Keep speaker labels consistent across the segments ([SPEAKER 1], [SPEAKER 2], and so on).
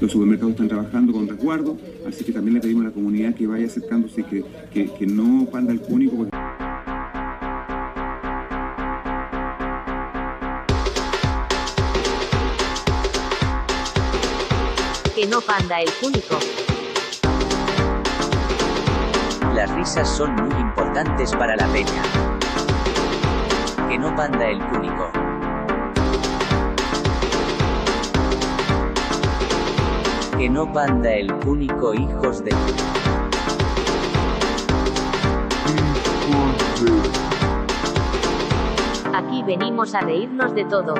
[SPEAKER 1] los supermercados están trabajando con resguardo, así que también le pedimos a la comunidad que vaya acercándose, que, que, que no panda el cúnico. porque-
[SPEAKER 2] Que no panda el cúnico.
[SPEAKER 3] Las risas son muy importantes para la peña. Que no panda el cúnico. Que no panda el cúnico, hijos de.
[SPEAKER 2] Aquí venimos a reírnos de todo.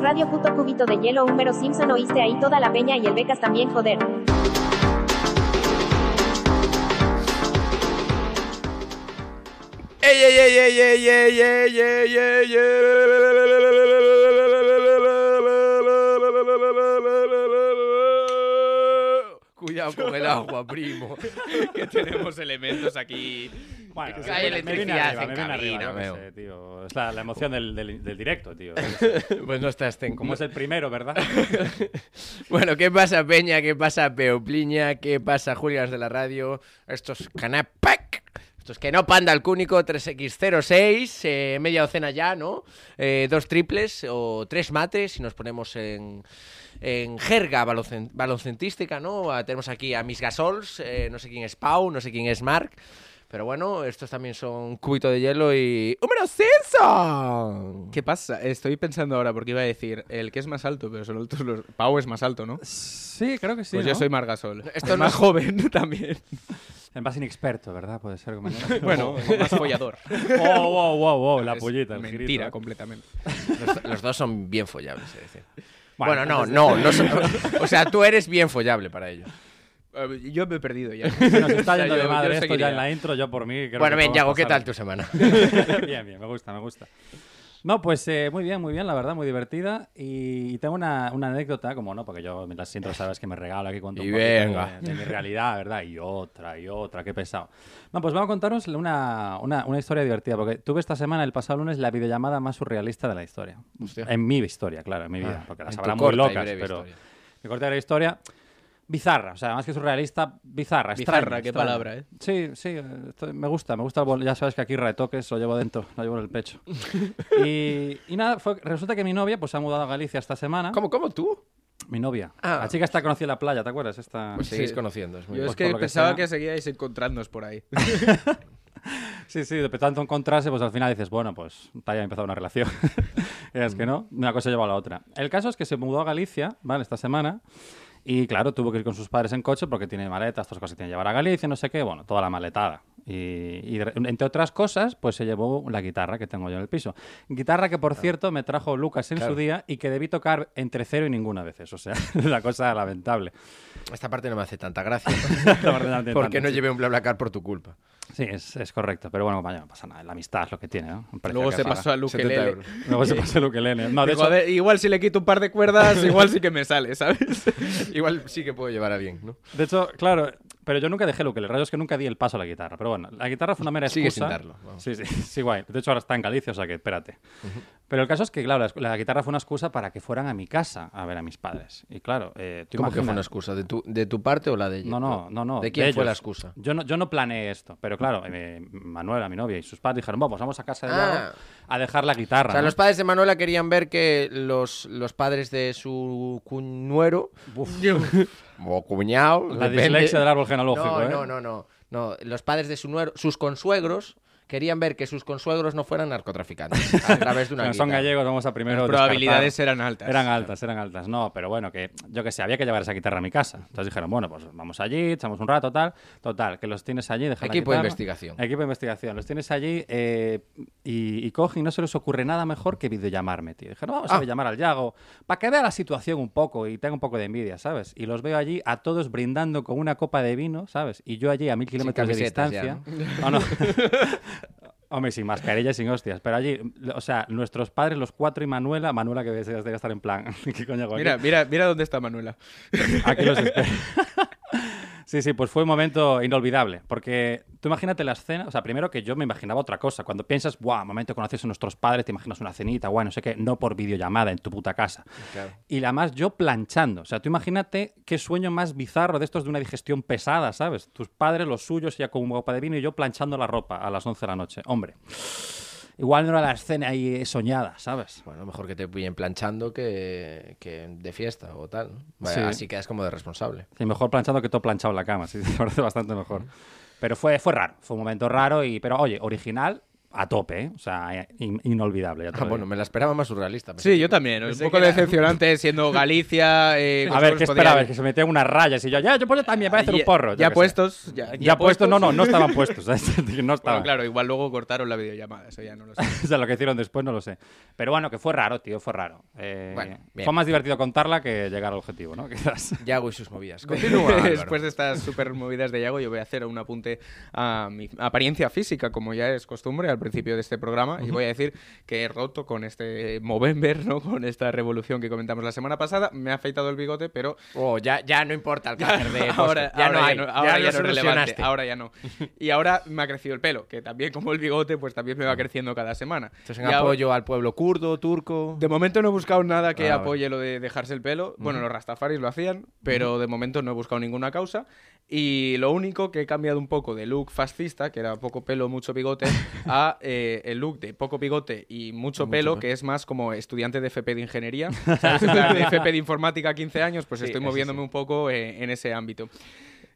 [SPEAKER 2] Radio puto cubito de hielo húmero Simpson oíste ahí toda la peña y el becas también joder.
[SPEAKER 4] ¡Ey, ey, ey, ey, ey, ey, ey, ey, ey, ey! Cuidado con el agua, primo. Que tenemos elementos aquí.
[SPEAKER 5] Bueno,
[SPEAKER 4] Que hay
[SPEAKER 5] me vine
[SPEAKER 4] electricidad
[SPEAKER 5] arriba,
[SPEAKER 4] en
[SPEAKER 5] me vine arriba,
[SPEAKER 4] cabina,
[SPEAKER 5] yo qué
[SPEAKER 4] veo.
[SPEAKER 5] sé, tío. Es la, la emoción del, del- del directo, tío.
[SPEAKER 4] Pues no está este.
[SPEAKER 5] Como es el primero, ¿verdad?
[SPEAKER 4] Bueno, ¿qué pasa, Peña? ¿Qué pasa, Peopliña? ¿Qué pasa, Julias de la Radio? Estos canapac. Estos que no panda el cúnico 3x06, eh, media docena ya, ¿no? Eh, dos triples o tres mates, si nos ponemos en, en jerga balocen- baloncentística, ¿no? Ah, Tenemos aquí a mis gasols, eh, no sé quién es Pau, no sé quién es Mark. Pero bueno, estos también son cubito de hielo y. ¡Húmero Simpson!
[SPEAKER 6] ¿Qué pasa? Estoy pensando ahora porque iba a decir el que es más alto, pero solo tú los... Pau es más alto, ¿no?
[SPEAKER 5] Sí, creo que sí.
[SPEAKER 6] pues yo
[SPEAKER 5] ¿no?
[SPEAKER 6] soy Margasol.
[SPEAKER 4] Esto
[SPEAKER 6] Es
[SPEAKER 4] no-
[SPEAKER 6] más joven también.
[SPEAKER 5] Además, inexperto, ¿verdad? Puede ser. Como...
[SPEAKER 6] bueno, más follador.
[SPEAKER 5] wow, wow, wow, wow, Oh, la
[SPEAKER 6] Es
[SPEAKER 5] pollita. el ¿eh?
[SPEAKER 6] Mentira,
[SPEAKER 5] girito.
[SPEAKER 6] completamente.
[SPEAKER 4] Los, los dos son bien follables, es decir.
[SPEAKER 5] Vale,
[SPEAKER 4] Bueno, no,
[SPEAKER 5] entonces-
[SPEAKER 4] no, no son- O sea, tú eres bien follable para ello.
[SPEAKER 6] Eh, Yo me he perdido ya.
[SPEAKER 5] Se nos está
[SPEAKER 6] O sea,
[SPEAKER 5] yendo
[SPEAKER 6] yo-
[SPEAKER 5] de
[SPEAKER 6] yo
[SPEAKER 5] madre esto ya
[SPEAKER 6] seguiría.
[SPEAKER 5] en la intro, yo por mí. creo
[SPEAKER 4] bueno,
[SPEAKER 5] que
[SPEAKER 4] bien, Yago,
[SPEAKER 5] podemos
[SPEAKER 4] ¿qué
[SPEAKER 5] pasar-
[SPEAKER 4] tal tu semana?
[SPEAKER 5] bien, bien, me gusta, me gusta. No, pues eh, muy bien, muy bien, la verdad, muy divertida. Y, y tengo una, una anécdota, como no, porque yo en las intros sabes que me regalo aquí cuando
[SPEAKER 4] Y venga.
[SPEAKER 5] de, de mi realidad, ¿verdad? Y otra, y otra, qué pesado. No, pues vamos a contaros una, una, una historia divertida, porque tuve esta semana, el pasado lunes, la videollamada más surrealista de la historia. En mi historia, claro, en mi vida, porque las
[SPEAKER 4] Ah, en tu
[SPEAKER 5] habrá muy
[SPEAKER 4] corta y
[SPEAKER 5] locas,
[SPEAKER 4] breve
[SPEAKER 5] pero...
[SPEAKER 4] historia.
[SPEAKER 5] Mi corta y breve historia, bizarra, o sea, más que surrealista, bizarra,
[SPEAKER 6] Bizarra,
[SPEAKER 5] extraña,
[SPEAKER 6] qué
[SPEAKER 5] extraña.
[SPEAKER 6] palabra, ¿eh?
[SPEAKER 5] Sí, sí, eh, esto- me gusta, me gusta el bol- Ya sabes que aquí retoques lo llevo dentro, lo llevo en el pecho. Y, y nada, fue- resulta que mi novia pues se ha mudado a Galicia esta semana.
[SPEAKER 4] ¿Cómo, cómo tú?
[SPEAKER 5] Mi novia.
[SPEAKER 4] Ah.
[SPEAKER 5] La chica está conocida en la playa, ¿te acuerdas? Esta...
[SPEAKER 4] Pues seguís
[SPEAKER 6] Sí.
[SPEAKER 4] conociendo. Es muy
[SPEAKER 6] Yo
[SPEAKER 4] bueno.
[SPEAKER 6] es
[SPEAKER 5] Pues por
[SPEAKER 6] que
[SPEAKER 5] lo que
[SPEAKER 6] pensaba
[SPEAKER 5] sea.
[SPEAKER 6] que seguíais encontrándonos por ahí.
[SPEAKER 5] Sí, sí, de tanto encontrarse, pues al final dices, bueno, pues tal ya ha empezado una relación. Y es
[SPEAKER 6] Mm.
[SPEAKER 5] que no, una cosa lleva a la otra. El caso es que se mudó a Galicia, ¿vale? Esta semana. Y claro, tuvo que ir con sus padres en coche porque tiene maletas, todas las cosas que tiene que llevar a Galicia, no sé qué, bueno, toda la maletada. Y, y de- entre otras cosas, pues se llevó la guitarra que tengo yo en el piso. Guitarra que, por cierto, me trajo Lucas en su día y que debí tocar entre cero y ninguna veces. O sea, la cosa lamentable.
[SPEAKER 4] Esta parte no me hace tanta gracia.
[SPEAKER 5] La verdad, de
[SPEAKER 4] porque
[SPEAKER 5] tanto,
[SPEAKER 4] no
[SPEAKER 5] sí.
[SPEAKER 4] llevé un BlaBlaCar por tu culpa.
[SPEAKER 5] Sí, es, es correcto, pero bueno, vaya, no pasa nada, la amistad es lo que tiene, ¿no? Un precio
[SPEAKER 6] Luego
[SPEAKER 5] que
[SPEAKER 6] se
[SPEAKER 5] paga.
[SPEAKER 6] pasó a Luke
[SPEAKER 4] 70
[SPEAKER 6] Lele.
[SPEAKER 4] euros.
[SPEAKER 5] Luego se pasó el ukelele. No, de
[SPEAKER 6] Digo,
[SPEAKER 5] hecho,
[SPEAKER 6] a ver, igual si le quito un par de cuerdas, igual sí que me sale, ¿sabes?
[SPEAKER 4] Igual sí que puedo llevar a bien, ¿no?
[SPEAKER 5] de hecho, claro, pero yo nunca dejé el ukelele. El Rayo es que nunca di el paso a la guitarra. Pero bueno, la guitarra fue una mera excusa.
[SPEAKER 4] Sigue sin darlo, vamos.
[SPEAKER 5] Sí, sí, sí, guay. De hecho, ahora está en Galicia, o sea que espérate. Pero el caso es que, claro, la, la guitarra fue una excusa para que fueran a mi casa a ver a mis padres. Y claro, eh, tú
[SPEAKER 4] ¿Cómo que fue
[SPEAKER 5] imaginas-
[SPEAKER 4] una excusa? ¿De tu, ¿De tu parte o la de ella?
[SPEAKER 5] No, no, no, no.
[SPEAKER 4] ¿De quién fue
[SPEAKER 5] ellos.
[SPEAKER 4] la excusa?
[SPEAKER 5] Yo no, yo no planeé esto, pero claro, eh, Manuela, mi novia y sus padres dijeron, pues vamos, vamos a casa de
[SPEAKER 4] Ah.
[SPEAKER 5] Yago a dejar la guitarra.
[SPEAKER 4] O sea,
[SPEAKER 5] ¿no?
[SPEAKER 4] los padres de Manuela querían ver que los, los padres de su cuñuero o cuñado,
[SPEAKER 5] La
[SPEAKER 4] depende-
[SPEAKER 5] dislexia del árbol genealógico,
[SPEAKER 4] no,
[SPEAKER 5] ¿eh?
[SPEAKER 4] no, no, no, no. Los padres de su nuero, sus consuegros, querían ver que sus consuegros no fueran narcotraficantes a través de una
[SPEAKER 5] Como son
[SPEAKER 4] guitarra.
[SPEAKER 5] gallegos, vamos a primero.
[SPEAKER 6] Las probabilidades
[SPEAKER 5] descartar.
[SPEAKER 6] eran altas.
[SPEAKER 5] Eran altas, eran altas. No, pero bueno, que yo que sé, había que llevar esa guitarra a mi casa. Entonces dijeron, bueno, pues vamos allí, echamos un rato, tal, total, que los tienes allí. deja la
[SPEAKER 4] Equipo de
[SPEAKER 5] guitarra.
[SPEAKER 4] investigación.
[SPEAKER 5] Equipo de investigación. Los tienes allí eh, y, y cogen y no se les ocurre nada mejor que videollamarme, tío. Dijeron, vamos a
[SPEAKER 4] Ah.
[SPEAKER 5] videollamar al Yago para que vea la situación un poco y tenga un poco de envidia, ¿sabes? Y los veo allí a todos brindando con una copa de vino, ¿sabes? Y yo allí a mil kilómetros de
[SPEAKER 4] camisetas ya,
[SPEAKER 5] distancia. Ah, no. Hombre, sin mascarilla y sin hostias. Pero allí, o sea, nuestros padres, los cuatro y Manuela, Manuela que debe estar en plan, ¿qué coño hago aquí?
[SPEAKER 6] Mira, mira, mira dónde está Manuela.
[SPEAKER 5] Aquí los espero. Sí, sí, pues fue un momento inolvidable. Porque tú imagínate la escena, o sea, primero que yo me imaginaba otra cosa. Cuando piensas, ¡buah! Momento que conoces a nuestros padres, te imaginas una cenita, guau, no sé qué, no por videollamada en tu puta casa. Y la más yo planchando. O sea, tú imagínate qué sueño más bizarro de estos de una digestión pesada, ¿sabes? Tus padres, los suyos, ya con un copa de vino y yo planchando la ropa a las 11 de la noche. Hombre. Igual no era la escena ahí soñada, ¿sabes?
[SPEAKER 4] Bueno, mejor que te pillen planchando que, que de fiesta o tal. ¿no? Vale,
[SPEAKER 5] Sí.
[SPEAKER 4] Así quedas como de responsable.
[SPEAKER 5] Sí, mejor planchado que todo planchado en la cama, sí, me parece bastante mejor. Pero fue, fue raro, fue un momento raro, y, pero oye, original a tope, ¿eh? o sea, eh, in- inolvidable. ya te
[SPEAKER 4] Ah,
[SPEAKER 5] lo
[SPEAKER 4] bueno,
[SPEAKER 5] digo.
[SPEAKER 4] me la esperaba más surrealista.
[SPEAKER 6] Sí, yo también. Un
[SPEAKER 4] Pensé
[SPEAKER 6] poco
[SPEAKER 4] que era-
[SPEAKER 6] decepcionante siendo Galicia. eh,
[SPEAKER 5] a ver, ¿qué
[SPEAKER 6] vosotros podíais-
[SPEAKER 5] esperabas? Que se metían unas rayas y yo, ya, yo pues yo también, voy a hacer un
[SPEAKER 6] Ah, Ya-
[SPEAKER 5] porro. yo
[SPEAKER 6] Ya,
[SPEAKER 5] qué sé.
[SPEAKER 6] puestos. Ya,
[SPEAKER 5] Ya, puesto, no, no, no estaban puestos. ¿sabes? No estaban.
[SPEAKER 6] Bueno, claro, igual luego cortaron la videollamada, eso ya no lo sé.
[SPEAKER 5] O sea, lo que hicieron después no lo sé. Pero bueno, que fue raro, tío, fue raro. Eh,
[SPEAKER 4] Bueno, bien.
[SPEAKER 5] fue más divertido contarla que llegar al objetivo, ¿no? Quizás.
[SPEAKER 4] Yago y sus movidas. Continúa. Álvaro.
[SPEAKER 6] Después de estas super movidas de Yago, yo voy a hacer un apunte a mi apariencia física, como ya es costumbre al principio de este programa, y voy a decir que he roto con este Movember, ¿no? Con esta revolución que comentamos la semana pasada. Me ha afeitado el bigote, pero
[SPEAKER 4] Oh, ya, ya no importa el cáncer de
[SPEAKER 6] ahora,
[SPEAKER 4] Foster. ya
[SPEAKER 6] ahora ya
[SPEAKER 4] no hay.
[SPEAKER 6] no-
[SPEAKER 4] ya-
[SPEAKER 6] ahora ya
[SPEAKER 4] ya
[SPEAKER 6] no
[SPEAKER 4] lo
[SPEAKER 6] es relevante,
[SPEAKER 4] solucionaste.
[SPEAKER 6] ahora ya no. Y ahora me ha crecido el pelo, que también como el bigote, pues también me va creciendo cada semana.
[SPEAKER 4] Esto es
[SPEAKER 6] Y
[SPEAKER 4] en
[SPEAKER 6] ahora-
[SPEAKER 4] apoyo al pueblo kurdo, turco.
[SPEAKER 6] de momento no he buscado nada que
[SPEAKER 4] Ah, vale.
[SPEAKER 6] apoye lo de dejarse el pelo. Bueno, los rastafaris lo hacían, pero de momento no he buscado ninguna causa. Y lo único que he cambiado un poco de look fascista, que era poco pelo, mucho bigote, a eh, el look de poco bigote y mucho, pelo, que es más como estudiante de FP de ingeniería. ¿sabes? En plan, de FP de informática 15 años, pues
[SPEAKER 4] Sí,
[SPEAKER 6] estoy
[SPEAKER 4] ese
[SPEAKER 6] moviéndome
[SPEAKER 4] sí.
[SPEAKER 6] un poco eh, en ese ámbito.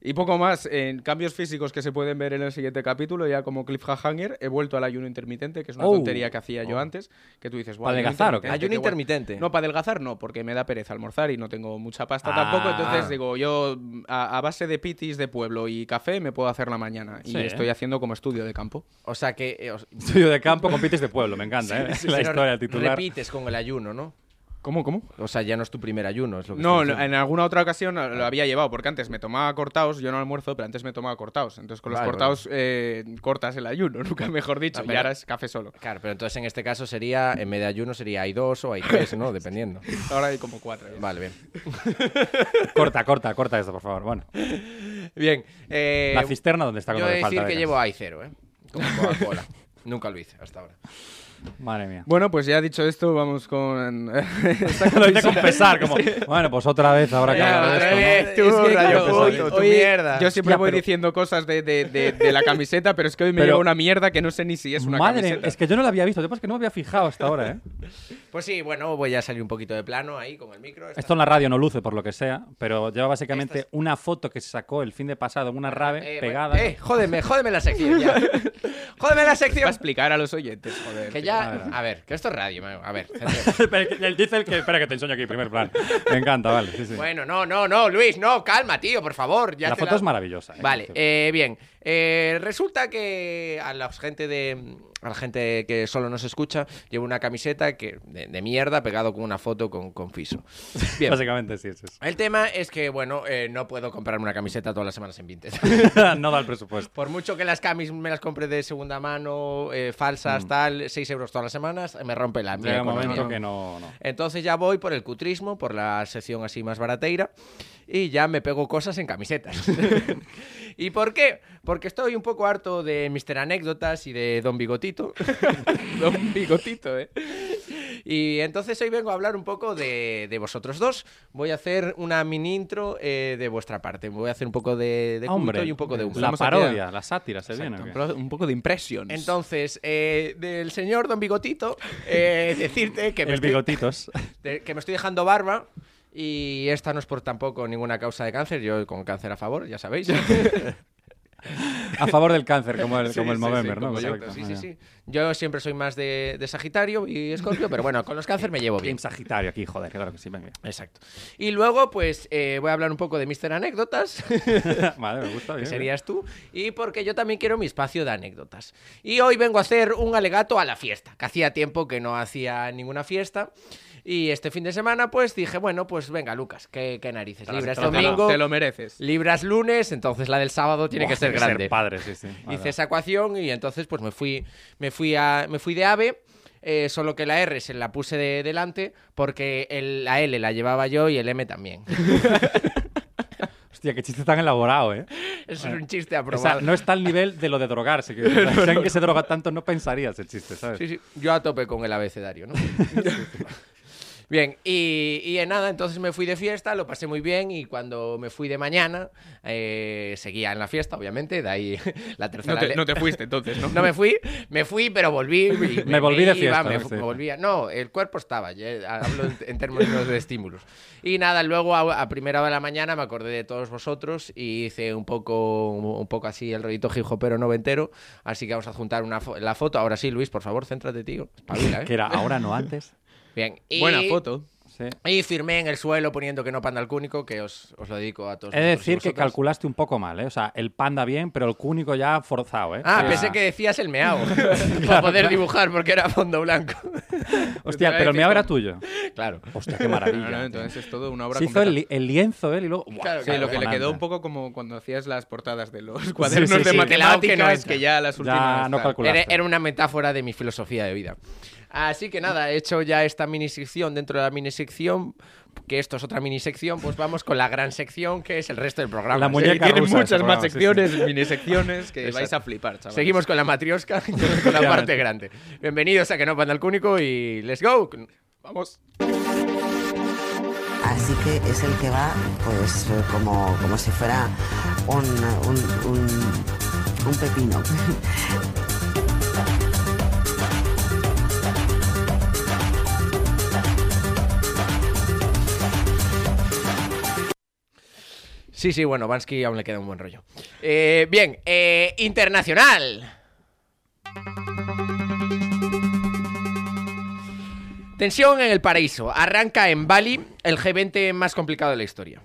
[SPEAKER 6] Y poco más, en cambios físicos que se pueden ver en el siguiente capítulo, ya como cliffhanger, he vuelto al ayuno intermitente, que es una
[SPEAKER 5] Oh.
[SPEAKER 6] tontería que hacía yo
[SPEAKER 5] Oh.
[SPEAKER 6] antes, que tú dices,
[SPEAKER 5] ¿Para
[SPEAKER 6] ayuno
[SPEAKER 5] adelgazar o qué?
[SPEAKER 4] Ayuno
[SPEAKER 6] guay".
[SPEAKER 4] intermitente.
[SPEAKER 6] Ah, No, para adelgazar no, porque me da pereza almorzar y no tengo mucha pasta
[SPEAKER 5] Ah.
[SPEAKER 6] tampoco. Entonces digo, yo mm, a, a base de pitis de pueblo y café me puedo hacer la mañana.
[SPEAKER 5] Sí,
[SPEAKER 6] y
[SPEAKER 5] ¿eh?
[SPEAKER 6] estoy haciendo como estudio de campo.
[SPEAKER 4] O sea que. eh, os-
[SPEAKER 5] Estudio de campo, compites de pueblo, me encanta, ¿eh? la
[SPEAKER 4] pero
[SPEAKER 5] historia, el titular.
[SPEAKER 4] Repites con el ayuno, ¿no?
[SPEAKER 6] ¿Cómo, cómo?
[SPEAKER 4] O sea, ya no es tu primer ayuno, es lo que
[SPEAKER 6] No,
[SPEAKER 4] estoy Ah.
[SPEAKER 6] lo- en
[SPEAKER 4] diciendo.
[SPEAKER 6] alguna otra ocasión lo había llevado, porque antes me tomaba cortados, yo no almuerzo, pero antes me tomaba cortados. Entonces con los
[SPEAKER 4] Vale,
[SPEAKER 6] cortados eh, cortas el ayuno, nunca mejor dicho,
[SPEAKER 4] Ah,
[SPEAKER 6] y
[SPEAKER 4] pero-
[SPEAKER 6] ahora es café solo.
[SPEAKER 4] Claro, pero entonces en este caso sería, en vez de ayuno, sería hay dos o hay tres, ¿no? Dependiendo.
[SPEAKER 6] Ahora hay como cuatro. ¿eh?
[SPEAKER 4] Vale, bien.
[SPEAKER 5] Corta, corta, corta esto, por favor. Bueno,
[SPEAKER 4] Bien. eh,
[SPEAKER 5] la cisterna donde está
[SPEAKER 4] yo
[SPEAKER 5] cuando
[SPEAKER 4] he de
[SPEAKER 5] le falta
[SPEAKER 4] decir que
[SPEAKER 5] becas?
[SPEAKER 4] llevo ahí cero, ¿eh? Como Coca-Cola. Nunca lo hice hasta ahora.
[SPEAKER 5] Madre mía.
[SPEAKER 6] Bueno, pues ya dicho esto, vamos con... esta
[SPEAKER 5] Lo hice compensar, como, bueno, pues otra vez habrá que
[SPEAKER 4] Ya,
[SPEAKER 5] hablar de
[SPEAKER 4] otra
[SPEAKER 5] esto, ¿no?
[SPEAKER 4] vez. tú, Rayo Puto, tu mierda.
[SPEAKER 6] Yo siempre
[SPEAKER 5] Ya,
[SPEAKER 6] voy
[SPEAKER 5] pero-
[SPEAKER 6] diciendo cosas de, de- de- de la camiseta, pero es que hoy me
[SPEAKER 5] Pero-
[SPEAKER 6] llegó una mierda que no sé ni si es una
[SPEAKER 5] Madre,
[SPEAKER 6] camiseta.
[SPEAKER 5] es que yo no la había visto, lo que pasa es que no me había fijado hasta ahora, ¿eh?
[SPEAKER 4] Pues sí, bueno, voy a salir un poquito de plano ahí con el micro. Esta-
[SPEAKER 5] Esto en la radio no luce, por lo que sea, pero lleva básicamente
[SPEAKER 4] Estas-
[SPEAKER 5] una foto que se sacó el fin de pasado en una rave
[SPEAKER 4] Eh,
[SPEAKER 5] pegada.
[SPEAKER 4] bueno, Eh, jódeme, jódeme la sección ya. jódeme la
[SPEAKER 6] Para
[SPEAKER 4] sección.
[SPEAKER 6] explicar a los oyentes, joder. tío.
[SPEAKER 4] Que ya.
[SPEAKER 5] A ver, a ver.
[SPEAKER 4] A ver, que esto es radio, man. A ver. centremos.
[SPEAKER 5] Pero el que- el dice el que. Espera, que te enseño aquí, primer plan. Me encanta, vale. sí, sí.
[SPEAKER 4] Bueno, no, no, no, Luis, no, calma, tío, por favor. ya
[SPEAKER 5] la
[SPEAKER 4] te
[SPEAKER 5] foto es maravillosa. ¿eh?
[SPEAKER 4] Vale,
[SPEAKER 5] Sí.
[SPEAKER 4] eh, bien. Eh, resulta que a la gente de a la gente que solo nos escucha llevo una camiseta que de, de mierda pegado con una foto con, con Fiso. Bien.
[SPEAKER 5] Básicamente sí, es eso.
[SPEAKER 4] El tema es que, bueno, eh, no puedo comprarme una camiseta todas las semanas en Vinted.
[SPEAKER 5] no da el presupuesto.
[SPEAKER 4] Por mucho que las camis me las compre de segunda mano, eh, falsas, tal, 6 euros todas las semanas, me rompe la mi
[SPEAKER 5] Llega un
[SPEAKER 4] economía.
[SPEAKER 5] momento que no. no.
[SPEAKER 4] Entonces ya voy por el cutrismo, por la sección así más barateira, y ya me pego cosas en camisetas. ¿Y por qué? Porque estoy un poco harto de Mr. Anécdotas y de Don Bigotito.
[SPEAKER 6] Don bigotito, ¿eh?
[SPEAKER 4] Y entonces hoy vengo a hablar un poco de, de vosotros dos. Voy a hacer una mini intro eh, de vuestra parte. Voy a hacer un poco de, de culto
[SPEAKER 5] Hombre, eh,
[SPEAKER 4] y un poco de humor.
[SPEAKER 5] la
[SPEAKER 6] Vamos aquí a-
[SPEAKER 5] parodia, la sátira se viene. ¿o qué?
[SPEAKER 6] Exacto, Un poco de impressions.
[SPEAKER 5] Pues
[SPEAKER 4] Entonces, eh, del señor Don Bigotito, eh, decirte que me,
[SPEAKER 5] El
[SPEAKER 4] estoy,
[SPEAKER 5] bigotitos.
[SPEAKER 4] de- que me estoy dejando barba y esta no es por tampoco ninguna causa de cáncer, yo con cáncer a favor, ya sabéis.
[SPEAKER 5] A favor del cáncer, como el, como el
[SPEAKER 4] Sí,
[SPEAKER 5] Movember,
[SPEAKER 4] sí,
[SPEAKER 5] ¿no?
[SPEAKER 4] como yo.
[SPEAKER 5] Perfecto,
[SPEAKER 4] Sí,
[SPEAKER 5] muy
[SPEAKER 4] sí,
[SPEAKER 5] bien.
[SPEAKER 4] sí. Yo siempre soy más de, de Sagitario y Escorpio, pero bueno, con los cáncer me llevo bien.
[SPEAKER 5] Team Sagitario aquí, joder, claro que sí, venga.
[SPEAKER 4] Exacto. Y luego, pues, eh, voy a hablar un poco de Mister Anécdotas.
[SPEAKER 5] Vale, me gusta
[SPEAKER 4] que
[SPEAKER 5] bien.
[SPEAKER 4] serías tú, y porque yo también quiero mi espacio de anécdotas. Y hoy vengo a hacer un alegato a la fiesta, que hacía tiempo que no hacía ninguna fiesta. Y este fin de semana, pues dije, bueno, pues venga, Lucas, qué, qué narices.
[SPEAKER 5] Te lo-
[SPEAKER 4] Libras
[SPEAKER 5] te lo-
[SPEAKER 4] domingo,
[SPEAKER 6] Te lo mereces.
[SPEAKER 4] libras lunes, entonces la del sábado tiene
[SPEAKER 5] Buah,
[SPEAKER 4] que ser grande.
[SPEAKER 5] padre, sí, sí. Vale,
[SPEAKER 4] Hice esa ecuación y entonces pues me fui, me fui, a, me fui de AVE, eh, solo que la R se la puse de- delante porque el- la L la llevaba yo y el M también.
[SPEAKER 5] Hostia, qué chiste tan elaborado, ¿eh?
[SPEAKER 4] Eso es un chiste
[SPEAKER 5] O sea,
[SPEAKER 4] aprobado.
[SPEAKER 5] no está al nivel de lo de drogarse. Que, o sea, alguien que se droga tanto no pensarías el chiste, ¿sabes?
[SPEAKER 4] Sí, sí, yo a tope con el abecedario, ¿no? Bien, y, y en nada, entonces me fui de fiesta, lo pasé muy bien y cuando me fui de mañana, eh, seguía en la fiesta, obviamente, de ahí la tercera...
[SPEAKER 6] No te,
[SPEAKER 4] le-
[SPEAKER 6] no te fuiste entonces, ¿no?
[SPEAKER 4] No me fui, me fui, pero volví. y
[SPEAKER 5] Me volví de fiesta,
[SPEAKER 4] me,
[SPEAKER 5] ¿no?
[SPEAKER 4] fu-
[SPEAKER 5] Sí.
[SPEAKER 4] me volvía. No, el cuerpo estaba, ya eh, hablo en, en términos de estímulos. Y nada, luego a, a primera hora de la mañana me acordé de todos vosotros y hice un poco, un poco así el rollito hijopero noventero. Así que vamos a juntar una fo- la foto. Ahora sí, Luis, por favor, céntrate, tío. Espabila, ¿eh?
[SPEAKER 5] Que era ahora, no antes.
[SPEAKER 4] Bien. Y,
[SPEAKER 6] Buena foto.
[SPEAKER 5] Sí.
[SPEAKER 4] Y firmé en el suelo poniendo que no panda al cúnico, que os, os lo dedico a todos.
[SPEAKER 5] He de
[SPEAKER 4] vosotros Pues y
[SPEAKER 5] decir que
[SPEAKER 4] vosotras.
[SPEAKER 5] calculaste un poco mal, ¿eh? O sea, el panda bien, pero el cúnico ya forzado, ¿eh?
[SPEAKER 4] Ah,
[SPEAKER 5] O sea,
[SPEAKER 4] pensé que decías el meao. para poder dibujar, porque era fondo blanco.
[SPEAKER 5] Hostia, pero el mío era tuyo.
[SPEAKER 4] claro.
[SPEAKER 5] Hostia, qué
[SPEAKER 6] No, no,
[SPEAKER 5] maravilla.
[SPEAKER 6] entonces es todo una obra
[SPEAKER 5] Se hizo el,
[SPEAKER 6] completa.
[SPEAKER 5] li- el lienzo él y luego... Buah,
[SPEAKER 4] Claro,
[SPEAKER 6] Sí, lo que le quedó un
[SPEAKER 5] cojonante.
[SPEAKER 6] poco como cuando hacías las portadas de los cuadernos
[SPEAKER 5] sí,
[SPEAKER 6] de
[SPEAKER 5] sí.
[SPEAKER 6] matemáticas,
[SPEAKER 4] Que
[SPEAKER 6] que,
[SPEAKER 4] la hoja que no
[SPEAKER 6] ya las
[SPEAKER 5] Ya
[SPEAKER 6] últimas...
[SPEAKER 5] no
[SPEAKER 6] tal.
[SPEAKER 5] calculo.
[SPEAKER 4] Era,
[SPEAKER 5] Culazo.
[SPEAKER 4] era una metáfora de mi filosofía de vida. Así que nada, he hecho ya esta mini sección dentro de la mini sección, que esto es otra mini sección, pues vamos con la gran sección que es el resto del programa.
[SPEAKER 5] La
[SPEAKER 4] Sí,
[SPEAKER 5] muñeca
[SPEAKER 4] tiene
[SPEAKER 6] Tiene
[SPEAKER 5] rusa,
[SPEAKER 6] muchas
[SPEAKER 5] ese
[SPEAKER 6] más
[SPEAKER 5] programa, sí,
[SPEAKER 6] secciones, minisecciones, que
[SPEAKER 4] Exacto.
[SPEAKER 6] vais a flipar, chavales.
[SPEAKER 4] Seguimos con la matriosca, con la parte grande. Bienvenidos a Que no panda el cúnico y let's go.
[SPEAKER 6] Vamos.
[SPEAKER 7] Así que es el que va, pues, eh, como, como si fuera un, un- un- un pepino.
[SPEAKER 4] Sí, sí, bueno, Bansky aún le queda un buen rollo. Eh, bien, eh, internacional. Tensión en el paraíso. Arranca en Bali el G20 más complicado de la historia.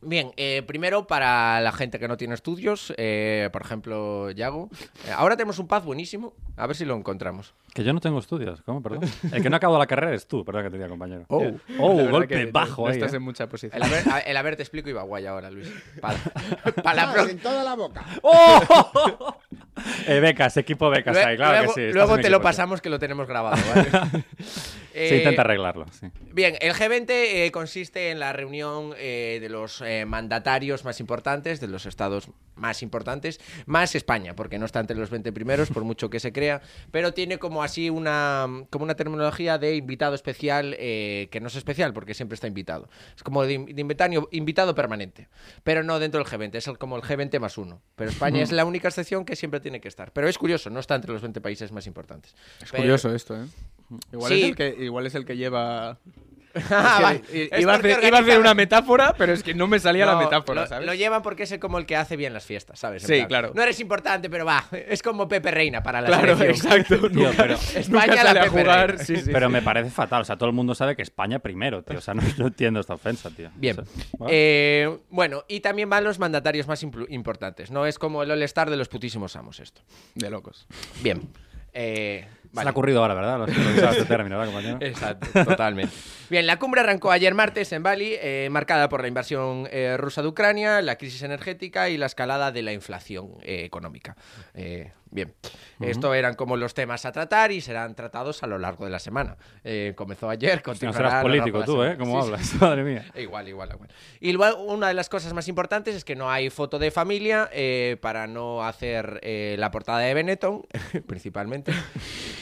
[SPEAKER 4] Bien, eh, primero para la gente que no tiene estudios, eh, por ejemplo, Yago. Eh, Ahora tenemos un paz buenísimo, a ver si lo encontramos.
[SPEAKER 5] Que yo no tengo estudios, ¿cómo? Perdón. El que no ha acabado la carrera es tú, perdón que te diga, compañero.
[SPEAKER 4] Oh.
[SPEAKER 6] La
[SPEAKER 5] Oh,
[SPEAKER 6] verdad que
[SPEAKER 5] golpe
[SPEAKER 6] no-
[SPEAKER 5] bajo
[SPEAKER 6] no
[SPEAKER 5] ahí,
[SPEAKER 6] estás
[SPEAKER 5] ¿eh?
[SPEAKER 6] en mucha posición.
[SPEAKER 4] El haber, el haber te explico iba guay ahora, Luis. Para, la pro-
[SPEAKER 8] en toda la boca.
[SPEAKER 5] ¡Oh! Eh, becas, equipo becas
[SPEAKER 4] Lue-
[SPEAKER 5] ahí, claro
[SPEAKER 4] luego,
[SPEAKER 5] que sí. estás
[SPEAKER 4] luego
[SPEAKER 5] en
[SPEAKER 4] te lo
[SPEAKER 5] equipo, sí.
[SPEAKER 4] pasamos que lo tenemos grabado. ¿vale?
[SPEAKER 5] Se intenta
[SPEAKER 4] Eh,
[SPEAKER 5] arreglarlo, sí.
[SPEAKER 4] Bien, el G20 eh, consiste en la reunión eh, de los eh, mandatarios más importantes, de los estados más importantes, más España, porque no está entre los 20 primeros, por mucho que se crea, pero tiene como así una, como una terminología de invitado especial, eh, que no es especial, porque siempre está invitado. Es como de, de invitario- invitado permanente, pero no dentro del G20, es el- como el G20 más uno. Pero España es la única excepción que siempre tiene que estar. Pero es curioso, no está entre los 20 países más importantes.
[SPEAKER 6] Es curioso esto, ¿eh? Igual,
[SPEAKER 4] Sí.
[SPEAKER 6] es el que, igual es el que lleva...
[SPEAKER 4] Va,
[SPEAKER 6] Es que i-
[SPEAKER 4] Ah, es
[SPEAKER 6] iba, a
[SPEAKER 4] porque
[SPEAKER 6] hacer, iba a hacer
[SPEAKER 4] organiza-
[SPEAKER 6] una metáfora, pero es que no me salía la
[SPEAKER 4] No,
[SPEAKER 6] metáfora,
[SPEAKER 4] lo,
[SPEAKER 6] ¿sabes?
[SPEAKER 4] lo llevan porque es el- como el que hace bien las fiestas, ¿sabes? En
[SPEAKER 6] Sí, claro.
[SPEAKER 4] No eres importante, pero va. Es como Pepe Reina para la
[SPEAKER 6] Claro,
[SPEAKER 4] selección.
[SPEAKER 6] exacto. nunca,
[SPEAKER 5] pero-
[SPEAKER 6] nunca
[SPEAKER 4] España la
[SPEAKER 6] sale a
[SPEAKER 4] Pepe
[SPEAKER 6] jugar.
[SPEAKER 4] Reina.
[SPEAKER 6] Sí, sí,
[SPEAKER 5] Pero
[SPEAKER 6] sí.
[SPEAKER 5] me parece fatal, o sea, todo el mundo sabe que España primero, tío. O sea, no, no entiendo esta ofensa, tío.
[SPEAKER 4] Bien.
[SPEAKER 5] O sea, bueno.
[SPEAKER 4] Eh, bueno, y también van los mandatarios más implu- importantes. No es como el All-Star de los putísimos amos esto.
[SPEAKER 6] De locos.
[SPEAKER 4] Bien. Eh,
[SPEAKER 5] Se
[SPEAKER 4] vale.
[SPEAKER 5] le ha ocurrido ahora, ¿verdad? Lo has improvisado este término, ¿verdad, compañero?
[SPEAKER 4] Exacto, totalmente. Bien, la cumbre arrancó ayer martes en Bali, eh, marcada por la invasión eh, rusa de Ucrania, la crisis energética y la escalada de la inflación eh, económica. Eh, bien, esto eran como los temas a tratar y serán tratados a lo largo de la semana. Eh, comenzó ayer,
[SPEAKER 5] No
[SPEAKER 4] continuará
[SPEAKER 5] serás
[SPEAKER 4] a lo largo
[SPEAKER 5] político
[SPEAKER 4] de la
[SPEAKER 5] tú,
[SPEAKER 4] semana.
[SPEAKER 5] ¿eh? ¿Cómo
[SPEAKER 4] Sí, sí.
[SPEAKER 5] hablas? Madre mía.
[SPEAKER 4] Eh, Igual, igual, igual. Y luego, una de las cosas más importantes es que no hay foto de familia eh, para no hacer eh, la portada de Benetton, principalmente.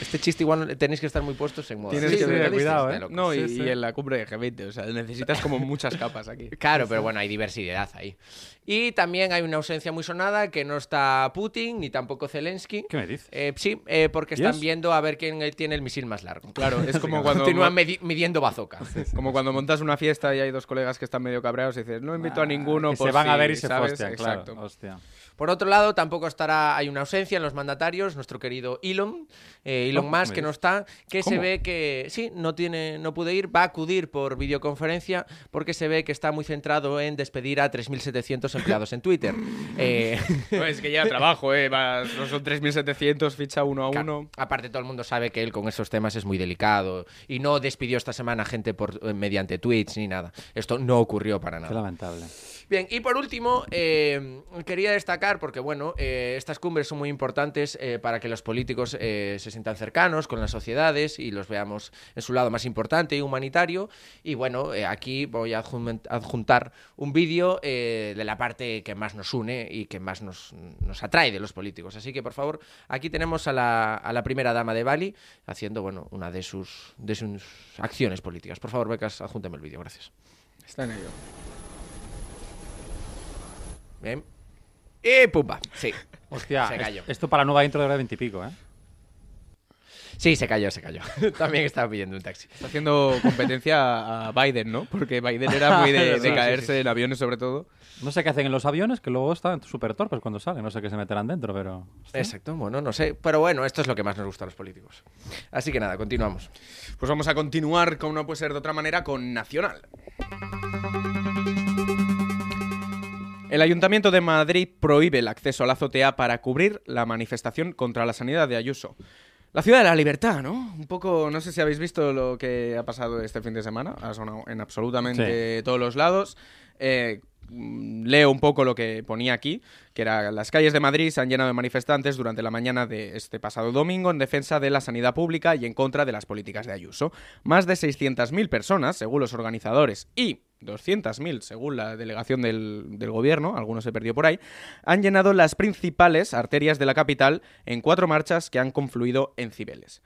[SPEAKER 4] Este chiste igual tenéis que estar muy puestos en moda.
[SPEAKER 6] Tienes
[SPEAKER 5] Sí,
[SPEAKER 6] que
[SPEAKER 5] sí,
[SPEAKER 6] ver,
[SPEAKER 5] cuidado, ¿eh?
[SPEAKER 6] No, y,
[SPEAKER 5] Sí, sí.
[SPEAKER 6] y en la cumbre de G20, o sea, necesitas como muchas capas aquí.
[SPEAKER 4] Claro, pero bueno, hay diversidad ahí. Y también hay una ausencia muy sonada que no está Putin ni tampoco Zelensky.
[SPEAKER 5] ¿Qué me dices?
[SPEAKER 4] Eh, sí, eh, porque
[SPEAKER 5] ¿Y
[SPEAKER 4] están
[SPEAKER 5] eso?
[SPEAKER 4] viendo a ver quién eh, tiene el misil más largo.
[SPEAKER 6] Claro, es como cuando,
[SPEAKER 4] Continúan medi- midiendo bazooka.
[SPEAKER 6] como cuando montas una fiesta y hay dos colegas que están medio cabreados y dices, no invito a ninguno
[SPEAKER 5] Ah, Que
[SPEAKER 6] por
[SPEAKER 5] se van a
[SPEAKER 6] si",
[SPEAKER 5] ver y se
[SPEAKER 6] ¿sabes?
[SPEAKER 5] hostian, claro.
[SPEAKER 6] Exacto.
[SPEAKER 5] Hostia.
[SPEAKER 4] Por otro lado, tampoco estará, hay una ausencia en los mandatarios, nuestro querido Elon, eh, Elon
[SPEAKER 5] Oh,
[SPEAKER 4] Musk,
[SPEAKER 5] me
[SPEAKER 4] que no
[SPEAKER 5] dices.
[SPEAKER 4] está, que se
[SPEAKER 5] ¿Cómo?
[SPEAKER 4] ve que, sí, no, tiene, no puede ir, va a acudir por videoconferencia porque se ve que está muy centrado en despedir a 3.700 empleados en Twitter. Eh,
[SPEAKER 6] No, es que ya trabajo, eh, vas- no son 3.700, ficha uno a
[SPEAKER 4] Ca-
[SPEAKER 6] uno.
[SPEAKER 4] Aparte, todo el mundo sabe que él con esos temas es muy delicado y no despidió esta semana gente por, eh, mediante tweets ni nada. Esto no ocurrió para
[SPEAKER 5] Qué
[SPEAKER 4] nada.
[SPEAKER 5] lamentable.
[SPEAKER 4] Bien, y por último, eh, quería destacar, porque bueno, eh, estas cumbres son muy importantes eh, para que los políticos eh, se sientan cercanos con las sociedades y los veamos en su lado más importante y humanitario. Y bueno, eh, aquí voy a adjun- adjuntar un vídeo eh, de la parte que más nos une y que más nos, nos atrae de los políticos. Así que, por favor, aquí tenemos a la, a la primera dama de Bali haciendo, bueno, una de sus, de sus acciones políticas. Por favor, Becas, adjúntame el vídeo, gracias.
[SPEAKER 6] Está en ello.
[SPEAKER 4] Bien. Y pumba. Sí.
[SPEAKER 5] Hostia,
[SPEAKER 4] Se
[SPEAKER 5] es-
[SPEAKER 4] cayó.
[SPEAKER 5] esto para la nueva intro de hora 20 y pico, ¿eh?
[SPEAKER 4] Sí, se cayó, se cayó. También estaba pidiendo un taxi.
[SPEAKER 6] Está haciendo competencia a Biden, ¿no? Porque Biden era muy de, de
[SPEAKER 5] Sí, sí,
[SPEAKER 6] caerse en aviones, sobre todo.
[SPEAKER 5] No sé qué hacen en los aviones, que luego están súper torpes cuando salen. No sé qué se meterán dentro, pero...
[SPEAKER 4] Exacto, bueno, no sé. Pero bueno, esto es lo que más nos gusta a los políticos. Así que nada, continuamos.
[SPEAKER 6] Pues vamos a continuar, como no puede ser de otra manera, con Nacional. El Ayuntamiento de Madrid prohíbe el acceso a la azotea para cubrir la manifestación contra la sanidad de Ayuso. La ciudad de la libertad, ¿no? Un poco, no sé si habéis visto lo que ha pasado este fin de semana, ha sonado en absolutamente todos los lados. Eh, mm, leo un poco lo que ponía aquí, que era las calles de Madrid se han llenado de manifestantes durante la mañana de este pasado domingo en defensa de la sanidad pública y en contra de las políticas de Ayuso. Más de 600.000 personas, según los organizadores, y 200.000 según la delegación del, del gobierno, algunos se perdió por ahí, han llenado las principales arterias de la capital en cuatro marchas que han confluido en Cibeles.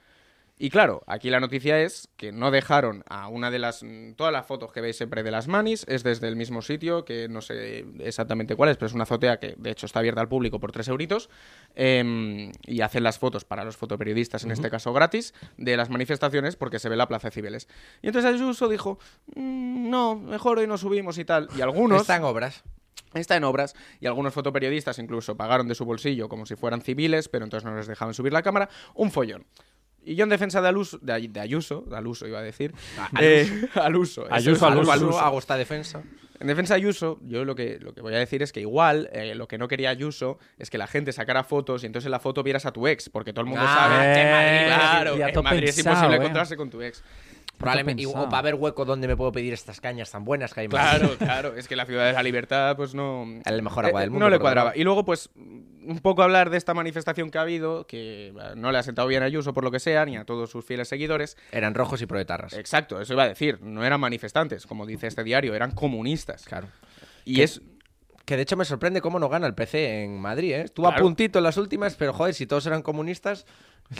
[SPEAKER 6] Y claro, aquí la noticia es que no dejaron a una de las... mm, Todas las fotos que veis siempre de las manis es desde el mismo sitio, que no sé exactamente cuál es, pero es una azotea que de hecho está abierta al público por tres euritos, em, y hacen las fotos para los fotoperiodistas, en este caso gratis, de las manifestaciones porque se ve la Plaza de Cibeles. Y entonces Ayuso dijo, "Mm, no, mejor hoy no subimos y tal. Y algunos...
[SPEAKER 4] Están obras.
[SPEAKER 6] Está en obras y algunos fotoperiodistas incluso pagaron de su bolsillo como si fueran civiles, pero entonces no les dejaban subir la cámara. Un follón. Y yo en defensa de Aluso, de, Ay- de Ayuso, de Aluso iba a decir, eh, Aluso, eso
[SPEAKER 5] Ah, Ayuso,
[SPEAKER 6] es,
[SPEAKER 5] Aluso,
[SPEAKER 4] hago esta defensa.
[SPEAKER 6] En defensa de Ayuso, yo lo que, lo que voy a decir es que igual eh, lo que no quería Ayuso es que la gente sacara fotos y entonces en la foto vieras a tu ex, porque todo el mundo
[SPEAKER 4] Ah,
[SPEAKER 6] sabe
[SPEAKER 5] eh,
[SPEAKER 6] que en Madrid,
[SPEAKER 5] ya
[SPEAKER 6] claro, que
[SPEAKER 5] todo
[SPEAKER 6] en Madrid es
[SPEAKER 5] pensado,
[SPEAKER 6] imposible
[SPEAKER 5] eh.
[SPEAKER 6] encontrarse con tu ex.
[SPEAKER 4] Probablemente. y- o
[SPEAKER 5] pensado.
[SPEAKER 4] para ver hueco donde me puedo pedir estas cañas tan buenas que hay en Madrid.
[SPEAKER 6] Claro, claro. Es que la ciudad de la libertad, pues no.
[SPEAKER 4] Es la mejor agua del
[SPEAKER 6] Eh,
[SPEAKER 4] mundo,
[SPEAKER 6] No le
[SPEAKER 4] por lo
[SPEAKER 6] cuadraba.
[SPEAKER 4] menos.
[SPEAKER 6] Y luego, pues, un poco hablar de esta manifestación que ha habido, que eh, no le ha sentado bien a Ayuso por lo que sea, ni a todos sus fieles seguidores.
[SPEAKER 4] Eran rojos y proetarras.
[SPEAKER 6] Exacto, eso iba a decir. No eran manifestantes, como dice este diario, eran comunistas.
[SPEAKER 4] Claro.
[SPEAKER 6] Y
[SPEAKER 4] Que-
[SPEAKER 6] es.
[SPEAKER 4] Que de hecho me sorprende cómo no gana el PC en Madrid, ¿eh? Estuvo a
[SPEAKER 6] Claro.
[SPEAKER 4] puntito en las últimas, pero joder, si todos eran comunistas,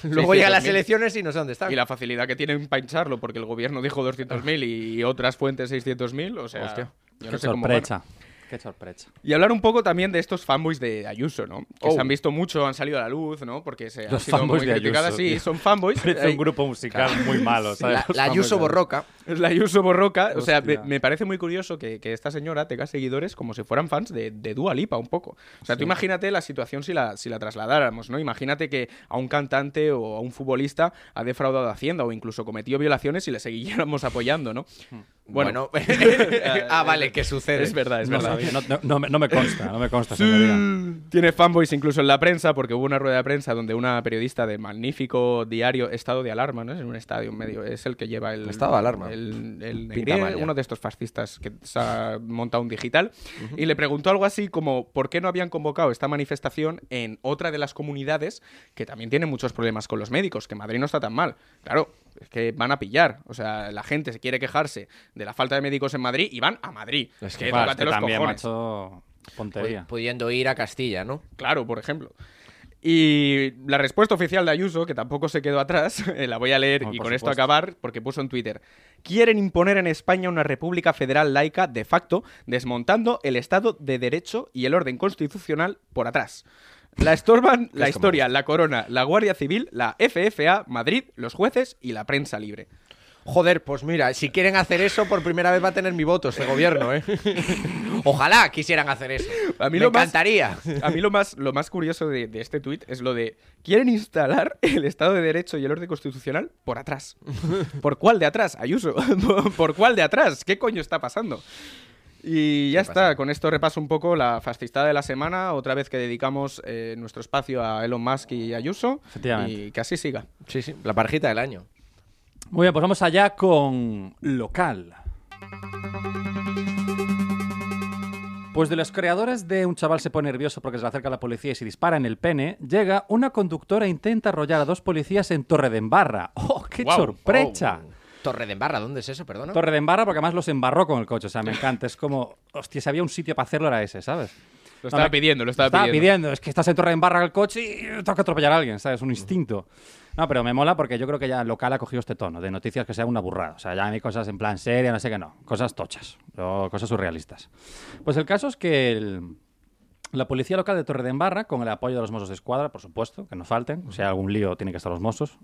[SPEAKER 4] luego llegan las
[SPEAKER 6] 600.000.
[SPEAKER 4] elecciones y no sé dónde están.
[SPEAKER 6] Y la facilidad que tienen para hincharlo, porque el gobierno dijo 200.000 y otras fuentes 600.000, o sea,
[SPEAKER 4] Hostia.
[SPEAKER 6] yo
[SPEAKER 5] qué
[SPEAKER 6] no sé cómo gana.
[SPEAKER 5] sorpresa. Qué sorpresa.
[SPEAKER 6] Y hablar un poco también de estos fanboys de Ayuso, ¿no? Que
[SPEAKER 4] Oh.
[SPEAKER 6] se han visto mucho, han salido a la luz, ¿no? Porque se han
[SPEAKER 5] Los
[SPEAKER 6] sido muy
[SPEAKER 5] fanboys de
[SPEAKER 6] criticadas.
[SPEAKER 5] Ayuso,
[SPEAKER 6] Sí,
[SPEAKER 5] tío.
[SPEAKER 6] son fanboys.
[SPEAKER 5] Parece
[SPEAKER 6] Hay-
[SPEAKER 5] un grupo musical muy malo, ¿sabes?
[SPEAKER 4] La, la Ayuso Borroca.
[SPEAKER 6] Es la Ayuso Borroca. O sea, me,
[SPEAKER 5] Hostia.
[SPEAKER 6] me parece muy curioso que, que esta señora tenga seguidores como si fueran fans de, de Dua Lipa, un poco. O sea, tú imagínate la situación si la, si la trasladáramos, ¿no? Imagínate que a un cantante o a un futbolista ha defraudado a Hacienda o incluso cometido violaciones y le seguiéramos apoyando, ¿no?
[SPEAKER 4] Bueno. ah,
[SPEAKER 6] Ah,
[SPEAKER 4] vale, que sucede.
[SPEAKER 6] Hmm. Es verdad, es
[SPEAKER 5] No,
[SPEAKER 6] verdad.
[SPEAKER 5] sabía, no, no- no me- no me consta, no me consta, señoría.
[SPEAKER 6] Tiene fanboys incluso en la prensa, porque hubo una rueda de prensa donde una periodista de magnífico diario Estado de Alarma, ¿no? Es en un estadio en medio, es el que lleva el.
[SPEAKER 4] Estado de Alarma.
[SPEAKER 6] El, el de
[SPEAKER 4] Pinta
[SPEAKER 6] Iré,
[SPEAKER 4] mal ya.
[SPEAKER 6] uno de estos fascistas que se ha montado un digital. Y le preguntó algo así como: ¿por qué no habían convocado esta manifestación en otra de las comunidades que también tiene muchos problemas con los médicos? Que Madrid no está tan mal. Claro. Es que van a pillar. O sea, la gente se quiere quejarse de la falta de médicos en Madrid y van a Madrid.
[SPEAKER 4] Es
[SPEAKER 6] que,
[SPEAKER 4] que,
[SPEAKER 5] Buah, es
[SPEAKER 6] tócate
[SPEAKER 5] que
[SPEAKER 6] los
[SPEAKER 5] también,
[SPEAKER 6] cojones.
[SPEAKER 5] macho, pontería.
[SPEAKER 4] Pu- Pudiendo ir a Castilla, ¿no?
[SPEAKER 6] Claro, por ejemplo. Y la respuesta oficial de Ayuso, que tampoco se quedó atrás, eh, la voy a leer
[SPEAKER 5] Hombre,
[SPEAKER 6] y
[SPEAKER 5] por
[SPEAKER 6] con esto
[SPEAKER 5] supuesto.
[SPEAKER 6] acabar, porque puso en Twitter. Quieren imponer en España una república federal laica de facto, desmontando el Estado de Derecho y el orden constitucional por atrás. La estorban la
[SPEAKER 4] es como
[SPEAKER 6] historia, la corona, la Guardia Civil, la FFA, Madrid, los jueces y la prensa libre.
[SPEAKER 4] Joder, pues mira, si quieren hacer eso, por primera vez va a tener mi voto este gobierno, ¿eh? Ojalá quisieran hacer eso.
[SPEAKER 6] A mí
[SPEAKER 4] Me
[SPEAKER 6] lo más-
[SPEAKER 4] encantaría.
[SPEAKER 6] A mí lo más, lo más curioso de, de este tuit es lo de quieren instalar el Estado de Derecho y el orden constitucional por atrás. ¿Por cuál de atrás, Ayuso? ¿Por cuál de atrás? ¿Qué coño está pasando? Y ya
[SPEAKER 4] ¿Qué pasa?
[SPEAKER 6] está, con esto repaso un poco la fascistada de la semana, otra vez que dedicamos eh, nuestro espacio a Elon Musk y Ayuso.
[SPEAKER 5] Efectivamente.
[SPEAKER 6] Y que así siga.
[SPEAKER 4] Sí, sí, la parejita del año.
[SPEAKER 5] Muy bien, pues vamos allá con local. Pues de los creadores de Un chaval se pone nervioso porque se le acerca la policía y se dispara en el pene, llega una conductora e intenta arrollar a dos policías en Torredembarra. ¡Oh, qué
[SPEAKER 4] Guau.
[SPEAKER 5] sorpresa!
[SPEAKER 4] Oh. Torre de Embarra, ¿dónde es eso? Perdona.
[SPEAKER 5] Torre de Embarra, porque además los embarró con el coche. O sea, me encanta. Es como, hostia, si había un sitio para hacerlo era ese, ¿sabes?
[SPEAKER 6] Lo estaba
[SPEAKER 5] me-
[SPEAKER 6] pidiendo, lo estaba pidiendo.
[SPEAKER 5] Es que estás en Torre de Embarra con el coche y eh, tengo que atropellar a alguien, ¿sabes? Un instinto. No, pero me mola porque yo creo que ya local ha cogido este tono de noticias que sea una burrada. O sea, ya hay cosas en plan seria, no sé qué, no. Cosas tochas, o cosas surrealistas. Pues el caso es que el- la policía local de Torre de Embarra, con el apoyo de los mozos de escuadra, por supuesto, que no falten, si hay algún lío tienen que estar los mozos,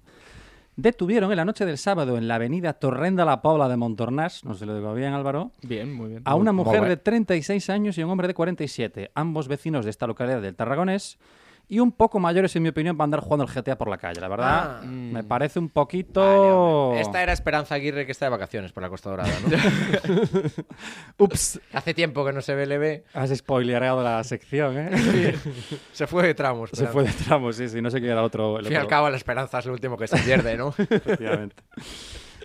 [SPEAKER 5] detuvieron en la noche del sábado en la avenida Torrenda La Pobla de Montornás, no se lo digo bien Álvaro,
[SPEAKER 6] Bien, muy bien.
[SPEAKER 5] a una
[SPEAKER 4] Muy
[SPEAKER 5] mujer
[SPEAKER 4] guay.
[SPEAKER 5] de 36 años y un hombre de 47, ambos vecinos de esta localidad del Tarragonés, y un poco mayores, en mi opinión, para andar jugando al GTA por la calle. La verdad, Mm.
[SPEAKER 4] Ah.
[SPEAKER 5] me parece un
[SPEAKER 4] Vale,
[SPEAKER 5] poquito...
[SPEAKER 4] hombre. Esta era Esperanza Aguirre que está de vacaciones por la Costa Dorada, ¿no?
[SPEAKER 5] Ups,
[SPEAKER 4] Hace tiempo que no se ve, E le ve.
[SPEAKER 5] has spoilereado la sección, ¿eh?
[SPEAKER 4] Se fue de tramos.
[SPEAKER 5] Se
[SPEAKER 4] Esperanza.
[SPEAKER 5] fue de tramo, sí, sí, no sé qué era el otro... el
[SPEAKER 4] Al fin y al
[SPEAKER 5] otro-
[SPEAKER 4] cabo, la esperanza es lo último que se pierde, ¿no?
[SPEAKER 5] Efectivamente.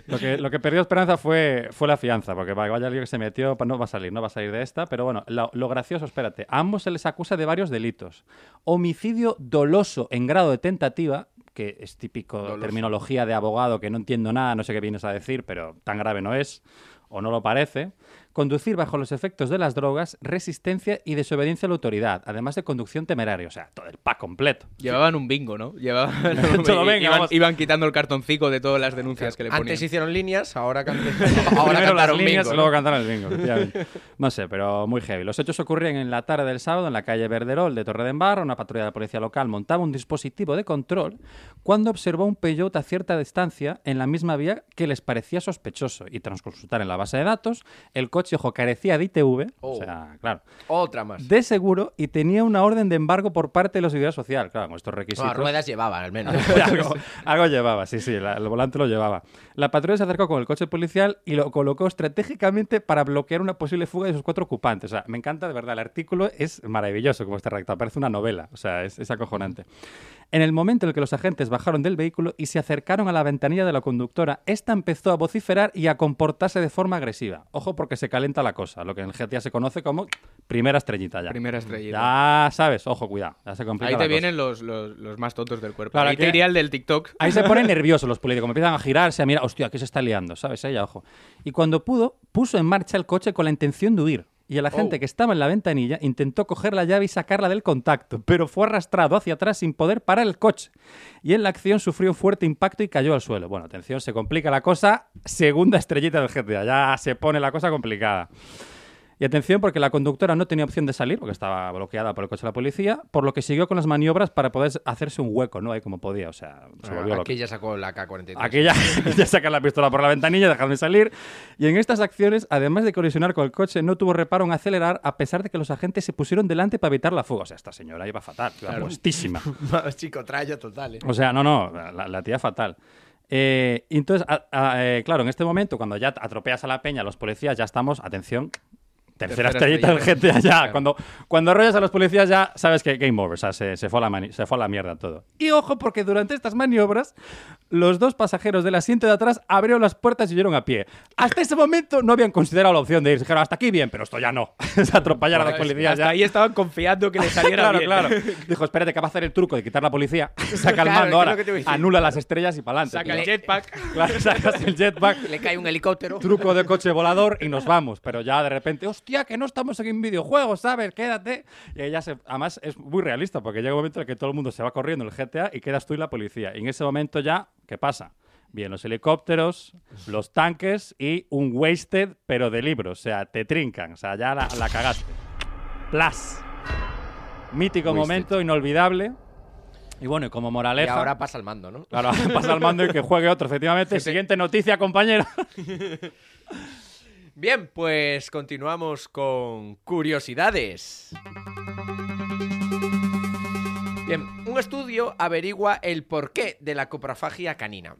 [SPEAKER 5] Lo que, lo que perdió Esperanza fue, fue la fianza, porque vaya vaya lío que se metió, pa- no va a salir, no va a salir de esta. Pero bueno, lo, lo gracioso, espérate, a ambos se les acusa de varios delitos. Homicidio doloso en grado de tentativa, que es típico terminología de abogado que no entiendo nada, no sé qué vienes a decir, pero tan grave no es, o no lo parece. Conducir bajo los efectos de las drogas, resistencia y desobediencia a la autoridad, además de conducción temeraria, o sea, todo el pack completo.
[SPEAKER 6] Llevaban un bingo, ¿no? Llevaban,
[SPEAKER 5] Todo, venga,
[SPEAKER 6] iban,
[SPEAKER 5] vamos.
[SPEAKER 6] iban quitando el cartoncico de todas las denuncias que le ponían.
[SPEAKER 4] Antes hicieron líneas, ahora, can- ahora
[SPEAKER 5] Primero las
[SPEAKER 4] cantaron
[SPEAKER 5] líneas
[SPEAKER 4] bingo,
[SPEAKER 5] y
[SPEAKER 4] ¿no?
[SPEAKER 5] luego cantaron el bingo. efectivamente. No sé, pero muy heavy. Los hechos ocurrían en la tarde del sábado en la calle Verderol de Torredembarra. Una patrulla de la policía local montaba un dispositivo de control cuando observó un Peugeot a cierta distancia en la misma vía que les parecía sospechoso. Y tras consultar en la base de datos, el coche, ojo, carecía de ITV. O
[SPEAKER 4] Oh.
[SPEAKER 5] sea, claro.
[SPEAKER 4] Otra más.
[SPEAKER 5] De seguro y tenía una orden de embargo por parte de la Seguridad Social. Claro, con estos requisitos.
[SPEAKER 4] Bueno, ruedas llevaban, al menos.
[SPEAKER 5] algo, algo llevaba, sí, sí, la- el volante lo llevaba. La patrulla se acercó con el coche policial y lo colocó estratégicamente para bloquear una posible fuga de sus cuatro ocupantes. O sea, me encanta, de verdad, el artículo es maravilloso como está redactado, parece una novela, o sea, es, es acojonante. En el momento en el que los agentes bajaron del vehículo y se acercaron a la ventanilla de la conductora, esta empezó a vociferar y a comportarse de forma agresiva. Ojo porque se calenta la cosa, lo que en el GTA se conoce como primera estrellita ya.
[SPEAKER 6] Primera estrellita.
[SPEAKER 5] Ya sabes, ojo, cuidado, ya se complica
[SPEAKER 6] Ahí
[SPEAKER 5] la
[SPEAKER 6] te
[SPEAKER 5] cosa.
[SPEAKER 6] vienen los, los- los más tontos del cuerpo.
[SPEAKER 5] Claro,
[SPEAKER 6] Ahí
[SPEAKER 5] que-
[SPEAKER 6] te iría el del TikTok.
[SPEAKER 5] Ahí se ponen nerviosos los políticos, empiezan a girarse, a mirar, hostia, aquí se está liando, ¿sabes? Ella, ojo. Y cuando pudo, puso en marcha el coche con la intención de huir. Y el agente que estaba en la ventanilla intentó coger la llave y sacarla del contacto, pero fue arrastrado hacia atrás sin poder parar el coche. Y en la acción sufrió un fuerte impacto y cayó al suelo. Bueno, atención, se complica la cosa. Segunda estrellita del GTA, ya se pone la cosa complicada. Y atención, porque la conductora no tenía opción de salir, porque estaba bloqueada por el coche de la policía, por lo que siguió con las maniobras para poder hacerse un hueco, ¿no? Ahí como podía, o sea, se volvió loca.
[SPEAKER 4] Aquí ya sacó la K-43.
[SPEAKER 5] Aquí ya, ya sacan la pistola por la ventanilla, dejarme salir. Y en estas acciones, además de colisionar con el coche, no tuvo reparo en acelerar a pesar de que los agentes se pusieron delante para evitar la fuga. O sea, esta señora iba fatal, iba puestísima.
[SPEAKER 4] Chico, traya total. eh.
[SPEAKER 5] O sea, no, no, la, la tía fatal. Eh, y entonces, a- a- eh, claro, en este momento, cuando ya atropellas a la peña, los policías ya estamos, atención,
[SPEAKER 6] Tercera
[SPEAKER 5] tercera, estrellita del
[SPEAKER 6] estrellita.
[SPEAKER 5] GTA ya. Cuando, cuando arrollas a los policías ya sabes que game over, o sea, se, se fue a la mani- se fue a la mierda todo. Y ojo, porque durante estas maniobras, los dos pasajeros del asiento de atrás abrieron las puertas y huyeron a pie. Hasta ese momento no habían considerado la opción de ir. Dijeron, hasta aquí bien, pero esto ya no. es atropellar a los policías
[SPEAKER 6] Hasta
[SPEAKER 5] ya.
[SPEAKER 6] ahí estaban confiando que le saliera
[SPEAKER 5] claro,
[SPEAKER 6] bien.
[SPEAKER 5] claro. Dijo, espérate, que va a hacer el truco de quitar la policía, saca el
[SPEAKER 4] Claro, es que
[SPEAKER 5] mando ahora,
[SPEAKER 4] es lo que te iba a decir.
[SPEAKER 5] anula las estrellas y para
[SPEAKER 6] Saca el
[SPEAKER 5] adelante.
[SPEAKER 6] jetpack.
[SPEAKER 5] Claro, sacas el jetpack,
[SPEAKER 4] Le cae un helicóptero.
[SPEAKER 5] truco de coche volador y nos vamos. Pero ya de repente, hostia, que no estamos en un videojuego, ¿sabes? Quédate. Y ahí ya se, además es muy realista porque llega un momento en el que todo el mundo se va corriendo en el GTA y quedas tú y la policía. Y en ese momento ya, ¿qué pasa? Bien, los helicópteros, los tanques y un wasted, pero de libro. O sea, te trincan. O sea, ya la, la cagaste. Plus. Mítico
[SPEAKER 4] Wasted.
[SPEAKER 5] momento, inolvidable. Y bueno, y como
[SPEAKER 4] Y
[SPEAKER 5] moraleja.
[SPEAKER 4] ahora pasa el mando, ¿no?
[SPEAKER 5] Claro, pasa al mando y que juegue otro, efectivamente. Siguiente noticia, compañero.
[SPEAKER 4] Bien, pues continuamos con curiosidades. Bien, un estudio averigua el porqué de la coprofagia canina.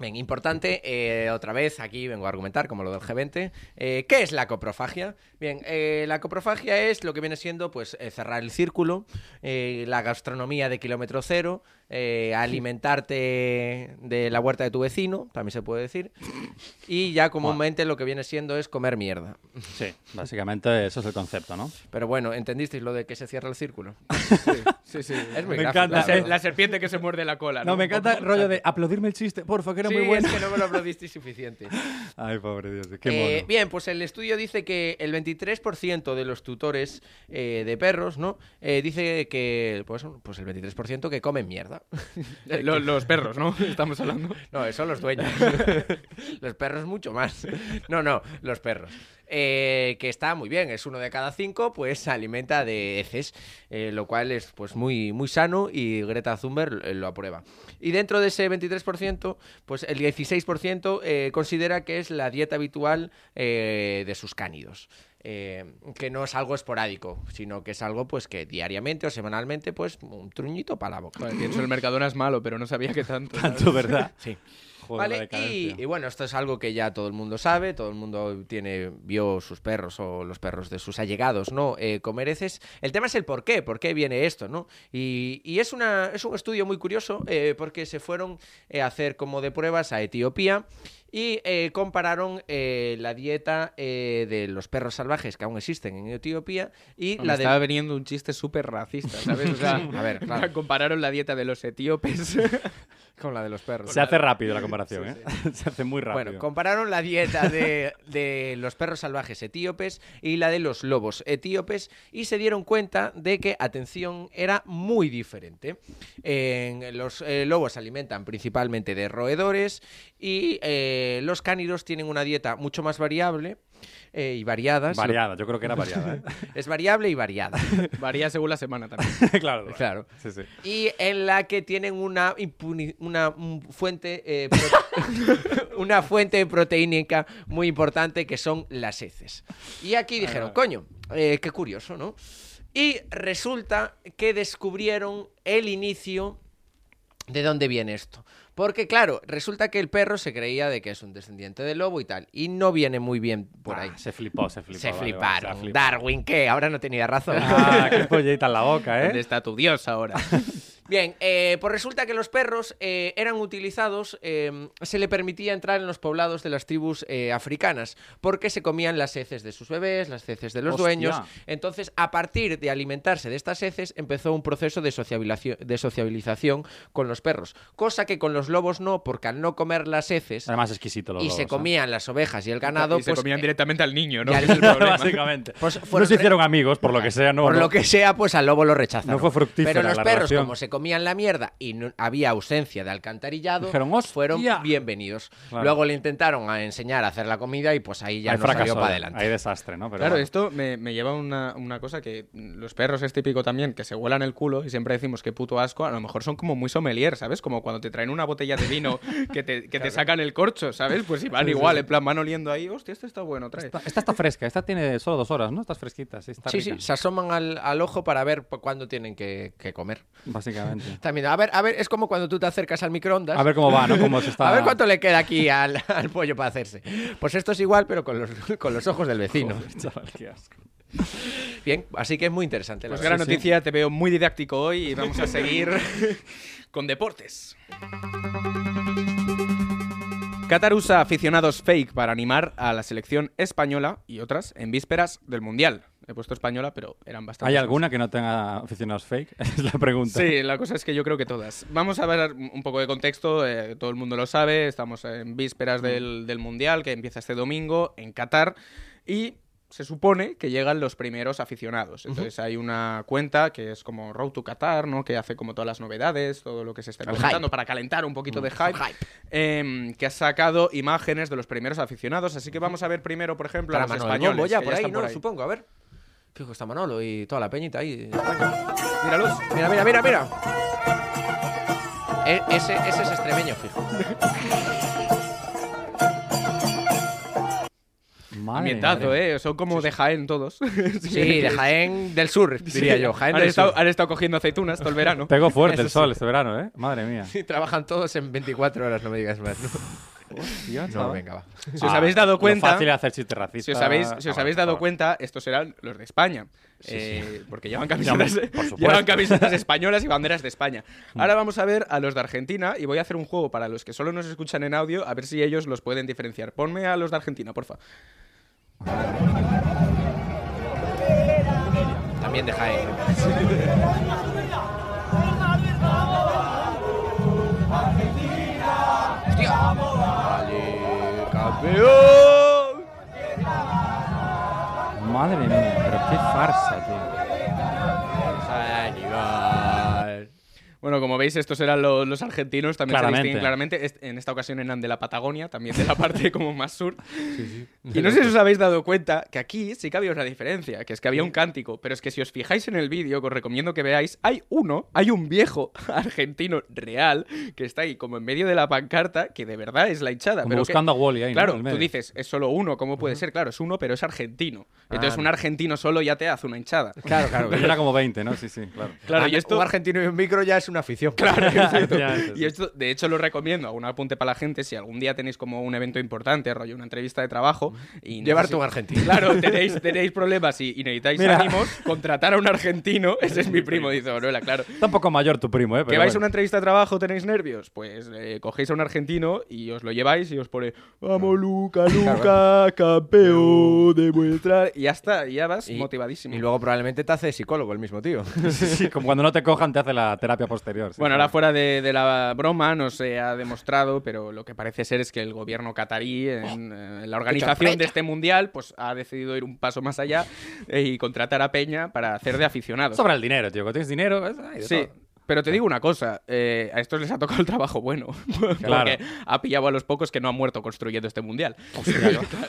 [SPEAKER 4] Bien, importante, eh, otra vez aquí vengo a argumentar, como lo del G20. Eh, ¿Qué es la coprofagia? Bien, eh, la coprofagia es lo que viene siendo pues eh, cerrar el círculo, eh, la gastronomía de kilómetro cero, eh, alimentarte de la huerta de tu vecino, también se puede decir, y ya comúnmente lo que viene siendo es comer mierda.
[SPEAKER 5] Sí, básicamente eso es el concepto, ¿no?
[SPEAKER 4] Pero bueno, ¿entendisteis lo de que se cierra el círculo?
[SPEAKER 6] Sí, sí.
[SPEAKER 4] Es
[SPEAKER 5] Ah, Me
[SPEAKER 4] muy gráfico,
[SPEAKER 5] encanta,
[SPEAKER 4] la
[SPEAKER 5] eh.
[SPEAKER 4] verdad.
[SPEAKER 6] La serpiente que se muerde la cola.
[SPEAKER 5] No, me encanta el rollo de aplaudirme el chiste, porfa, que era
[SPEAKER 4] Sí,
[SPEAKER 5] muy bueno.
[SPEAKER 4] es que no me lo aplaudisteis suficiente.
[SPEAKER 5] Ay, pobre Dios, qué
[SPEAKER 4] Eh,
[SPEAKER 5] mono.
[SPEAKER 4] bien, pues el estudio dice que el 23% de los tutores eh, de perros, ¿no? Eh, dice que, pues, pues el 23% que comen mierda.
[SPEAKER 6] Eh, lo- los perros, ¿no? Estamos hablando.
[SPEAKER 4] No, son los dueños. los perros mucho más. No, no, los perros. Eh, que está muy bien, es uno de cada cinco, pues se alimenta de heces, eh, lo cual es pues muy, muy sano y Greta Thunberg eh, lo aprueba. Y dentro de ese 23%, pues el 16% eh, considera que es la dieta habitual eh, de sus cánidos. Eh, que no es algo esporádico, sino que es algo pues que diariamente o semanalmente, pues un truñito para la boca.
[SPEAKER 6] Joder, pienso, el Mercadona es malo, pero no sabía que tanto. ¿sabes?
[SPEAKER 5] Tanto, ¿verdad?
[SPEAKER 4] Sí.
[SPEAKER 5] Joder, la
[SPEAKER 4] Vale, y,
[SPEAKER 5] decadencia.
[SPEAKER 4] y bueno, esto es algo que ya todo el mundo sabe, todo el mundo tiene, vio sus perros o los perros de sus allegados, ¿no? Eh, comer heces. El tema es el por qué, por qué viene esto, ¿no? Y, y es, una, es un estudio muy curioso eh, porque se fueron eh, a hacer como de pruebas a Etiopía y eh, compararon eh, la dieta eh, de los perros salvajes que aún existen en Etiopía y
[SPEAKER 6] Me
[SPEAKER 4] la de...
[SPEAKER 6] estaba veniendo un chiste súper racista, ¿sabes? O sea,
[SPEAKER 4] A ver, claro.
[SPEAKER 6] compararon la dieta de los etíopes
[SPEAKER 4] Con la de los perros.
[SPEAKER 5] Se hace rápido la comparación, ¿eh? Se hace muy rápido.
[SPEAKER 4] Bueno, compararon la dieta de, de los perros salvajes etíopes y la de los lobos etíopes y se dieron cuenta de que, atención, era muy diferente. En- los eh, lobos se alimentan principalmente de roedores y eh, los cánidos tienen una dieta mucho más variable eh, y variada. se lo-
[SPEAKER 5] variada, yo creo que era ¿eh? variada,
[SPEAKER 4] Es variable y variada.
[SPEAKER 6] Varía según la semana también.
[SPEAKER 5] ¿eh? claro.
[SPEAKER 4] Claro.
[SPEAKER 5] Sí, sí.
[SPEAKER 4] Y en la que tienen una, impuni- una mm, fuente eh, prote- una fuente proteínica muy importante que son las heces. Y
[SPEAKER 5] Ah,
[SPEAKER 4] aquí dijeron, coño, eh, qué curioso, ¿no? Y resulta que descubrieron el inicio de dónde viene esto. Porque claro, resulta que el perro se creía de que es un descendiente del lobo y tal. Y no viene muy bien por
[SPEAKER 5] Ah,
[SPEAKER 4] ahí.
[SPEAKER 5] Se flipó, se flipó.
[SPEAKER 4] Se
[SPEAKER 5] vale, vale,
[SPEAKER 4] fliparon.
[SPEAKER 5] se ha flipado.
[SPEAKER 4] Darwin, ¿qué? Ahora no tenía razón.
[SPEAKER 5] Ah, qué pollita en la boca,
[SPEAKER 6] ¿Dónde
[SPEAKER 5] ¿eh?
[SPEAKER 6] está tu dios ahora?
[SPEAKER 4] Bien, eh, pues resulta que los perros eh, eran utilizados, eh, se le permitía entrar en los poblados de las tribus eh, africanas, porque se comían las heces de sus bebés, las heces de los
[SPEAKER 5] Hostia.
[SPEAKER 4] dueños. Entonces, a partir de alimentarse de estas heces, empezó un proceso de sociabilización, de sociabilización con los perros, cosa que con los lobos no, porque al no comer las heces
[SPEAKER 5] Además, exquisito ¿eh? lo
[SPEAKER 4] y se comían las ovejas y el ganado,
[SPEAKER 6] ¿eh? y se
[SPEAKER 4] pues,
[SPEAKER 6] comían
[SPEAKER 4] eh,
[SPEAKER 6] directamente al niño, ¿no?
[SPEAKER 4] ya
[SPEAKER 6] Que
[SPEAKER 4] le-
[SPEAKER 6] es el problema.
[SPEAKER 5] Básicamente.
[SPEAKER 4] Pues
[SPEAKER 5] no
[SPEAKER 4] fueron
[SPEAKER 5] se
[SPEAKER 4] re-
[SPEAKER 5] hicieron amigos, por lo que sea, no.
[SPEAKER 4] por
[SPEAKER 5] no.
[SPEAKER 4] lo que sea, pues al lobo lo rechazaron.
[SPEAKER 5] No fue fructífera
[SPEAKER 4] Pero los
[SPEAKER 5] la
[SPEAKER 4] perros,
[SPEAKER 5] relación.
[SPEAKER 4] como se comían la mierda y no- había ausencia de alcantarillado,
[SPEAKER 5] Dijeron, "Hostia".
[SPEAKER 4] fueron bienvenidos.
[SPEAKER 5] Claro.
[SPEAKER 4] Luego le intentaron a enseñar a hacer la comida y pues ahí ya
[SPEAKER 5] Hay
[SPEAKER 4] no salió
[SPEAKER 5] fracaso, eh,
[SPEAKER 4] para adelante. este-
[SPEAKER 5] Hay desastre, ¿no? Pero
[SPEAKER 6] claro,
[SPEAKER 5] bueno.
[SPEAKER 6] esto me, me lleva a una, una cosa que mm, los perros es típico también, que se huelan el culo y siempre decimos que puto asco, a lo mejor son como muy sommelier, ¿sabes? Como cuando te traen una botella de vino que te, que te sacan el corcho, ¿sabes? Pues si van igual, en plan van oliendo ahí, hostia, esto está bueno, trae.
[SPEAKER 5] Esta, esta está fresca, esta tiene solo dos horas, ¿no? Estás fresquita, sí, está
[SPEAKER 4] Sí, sí,
[SPEAKER 5] rica.
[SPEAKER 4] se asoman al, al ojo para ver cu- cuándo tienen que, que comer.
[SPEAKER 5] Básicamente.
[SPEAKER 4] También, a ver, a ver, es como cuando tú te acercas al microondas.
[SPEAKER 5] A ver cómo va, ¿no? Cómo se está...
[SPEAKER 4] A ver cuánto le queda aquí al, al pollo para hacerse. Pues esto es igual, pero con los, con los ojos del vecino.
[SPEAKER 5] Joder, chaval, qué asco.
[SPEAKER 4] Bien, así que es muy interesante. la
[SPEAKER 6] Pues
[SPEAKER 4] verdad.
[SPEAKER 6] gran noticia, te veo muy didáctico hoy y vamos a seguir con deportes. Qatar usa aficionados fake para animar a la selección española y otras en vísperas del Mundial. He puesto española, pero eran bastante.
[SPEAKER 5] ¿Hay alguna que no tenga aficionados fake? Es la pregunta.
[SPEAKER 6] Sí, la cosa es que yo creo que todas. Vamos a ver un poco de contexto, eh, todo el mundo lo sabe, estamos en vísperas del,
[SPEAKER 4] Mm.
[SPEAKER 6] del Mundial que empieza este domingo en Qatar y se supone que llegan los primeros aficionados. Entonces hay una cuenta que es como Road to Qatar, ¿no? que hace como todas las novedades, todo lo que se está
[SPEAKER 4] El
[SPEAKER 6] presentando
[SPEAKER 4] hype. Mm,
[SPEAKER 6] para calentar un poquito de
[SPEAKER 4] Hype.
[SPEAKER 6] hype, em, que ha sacado imágenes de los primeros aficionados. Así que vamos a ver primero, por ejemplo,
[SPEAKER 4] Para
[SPEAKER 6] a los
[SPEAKER 4] Manolo
[SPEAKER 6] españoles.
[SPEAKER 4] Bombo ya
[SPEAKER 6] que
[SPEAKER 4] por ahí,
[SPEAKER 6] están
[SPEAKER 4] ¿no?
[SPEAKER 6] por ahí.
[SPEAKER 4] Supongo, a ver. Fijo, está Manolo y toda la peñita ahí.
[SPEAKER 6] Míralos.
[SPEAKER 4] Mira, mira, mira, mira. E- ese, ese es extremeño, fijo.
[SPEAKER 5] Madre
[SPEAKER 6] Ambientazo,
[SPEAKER 5] mía.
[SPEAKER 6] ¿eh? Son como de Jaén todos.
[SPEAKER 4] Sí, de Jaén del Sur, diría yo. Jaén
[SPEAKER 6] han,
[SPEAKER 4] del
[SPEAKER 6] estado,
[SPEAKER 4] Sur.
[SPEAKER 6] han estado cogiendo aceitunas todo el verano.
[SPEAKER 5] Pegó fuerte el
[SPEAKER 4] Eso sí.
[SPEAKER 5] sol este verano, ¿eh? Madre mía.
[SPEAKER 4] Sí, trabajan todos en 24 horas, no me digas más. ¿no?
[SPEAKER 5] Tío,
[SPEAKER 4] No,
[SPEAKER 5] chaval.
[SPEAKER 4] venga, va.
[SPEAKER 6] Si os habéis dado
[SPEAKER 5] Ah, lo
[SPEAKER 6] cuenta-
[SPEAKER 5] fácil es hacer chistes racistas.
[SPEAKER 6] Si os habéis, si
[SPEAKER 5] Ah,
[SPEAKER 6] os
[SPEAKER 5] vale,
[SPEAKER 6] habéis
[SPEAKER 5] por
[SPEAKER 6] dado
[SPEAKER 5] favor.
[SPEAKER 6] cuenta, estos eran los de España. Eh, Porque llevan camisetas,
[SPEAKER 5] hombre, por supuesto. Mm.
[SPEAKER 6] llevan camisetas españolas y banderas de España. Ahora vamos a ver a los de Argentina y voy a hacer un juego para los que solo nos escuchan en audio, a ver si ellos los pueden diferenciar. Ponme a los de Argentina, porfa.
[SPEAKER 4] También de Jaén.
[SPEAKER 5] Madre mía, pero qué farsa, tío.
[SPEAKER 6] Bueno, como veis, estos eran lo- los argentinos, también
[SPEAKER 5] Claramente.
[SPEAKER 6] se distinguen claramente. Est- En esta ocasión eran de la Patagonia, también de la parte como más sur. Y no sé si os habéis dado cuenta que aquí sí que había una diferencia, que es que había un cántico, pero es que si os fijáis en el vídeo, que os recomiendo que veáis, hay uno, hay un viejo argentino real que está ahí como en medio de la pancarta, que de verdad es la hinchada.
[SPEAKER 5] Como
[SPEAKER 6] pero que-
[SPEAKER 5] buscando a Wally ahí, ¿no?
[SPEAKER 6] Claro,
[SPEAKER 5] En el
[SPEAKER 6] tú
[SPEAKER 5] medio.
[SPEAKER 6] dices, es solo uno, ¿cómo puede ser? Claro, es uno, pero es argentino. Entonces
[SPEAKER 4] Ah.
[SPEAKER 6] un argentino solo ya te hace una hinchada. Ah,
[SPEAKER 5] Claro, claro. Yo era como 20, ¿no? Sí, sí, claro.
[SPEAKER 6] Claro, y esto...
[SPEAKER 4] Ah, Un argentino y un micro ya es una afición.
[SPEAKER 5] Ya, sí, sí.
[SPEAKER 6] Y esto, de hecho, lo recomiendo, un apunte para la gente, si algún día tenéis como un evento importante, rollo, una entrevista de trabajo, y
[SPEAKER 4] Llevarte
[SPEAKER 6] necesi-
[SPEAKER 4] un argentino.
[SPEAKER 6] Claro, tenéis, tenéis problemas y, y necesitáis
[SPEAKER 5] Mira.
[SPEAKER 6] ánimos, contratar a un argentino, ese es mi primo, dice Manuela, claro.
[SPEAKER 5] Está un poco mayor tu primo, ¿eh?
[SPEAKER 6] que
[SPEAKER 5] Pero
[SPEAKER 6] vais a una
[SPEAKER 5] bueno.
[SPEAKER 6] entrevista de trabajo, tenéis nervios, pues eh, cogéis a un argentino y os lo lleváis y os pone, vamos Luca, Luca, campeón de vuestra... Y ya está, y ya vas motivadísimo.
[SPEAKER 4] Y luego probablemente te hace psicólogo el mismo tío.
[SPEAKER 5] Sí, sí, como cuando no te cojan te hace la terapia posterior. sí,
[SPEAKER 6] Bueno,
[SPEAKER 5] claro.
[SPEAKER 6] ahora fuera de, de la broma, no se ha demostrado, pero lo que parece ser es que el gobierno catarí, en, eh, en la organización de este mundial, pues ha decidido ir un paso más allá eh, y contratar a Peña para hacer de aficionados.
[SPEAKER 5] Sobra el dinero, tío. Cuando tienes dinero... es- ay, de
[SPEAKER 6] Sí.
[SPEAKER 5] todo.
[SPEAKER 6] Pero te digo una cosa, eh, a estos les ha tocado el trabajo bueno, porque
[SPEAKER 5] Claro.
[SPEAKER 6] ha pillado a los pocos que no han muerto construyendo este mundial.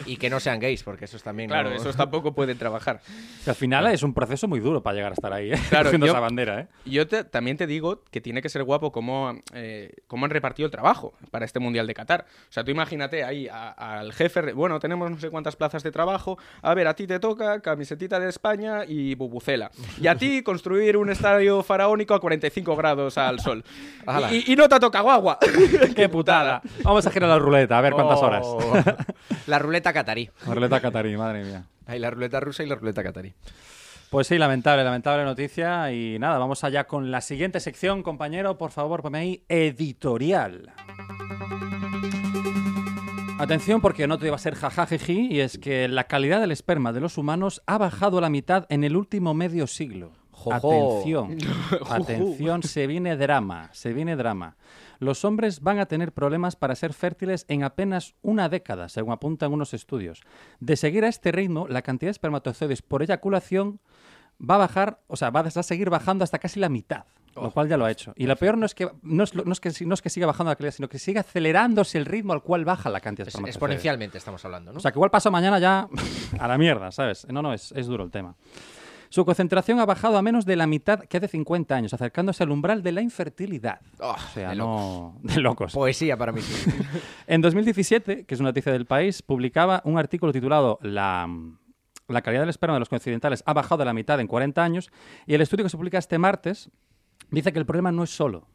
[SPEAKER 4] y que no sean gays, porque esos también.
[SPEAKER 6] Claro,
[SPEAKER 4] no-
[SPEAKER 6] esos tampoco pueden trabajar.
[SPEAKER 5] Que al final es un proceso muy duro para llegar a estar ahí, ¿eh?
[SPEAKER 6] Claro,
[SPEAKER 5] Haciendo
[SPEAKER 6] yo-
[SPEAKER 5] esa bandera, ¿eh?
[SPEAKER 6] Yo te- también te digo que tiene que ser guapo cómo, eh, cómo han repartido el trabajo para este Mundial de Qatar. O sea, tú imagínate ahí a- al jefe, re- bueno, tenemos no sé cuántas plazas de trabajo, a ver, a ti te toca camisetita de España y bubucela. Y a ti construir un estadio faraónico a 45 grados al sol.
[SPEAKER 4] Ala.
[SPEAKER 6] Y, y no te toca guagua.
[SPEAKER 5] ¡Qué putada! Vamos a girar la ruleta, a ver cuántas horas.
[SPEAKER 4] Oh. La ruleta catarí.
[SPEAKER 5] La Ruleta catarí, madre mía.
[SPEAKER 4] Hay la ruleta rusa y la ruleta catarí.
[SPEAKER 5] Pues sí, lamentable, lamentable noticia. Y nada, vamos allá con la siguiente sección, compañero. Por favor, ponme ahí editorial. Atención, porque no te iba a ser jajajiji, y es que la calidad del esperma de los humanos ha bajado a la mitad en el último medio siglo.
[SPEAKER 4] Jojo.
[SPEAKER 5] Atención,
[SPEAKER 6] Jujú.
[SPEAKER 5] atención, se viene drama, se viene drama. Los hombres van a tener problemas para ser fértiles en apenas una década, según apuntan unos estudios. De seguir a este ritmo, la cantidad de espermatozoides por eyaculación va a bajar, o sea, va a seguir bajando hasta casi la mitad, lo cual ya lo ha hecho. Y lo peor no es que no es, lo- no es que si- no es que siga bajando la calidad, sino que sigue acelerándose el ritmo al cual baja la cantidad de
[SPEAKER 4] Es-
[SPEAKER 5] espermatozoides.
[SPEAKER 4] exponencialmente estamos hablando, ¿no?
[SPEAKER 5] O sea, que igual paso mañana ya a la mierda, ¿sabes? No, no, es, es duro el tema. Su concentración ha bajado a menos de la mitad que hace 50 años, acercándose al umbral de la infertilidad.
[SPEAKER 4] Oh,
[SPEAKER 5] o sea,
[SPEAKER 4] de
[SPEAKER 5] no... De locos.
[SPEAKER 4] Poesía para mí.
[SPEAKER 5] En 2017, que es una noticia del país, publicaba un artículo titulado La, la calidad del esperma de los occidentales ha bajado a la mitad en 40 años y el estudio que se publica este martes dice que el problema no es solo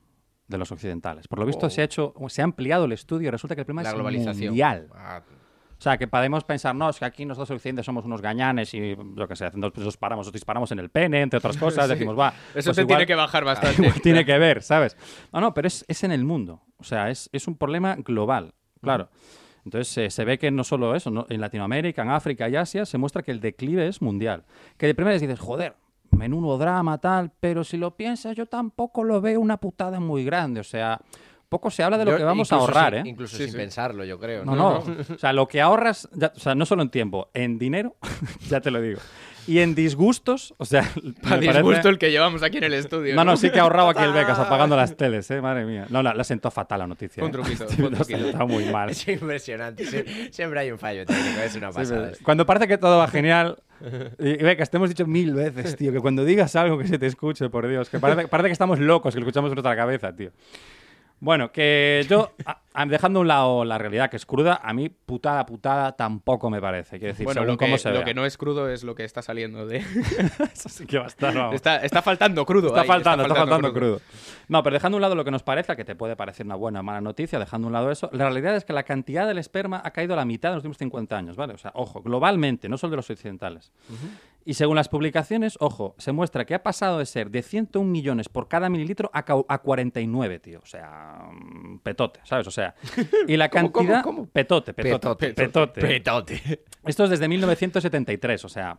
[SPEAKER 5] de los occidentales. Por lo visto se ha hecho, se ha ampliado el estudio y resulta que el problema
[SPEAKER 4] la
[SPEAKER 5] es
[SPEAKER 4] globalización.
[SPEAKER 5] mundial.
[SPEAKER 4] Ah,
[SPEAKER 5] O sea, que podemos pensar, no, es que aquí nosotros occidentales somos unos gañanes y yo qué sé, nos, nos paramos, nos disparamos en el pene, entre otras cosas, decimos, va.
[SPEAKER 6] Eso
[SPEAKER 5] pues
[SPEAKER 6] te
[SPEAKER 5] igual-
[SPEAKER 6] tiene que bajar bastante.
[SPEAKER 5] igual tiene que ver, ¿sabes? No, no, pero es, es en el mundo. O sea, es, es un problema global, claro. Entonces eh, se ve que no solo eso, ¿no? en Latinoamérica, en África y Asia se muestra que el declive es mundial. Que de primeras dices, joder, menudo drama, tal, pero si lo piensas, yo tampoco lo veo una putada muy grande. O sea, poco se habla de lo
[SPEAKER 4] yo
[SPEAKER 5] que vamos a
[SPEAKER 4] incluso
[SPEAKER 5] ahorrar,
[SPEAKER 4] sin-
[SPEAKER 5] ¿eh?
[SPEAKER 4] Incluso
[SPEAKER 6] Sí,
[SPEAKER 4] sin
[SPEAKER 6] sí.
[SPEAKER 4] pensarlo, yo creo.
[SPEAKER 5] No, no. O sea, lo que ahorras, ya- o sea, no solo en tiempo, en dinero, ya te lo digo. Y en disgustos, o sea, me
[SPEAKER 6] Para
[SPEAKER 5] parece-
[SPEAKER 6] disgusto el que llevamos aquí en el estudio.
[SPEAKER 5] No, no, sí que ahorraba aquí el Becas apagando las teles, eh, madre mía. No, la, la sentó fatal la noticia.
[SPEAKER 6] Fue un
[SPEAKER 5] eh.
[SPEAKER 6] truquito,
[SPEAKER 5] Sí,
[SPEAKER 6] fue un
[SPEAKER 5] no,
[SPEAKER 6] truquito.
[SPEAKER 5] Está muy mal.
[SPEAKER 4] Es impresionante. sí. Siempre hay un fallo técnico. Es una pasada.
[SPEAKER 5] Sí, eh. cuando parece que todo va genial. Y, Becas, te hemos dicho mil veces, tío, que cuando digas algo que se te escuche, por Dios, que parece, parece que estamos locos, que lo escuchamos en nuestra cabeza, tío. Bueno, que yo, a- a- dejando a un lado la realidad que es cruda, a mí putada, putada tampoco me parece. Quiero decir,
[SPEAKER 6] Bueno,
[SPEAKER 5] según
[SPEAKER 6] lo que,
[SPEAKER 5] cómo se
[SPEAKER 6] lo
[SPEAKER 5] vea.
[SPEAKER 6] que no es crudo es lo que está saliendo de.
[SPEAKER 5] Eso sí que va a estar, vamos.
[SPEAKER 6] está, está faltando crudo.
[SPEAKER 5] Está
[SPEAKER 6] ahí,
[SPEAKER 5] faltando, está faltando crudo. No, pero dejando a un lado lo que nos parezca, que te puede parecer una buena o mala noticia, dejando a un lado eso, la realidad es que la cantidad del esperma ha caído a la mitad en los últimos 50 años, ¿vale? O sea, ojo, globalmente, no solo de los occidentales. Y según las publicaciones, ojo, se muestra que ha pasado de ser de 101 millones por cada mililitro a, cau- a 49, tío. O sea, mm, petote, ¿sabes? O sea, y la
[SPEAKER 6] ¿Cómo, cómo,
[SPEAKER 5] cantidad...
[SPEAKER 6] cómo?
[SPEAKER 5] Petote, petote, petote.
[SPEAKER 4] Petote. Petote.
[SPEAKER 5] Esto es desde 1973, o sea,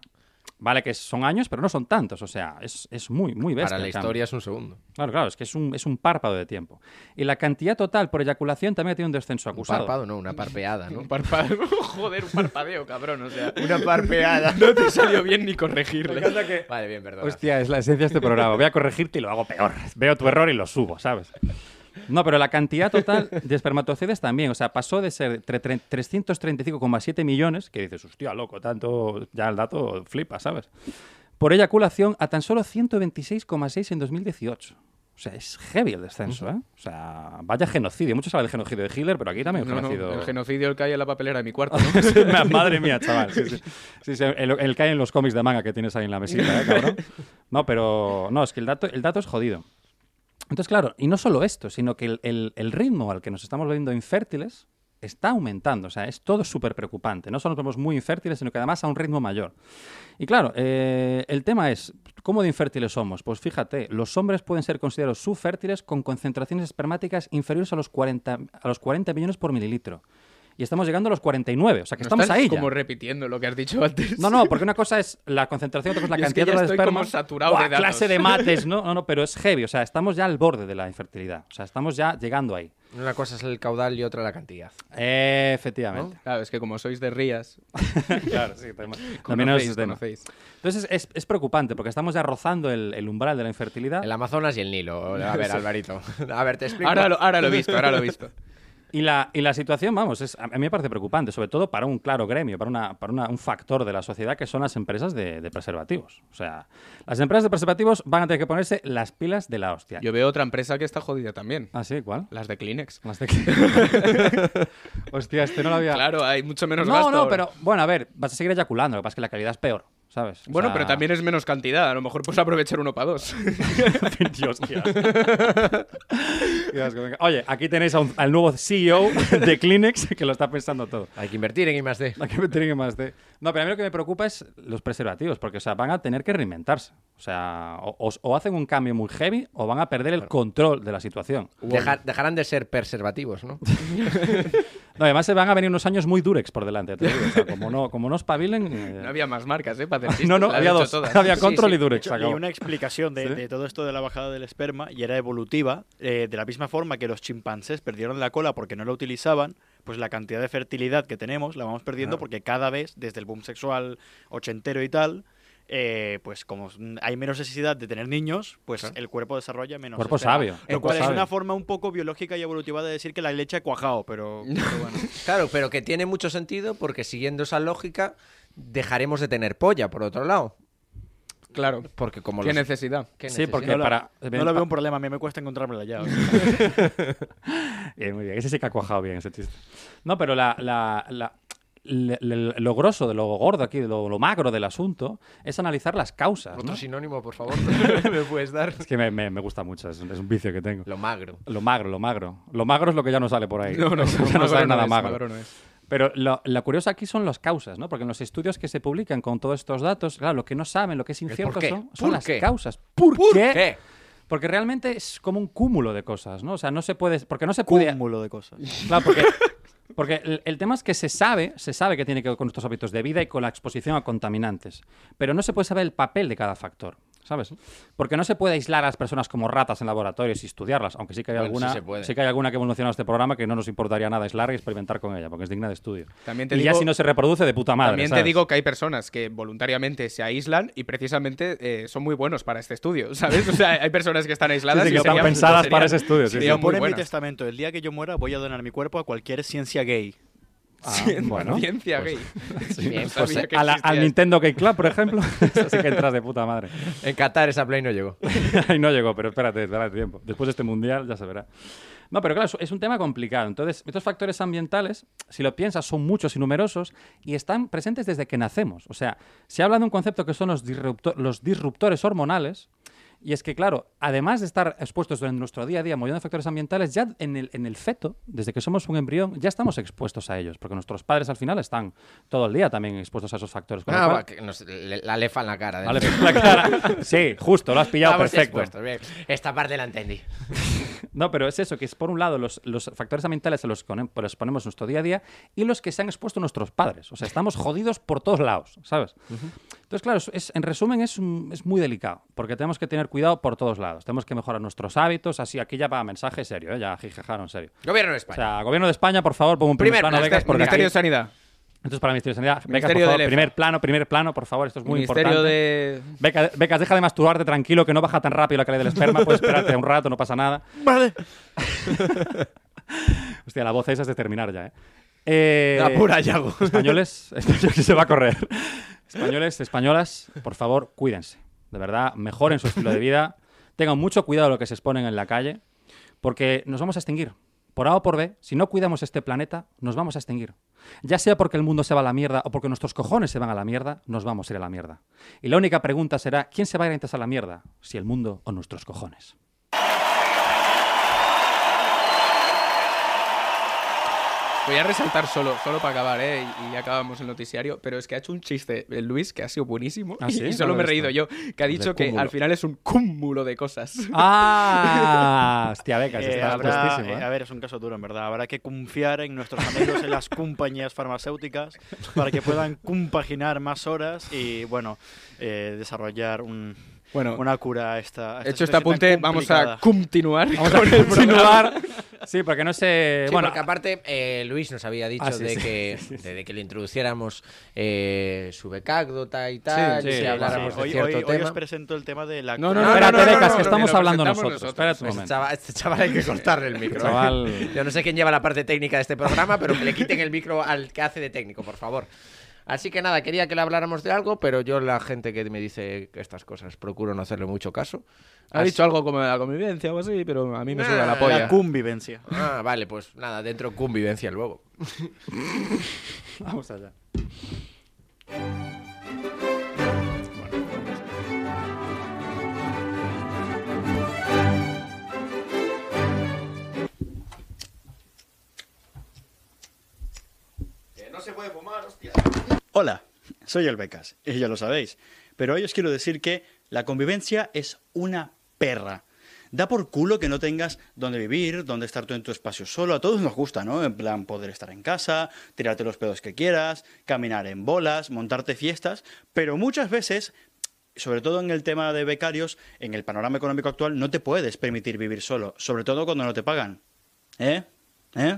[SPEAKER 5] vale que son años, pero no son tantos, o sea, es, es muy, muy bestia.
[SPEAKER 4] Para la
[SPEAKER 5] el cambio.
[SPEAKER 4] historia es un segundo.
[SPEAKER 5] Claro, claro, es que es un, es un párpado de tiempo. Y la cantidad total por eyaculación también ha tenido un descenso
[SPEAKER 4] Un
[SPEAKER 5] acusado.
[SPEAKER 4] párpado, no, una parpeada, ¿no?
[SPEAKER 6] Un parpadeo. Joder, un parpadeo, cabrón. O sea,
[SPEAKER 4] Una parpeada.
[SPEAKER 6] no te salió bien ni corregirle.
[SPEAKER 4] Vale, bien, perdón.
[SPEAKER 5] Hostia, es la esencia de este programa. Voy a corregirte y lo hago peor. Veo tu error y lo subo, ¿sabes? No, pero la cantidad total de espermatozoides también. O sea, pasó de ser tre- tre- 335,7 millones, que dices, hostia, loco, tanto, ya el dato flipa, ¿sabes? Por eyaculación a tan solo 126,6 en 2018. O sea, es heavy el descenso, ¿eh? O sea, vaya genocidio. Muchos hablan de genocidio de Hitler, pero aquí también hay un
[SPEAKER 6] No, no,
[SPEAKER 5] genocidio.
[SPEAKER 6] el genocidio que hay en la papelera de mi cuarto, ¿no?
[SPEAKER 5] Sí, ma- Madre mía, chaval. Sí, sí. Sí, sí, el, el que hay en los cómics de manga que tienes ahí en la mesita, ¿eh, cabrón? No, pero no, es que el dato, el dato es jodido. Entonces, claro, y no solo esto, sino que el, el- el ritmo al que nos estamos volviendo infértiles está aumentando. O sea, es todo súper preocupante. No solo nos vemos muy infértiles, sino que además a un ritmo mayor. Y claro, eh, el tema es, ¿cómo de infértiles somos? Pues fíjate, los hombres pueden ser considerados subfértiles con concentraciones espermáticas inferiores a los 40, a los 40 millones por mililitro. Y estamos llegando a los 49, o sea que
[SPEAKER 6] No
[SPEAKER 5] estamos
[SPEAKER 6] estás
[SPEAKER 5] ahí. ya.
[SPEAKER 6] como repitiendo lo que has dicho antes.
[SPEAKER 5] No, no, porque una cosa es la concentración, otra cosa es
[SPEAKER 6] Yo
[SPEAKER 5] la
[SPEAKER 6] es que
[SPEAKER 5] cantidad
[SPEAKER 6] ya
[SPEAKER 5] de
[SPEAKER 6] estoy
[SPEAKER 5] esperma.
[SPEAKER 6] como saturado
[SPEAKER 5] Buah,
[SPEAKER 6] de datos.
[SPEAKER 5] clase de mates, ¿no? No, no, pero es heavy. O sea, estamos ya al borde de la infertilidad. O sea, estamos ya llegando ahí.
[SPEAKER 4] Una cosa es el caudal y otra la cantidad.
[SPEAKER 5] Eh, efectivamente.
[SPEAKER 6] Claro, es que como sois de Rías,
[SPEAKER 5] claro, sí, tenemos. También es
[SPEAKER 6] conocéis,
[SPEAKER 5] tema.
[SPEAKER 6] conocéis.
[SPEAKER 5] Entonces es, es preocupante porque estamos ya rozando el, el umbral de la infertilidad.
[SPEAKER 4] El Amazonas y el Nilo. A ver, Alvarito. A ver, te explico.
[SPEAKER 6] Ahora lo, ah. ahora lo he visto, ahora lo he visto.
[SPEAKER 5] Y la, y la situación, vamos, es, a mí me parece preocupante, sobre todo para un claro gremio, para, una, para una- un factor de la sociedad que son las empresas de, de preservativos. O sea, las empresas de preservativos van a tener que ponerse las pilas de la hostia.
[SPEAKER 6] Yo veo otra empresa que está jodida también.
[SPEAKER 5] ¿Ah, sí? ¿Cuál?
[SPEAKER 6] Las de Kleenex.
[SPEAKER 5] Las de- Hostia, este no lo había...
[SPEAKER 6] Claro, hay mucho menos
[SPEAKER 5] no,
[SPEAKER 6] gasto.
[SPEAKER 5] no,
[SPEAKER 6] ahora.
[SPEAKER 5] pero bueno, a ver, vas a seguir eyaculando, lo que pasa es que la calidad es peor, ¿sabes? O
[SPEAKER 6] Bueno,
[SPEAKER 5] sea,
[SPEAKER 6] pero también es menos cantidad. A lo mejor puedes aprovechar uno para dos.
[SPEAKER 5] Dios, qué asco. Qué asco, venga. Oye, aquí tenéis a un- al nuevo CEO de Kleenex que lo está pensando todo.
[SPEAKER 4] Hay que invertir en I más D.
[SPEAKER 5] ¿A qué me tienen que más de? No, pero a mí lo que me preocupa es los preservativos, porque o sea, van a tener que reinventarse. O sea, o, o- o hacen un cambio muy heavy o van a perder el control de la situación.
[SPEAKER 4] Deja- dejarán de ser preservativos, ¿no?
[SPEAKER 5] No, además se van a venir unos años muy durex por delante. te lo digo. O sea, como no, como no espabilen. eh,
[SPEAKER 6] No había más marcas, ¿eh? Para hacer chistes,
[SPEAKER 5] no, no,
[SPEAKER 6] las has
[SPEAKER 5] había
[SPEAKER 6] hecho
[SPEAKER 5] dos.
[SPEAKER 6] todas.
[SPEAKER 5] Había
[SPEAKER 6] Sí,
[SPEAKER 5] control
[SPEAKER 6] sí.
[SPEAKER 5] y durex. se
[SPEAKER 8] Hay
[SPEAKER 5] acabó.
[SPEAKER 8] una explicación de,
[SPEAKER 5] ¿Sí?
[SPEAKER 8] de todo esto de la bajada del esperma y era evolutiva. eh, de la misma forma que los chimpancés perdieron la cola porque no la utilizaban, pues la cantidad de fertilidad que tenemos la vamos perdiendo porque cada vez, desde el boom sexual ochentero y tal, eh, pues como hay menos necesidad de tener niños, pues el cuerpo desarrolla menos.
[SPEAKER 5] Cuerpo
[SPEAKER 8] esperma.
[SPEAKER 5] sabio,
[SPEAKER 8] Lo
[SPEAKER 5] cuerpo
[SPEAKER 8] cual es
[SPEAKER 5] sabio.
[SPEAKER 8] una forma un poco biológica y evolutiva de decir que la leche ha cuajado, pero, pero bueno.
[SPEAKER 4] Claro, pero que tiene mucho sentido porque siguiendo esa lógica dejaremos de tener polla, por otro lado.
[SPEAKER 6] Claro.
[SPEAKER 4] Porque como
[SPEAKER 6] ¿Qué
[SPEAKER 4] los-
[SPEAKER 6] necesidad?
[SPEAKER 4] ¿Qué
[SPEAKER 5] Sí,
[SPEAKER 4] necesidad?
[SPEAKER 5] porque
[SPEAKER 8] No la-
[SPEAKER 5] para.
[SPEAKER 8] No le veo un problema, a mí me cuesta encontrármela ya. o sea.
[SPEAKER 5] Bien, Eh, muy bien. Ese sí que ha cuajado bien ese chiste. No, pero la, la- la- le- le- lo grosso, de lo gordo aquí, de lo, lo magro del asunto, es analizar las causas.
[SPEAKER 4] Otro
[SPEAKER 5] ¿no?
[SPEAKER 4] sinónimo, por favor, me puedes dar.
[SPEAKER 5] Es que me, me- me gusta mucho, es un, es un vicio que tengo.
[SPEAKER 4] Lo magro.
[SPEAKER 5] Lo magro, lo magro. Lo magro es lo que ya no sale por ahí.
[SPEAKER 6] No, no,
[SPEAKER 5] Eso ya no
[SPEAKER 6] magro
[SPEAKER 5] sale
[SPEAKER 6] no
[SPEAKER 5] nada
[SPEAKER 6] es,
[SPEAKER 5] magro.
[SPEAKER 6] magro no es.
[SPEAKER 5] Pero lo, la curiosa aquí son las causas, ¿no? Porque en los estudios que se publican con todos estos datos, claro, lo que no saben, lo que es incierto
[SPEAKER 4] por qué?
[SPEAKER 5] son,
[SPEAKER 4] ¿Por
[SPEAKER 5] son las
[SPEAKER 4] qué?
[SPEAKER 5] causas. ¿Por,
[SPEAKER 4] ¿Qué?
[SPEAKER 5] Porque realmente es como un cúmulo de cosas, ¿no? O sea, no se puede... Porque no se puede...
[SPEAKER 8] Cúmulo de cosas.
[SPEAKER 5] Claro, porque, porque el, el tema es que se sabe, se sabe que tiene que ver con nuestros hábitos de vida y con la exposición a contaminantes. Pero no se puede saber el papel de cada factor, ¿sabes? Porque no se puede aislar a las personas como ratas en laboratorios y estudiarlas, aunque sí que hay
[SPEAKER 4] Bueno,
[SPEAKER 5] alguna,
[SPEAKER 4] sí se puede.
[SPEAKER 5] que hay alguna que hemos mencionado en este programa que no nos importaría nada aislar y experimentar con ella, porque es digna de estudio.
[SPEAKER 6] También te
[SPEAKER 5] y ya
[SPEAKER 6] digo-
[SPEAKER 5] si no se reproduce, de puta madre.
[SPEAKER 6] También
[SPEAKER 5] ¿sabes?
[SPEAKER 6] te digo que hay personas que voluntariamente se aíslan y precisamente eh, son muy buenos para este estudio, ¿sabes? O sea, hay personas que están aisladas
[SPEAKER 5] Sí, sí,
[SPEAKER 6] y
[SPEAKER 5] que están
[SPEAKER 6] serían-
[SPEAKER 5] pensadas
[SPEAKER 6] serían-
[SPEAKER 5] para ese estudio, sí, sí.
[SPEAKER 6] Serían
[SPEAKER 8] Yo pone
[SPEAKER 6] muy
[SPEAKER 8] en mi
[SPEAKER 6] buenas.
[SPEAKER 8] testamento, el día que yo muera voy a donar mi cuerpo a cualquier ciencia gay.
[SPEAKER 5] Ah, bueno.
[SPEAKER 6] Ciencia
[SPEAKER 5] pues,
[SPEAKER 6] gay.
[SPEAKER 4] Bien,
[SPEAKER 6] No
[SPEAKER 4] pues,
[SPEAKER 6] sabía
[SPEAKER 4] eh,
[SPEAKER 6] que
[SPEAKER 5] a la-
[SPEAKER 6] existía
[SPEAKER 5] al
[SPEAKER 6] esto.
[SPEAKER 5] Nintendo Game Club, por ejemplo, eso sí que entras de puta madre.
[SPEAKER 4] En Qatar esa play no llegó.
[SPEAKER 5] Ahí no llegó, pero espérate, espérate tiempo. Después de este mundial ya se verá. No, pero claro, es- es un tema complicado. Entonces, estos factores ambientales, si lo piensas, son muchos y numerosos y están presentes desde que nacemos. O sea, se habla de un concepto que son los, disrupto- los disruptores hormonales. Y es que, claro, además de estar expuestos en nuestro día a día a millones de factores ambientales, ya en el, en el feto, desde que somos un embrión, ya estamos expuestos a ellos, porque nuestros padres al final están todo el día también expuestos a esos factores. con lo
[SPEAKER 4] Ah,
[SPEAKER 5] cual-
[SPEAKER 4] va, que nos- le- la lefa en la cara. del-
[SPEAKER 5] Vale, pero la cara- Sí, justo, lo has pillado
[SPEAKER 4] Vamos
[SPEAKER 5] perfecto.
[SPEAKER 4] expuestos, bien. Esta parte la entendí.
[SPEAKER 5] No, pero es eso, que es por un lado los, los factores ambientales a los que nos ponemos en nuestro día a día y los que se han expuesto nuestros padres. O sea, estamos jodidos por todos lados, ¿sabes? Entonces, claro, es- es- en resumen es, un- es muy delicado, porque tenemos que tener cuidado por todos lados. Tenemos que mejorar nuestros hábitos, así aquí ya va mensaje serio, ¿eh? ya jijaja, no, en serio.
[SPEAKER 4] Gobierno de
[SPEAKER 5] O
[SPEAKER 4] España.
[SPEAKER 5] sea, gobierno de España, por favor, pon un primer,
[SPEAKER 4] Primer
[SPEAKER 5] plano
[SPEAKER 4] plan,
[SPEAKER 5] becas
[SPEAKER 4] este-
[SPEAKER 5] porque aquí-
[SPEAKER 6] Ministerio de Sanidad.
[SPEAKER 5] Entonces, para el Ministerio de Sanidad, becas,
[SPEAKER 6] Ministerio
[SPEAKER 5] por favor,
[SPEAKER 6] del EFA.
[SPEAKER 5] primer plano, primer plano, por favor, esto es muy
[SPEAKER 6] Ministerio
[SPEAKER 5] importante.
[SPEAKER 6] de.
[SPEAKER 5] Beca- Becas, deja de masturbarte tranquilo, que no baja tan rápido la calidad del esperma. Puedes esperarte un rato, no pasa nada.
[SPEAKER 8] Vale.
[SPEAKER 5] Hostia, la voz esa es de terminar ya, ¿eh? Eh,
[SPEAKER 8] Apura, Yago.
[SPEAKER 5] Españoles, españoles, se va a correr. Españoles, españolas, por favor, cuídense. De verdad, mejoren su estilo de vida. Tengan mucho cuidado a lo que se exponen en la calle, porque nos vamos a extinguir. Por A o por B, si no cuidamos este planeta, nos vamos a extinguir. Ya sea porque el mundo se va a la mierda o porque nuestros cojones se van a la mierda, nos vamos a ir a la mierda. Y la única pregunta será, ¿quién se va a ir antes a la mierda? Si el mundo o nuestros cojones.
[SPEAKER 6] Voy a resaltar solo, solo para acabar, ¿eh? Y, y acabamos el noticiario. Pero es que ha hecho un chiste eh, Luis que ha sido buenísimo.
[SPEAKER 5] ¿Ah, sí?
[SPEAKER 6] Y
[SPEAKER 5] No
[SPEAKER 6] solo
[SPEAKER 5] lo
[SPEAKER 6] me
[SPEAKER 5] he
[SPEAKER 6] he reído yo. Que ha
[SPEAKER 5] El
[SPEAKER 6] dicho que
[SPEAKER 5] cúmulo.
[SPEAKER 6] al final es un cúmulo de cosas.
[SPEAKER 5] Ah, hostia, becas,
[SPEAKER 8] Eh,
[SPEAKER 5] estás
[SPEAKER 8] habrá-
[SPEAKER 5] puestísimo.
[SPEAKER 8] eh,
[SPEAKER 5] ¿eh?
[SPEAKER 8] a ver, es un caso duro, en verdad. Habrá que confiar en nuestros amigos, en las compañías farmacéuticas, para que puedan compaginar más horas y, bueno, eh, desarrollar un-
[SPEAKER 6] Bueno,
[SPEAKER 8] una cura a esta. a esta
[SPEAKER 6] hecho este
[SPEAKER 8] especie tan
[SPEAKER 6] apunte, vamos
[SPEAKER 8] complicada.
[SPEAKER 6] a continuar.
[SPEAKER 5] Vamos a continuar. Sí, porque no sé.
[SPEAKER 4] Sí,
[SPEAKER 5] bueno,
[SPEAKER 4] porque aparte eh, Luis nos había dicho
[SPEAKER 5] Ah, sí,
[SPEAKER 4] de,
[SPEAKER 5] sí,
[SPEAKER 4] que,
[SPEAKER 5] sí,
[SPEAKER 4] de que le introduciéramos eh, su becácdota y tal,
[SPEAKER 5] Sí,
[SPEAKER 4] y
[SPEAKER 5] sí,
[SPEAKER 4] si habláramos
[SPEAKER 8] Sí,
[SPEAKER 4] de
[SPEAKER 8] hoy,
[SPEAKER 4] cierto
[SPEAKER 8] hoy- hoy
[SPEAKER 4] tema.
[SPEAKER 8] os presento el tema de la
[SPEAKER 6] No,
[SPEAKER 8] cura.
[SPEAKER 6] no, no,
[SPEAKER 5] espérate,
[SPEAKER 6] no, no,
[SPEAKER 5] Becas,
[SPEAKER 6] no,
[SPEAKER 5] que
[SPEAKER 6] no,
[SPEAKER 5] estamos
[SPEAKER 6] no, lo
[SPEAKER 5] hablando
[SPEAKER 6] presentamos
[SPEAKER 5] nosotros. Espérate un
[SPEAKER 4] Este
[SPEAKER 5] momento.
[SPEAKER 4] chaval, este chaval hay que cortarle el micro. ¿eh?
[SPEAKER 5] Chaval.
[SPEAKER 4] Yo no sé quién lleva la parte técnica de este programa, pero que le quiten el micro al que hace de técnico, por favor. Así que nada, quería que le habláramos de algo, pero yo la gente que me dice estas cosas procuro no hacerle mucho caso.
[SPEAKER 6] Ha
[SPEAKER 4] Así-
[SPEAKER 6] dicho algo como de la convivencia o así, pero a mí me
[SPEAKER 4] Nah,
[SPEAKER 6] suena la
[SPEAKER 8] La
[SPEAKER 6] polla.
[SPEAKER 8] convivencia.
[SPEAKER 4] Ah, vale, pues nada, dentro convivencia luego.
[SPEAKER 5] Vamos allá.
[SPEAKER 9] Hola, soy el Becas, y ya lo sabéis, pero hoy os quiero decir que la convivencia es una perra. Da por culo que no tengas dónde vivir, dónde estar tú en tu espacio solo. A todos nos gusta, ¿no? En plan, poder estar en casa, tirarte los pedos que quieras, caminar en bolas, montarte fiestas, pero muchas veces sobre todo en el tema de becarios, en el panorama económico actual, no te puedes permitir vivir solo, sobre todo cuando no te pagan. ¿Eh? ¿Eh?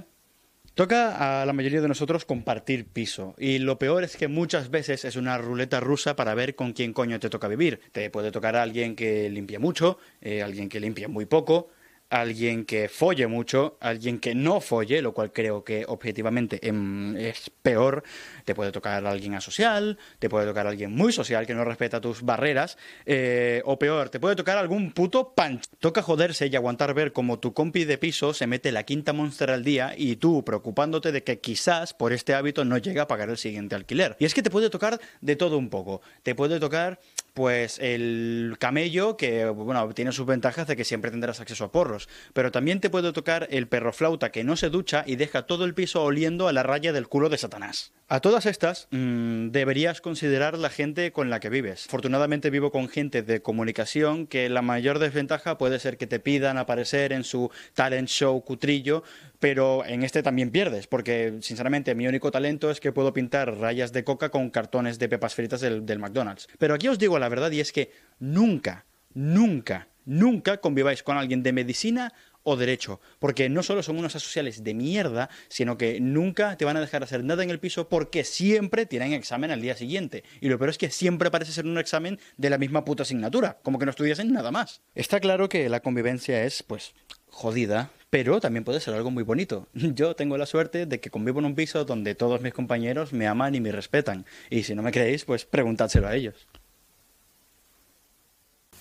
[SPEAKER 9] Toca a la mayoría de nosotros compartir piso y lo peor es que muchas veces es una ruleta rusa para ver con quién coño te toca vivir. Te puede tocar a alguien que limpia mucho, eh, alguien que limpia muy poco, alguien que folle mucho, alguien que no folle, lo cual creo que objetivamente em, es peor. Te puede tocar a alguien asocial, te puede tocar a alguien muy social que no respeta tus barreras, eh, o peor, te puede tocar algún puto pan. Toca joderse y aguantar ver como tu compi de piso se mete la quinta monster al día y tú preocupándote de que quizás por este hábito no llega a pagar el siguiente alquiler. Y es que te puede tocar de todo un poco. Te puede tocar pues el camello que bueno tiene sus ventajas de que siempre tendrás acceso a porros pero también te puede tocar el perro flauta que no se ducha y deja todo el piso oliendo a la raya del culo de satanás a todas estas mm, deberías considerar la gente con la que vives afortunadamente vivo con gente de comunicación que la mayor desventaja puede ser que te pidan aparecer en su talent show cutrillo pero en este también pierdes porque sinceramente mi único talento es que puedo pintar rayas de coca con cartones de pepas fritas del, del McDonald's. Pero aquí os digo la verdad y es que nunca, nunca, nunca conviváis con alguien de medicina o derecho, porque no solo son unos asociales de mierda, sino que nunca te van a dejar hacer nada en el piso porque siempre tienen examen al día siguiente. Y lo peor es que siempre parece ser un examen de la misma puta asignatura, como que no estudiasen nada más. Está claro que la convivencia es, pues, jodida, pero también puede ser algo muy bonito. Yo tengo la suerte de que convivo en un piso donde todos mis compañeros me aman y me respetan. Y si no me creéis, pues preguntádselo a ellos.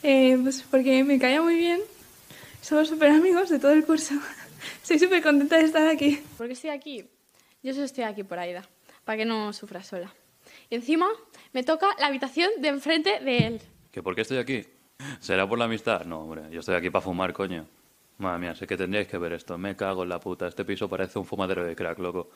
[SPEAKER 10] Eh, pues porque me caía muy bien. Somos súper amigos de todo el curso. Soy súper contenta de estar aquí. ¿Por qué estoy aquí? Yo solo estoy aquí por Aida, para que no sufra sola. Y encima me toca la habitación de enfrente de él.
[SPEAKER 11] ¿Que por qué estoy aquí? ¿Será por la amistad? No, hombre, yo estoy aquí para fumar, coño. Madre mía, sé que tendríais que ver esto. Me cago en la puta. Este piso parece un fumadero de crack, loco.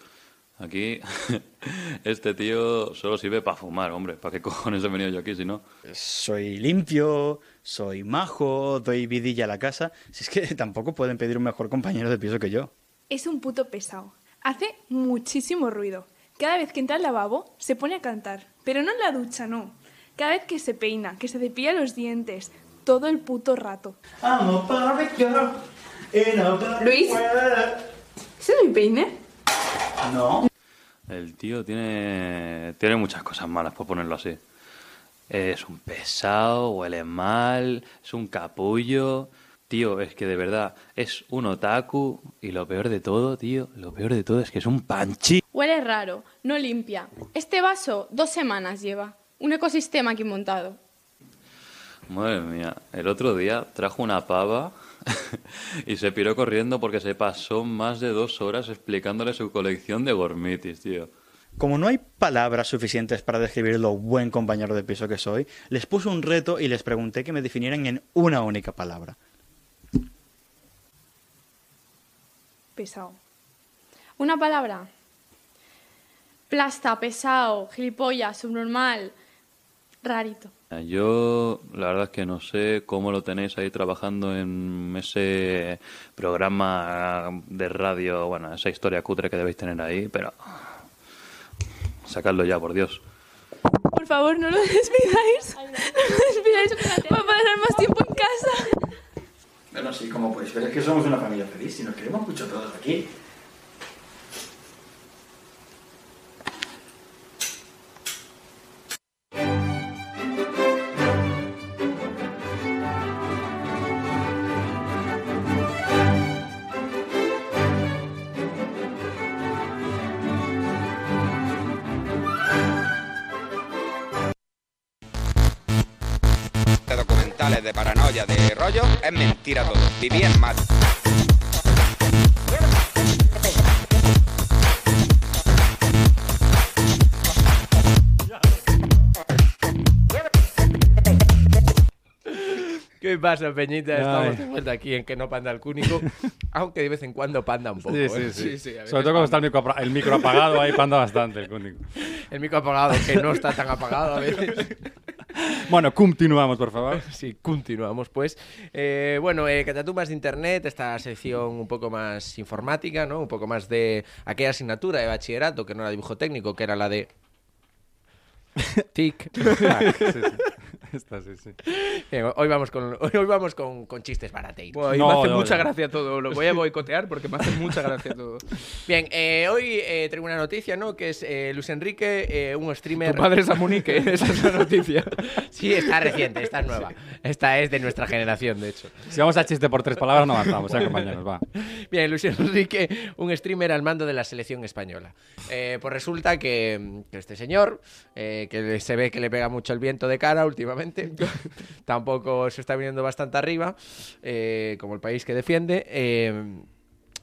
[SPEAKER 11] Aquí, este tío solo sirve para fumar, hombre. ¿Para qué cojones he venido yo aquí si no?
[SPEAKER 9] Soy limpio, soy majo, doy vidilla a la casa. Si es que tampoco pueden pedir un mejor compañero de piso que yo.
[SPEAKER 12] Es un puto pesado. Hace muchísimo ruido. Cada vez que entra al lavabo, se pone a cantar. Pero no en la ducha, no. Cada vez que se peina, que se cepilla los dientes. Todo el puto rato. Luis, ¿ese es mi peine?
[SPEAKER 9] No.
[SPEAKER 11] El tío tiene, tiene muchas cosas malas, por ponerlo así. Es un pesado, huele mal, es un capullo. Tío, es que de verdad es un otaku. Y lo peor de todo, tío, lo peor de todo es que es un panchi.
[SPEAKER 10] Huele raro, no limpia. Este vaso dos semanas lleva. Un ecosistema aquí montado.
[SPEAKER 11] Madre mía, el otro día trajo una pava y se piró corriendo porque se pasó más de dos horas explicándole su colección de gormitis, tío.
[SPEAKER 9] Como no hay palabras suficientes para describir lo buen compañero de piso que soy, les puse un reto y les pregunté que me definieran en una única palabra.
[SPEAKER 10] Pesado. Una palabra. Plasta, pesado, gilipollas, subnormal, rarito.
[SPEAKER 11] Yo la verdad es que no sé cómo lo tenéis ahí trabajando en ese programa de radio, bueno, esa historia cutre que debéis tener ahí, pero sacadlo ya, por Dios.
[SPEAKER 12] Por favor, no lo despidáis. No lo despidáis para pasar más tiempo en casa.
[SPEAKER 13] Bueno, sí, como podéis ver, es que somos una familia feliz y nos queremos mucho todos aquí.
[SPEAKER 14] de documentales, de paranoia, de rollo, es mentira todo. Viví en más.
[SPEAKER 4] ¿Qué pasa, Peñita?
[SPEAKER 5] Ay.
[SPEAKER 4] Estamos de vuelta aquí en que no panda el cúnico, aunque de vez en cuando panda un poco.
[SPEAKER 5] Sí,
[SPEAKER 4] ¿eh?
[SPEAKER 5] sí, sí.
[SPEAKER 4] a veces
[SPEAKER 5] Sobre todo cuando está el micro, apra- el micro apagado, ahí panda bastante el cúnico.
[SPEAKER 4] El micro apagado, que no está tan apagado a veces.
[SPEAKER 5] Bueno, continuamos, por favor.
[SPEAKER 4] Sí, continuamos, pues. Eh, bueno, eh, Catatumbas de Internet, esta sección un poco más informática, ¿no? Un poco más de aquella asignatura de bachillerato que no era dibujo técnico, que era la de... Tic.
[SPEAKER 5] Esta sí, sí.
[SPEAKER 4] Bien, hoy vamos con, hoy vamos con, con chistes barateos.
[SPEAKER 6] Buah, y me hace mucha gracia todo. Lo voy a boicotear porque me hace mucha gracia todo.
[SPEAKER 4] Bien, eh, hoy eh, traigo una noticia, ¿no? Que es eh, Luis Enrique, eh, un streamer...
[SPEAKER 6] Tu padre es Amunique, esa es la noticia.
[SPEAKER 4] Sí, está reciente, esta es nueva. Esta es de nuestra generación, de hecho.
[SPEAKER 5] Si vamos a chiste por tres palabras, no avanzamos, ya, compañeros, va.
[SPEAKER 4] Bien, Luis Enrique, un streamer al mando de la selección española. Eh, pues resulta que, que este señor, eh, que se ve que le pega mucho el viento de cara últimamente, tampoco se está viniendo bastante arriba, eh, como el país que defiende. eh,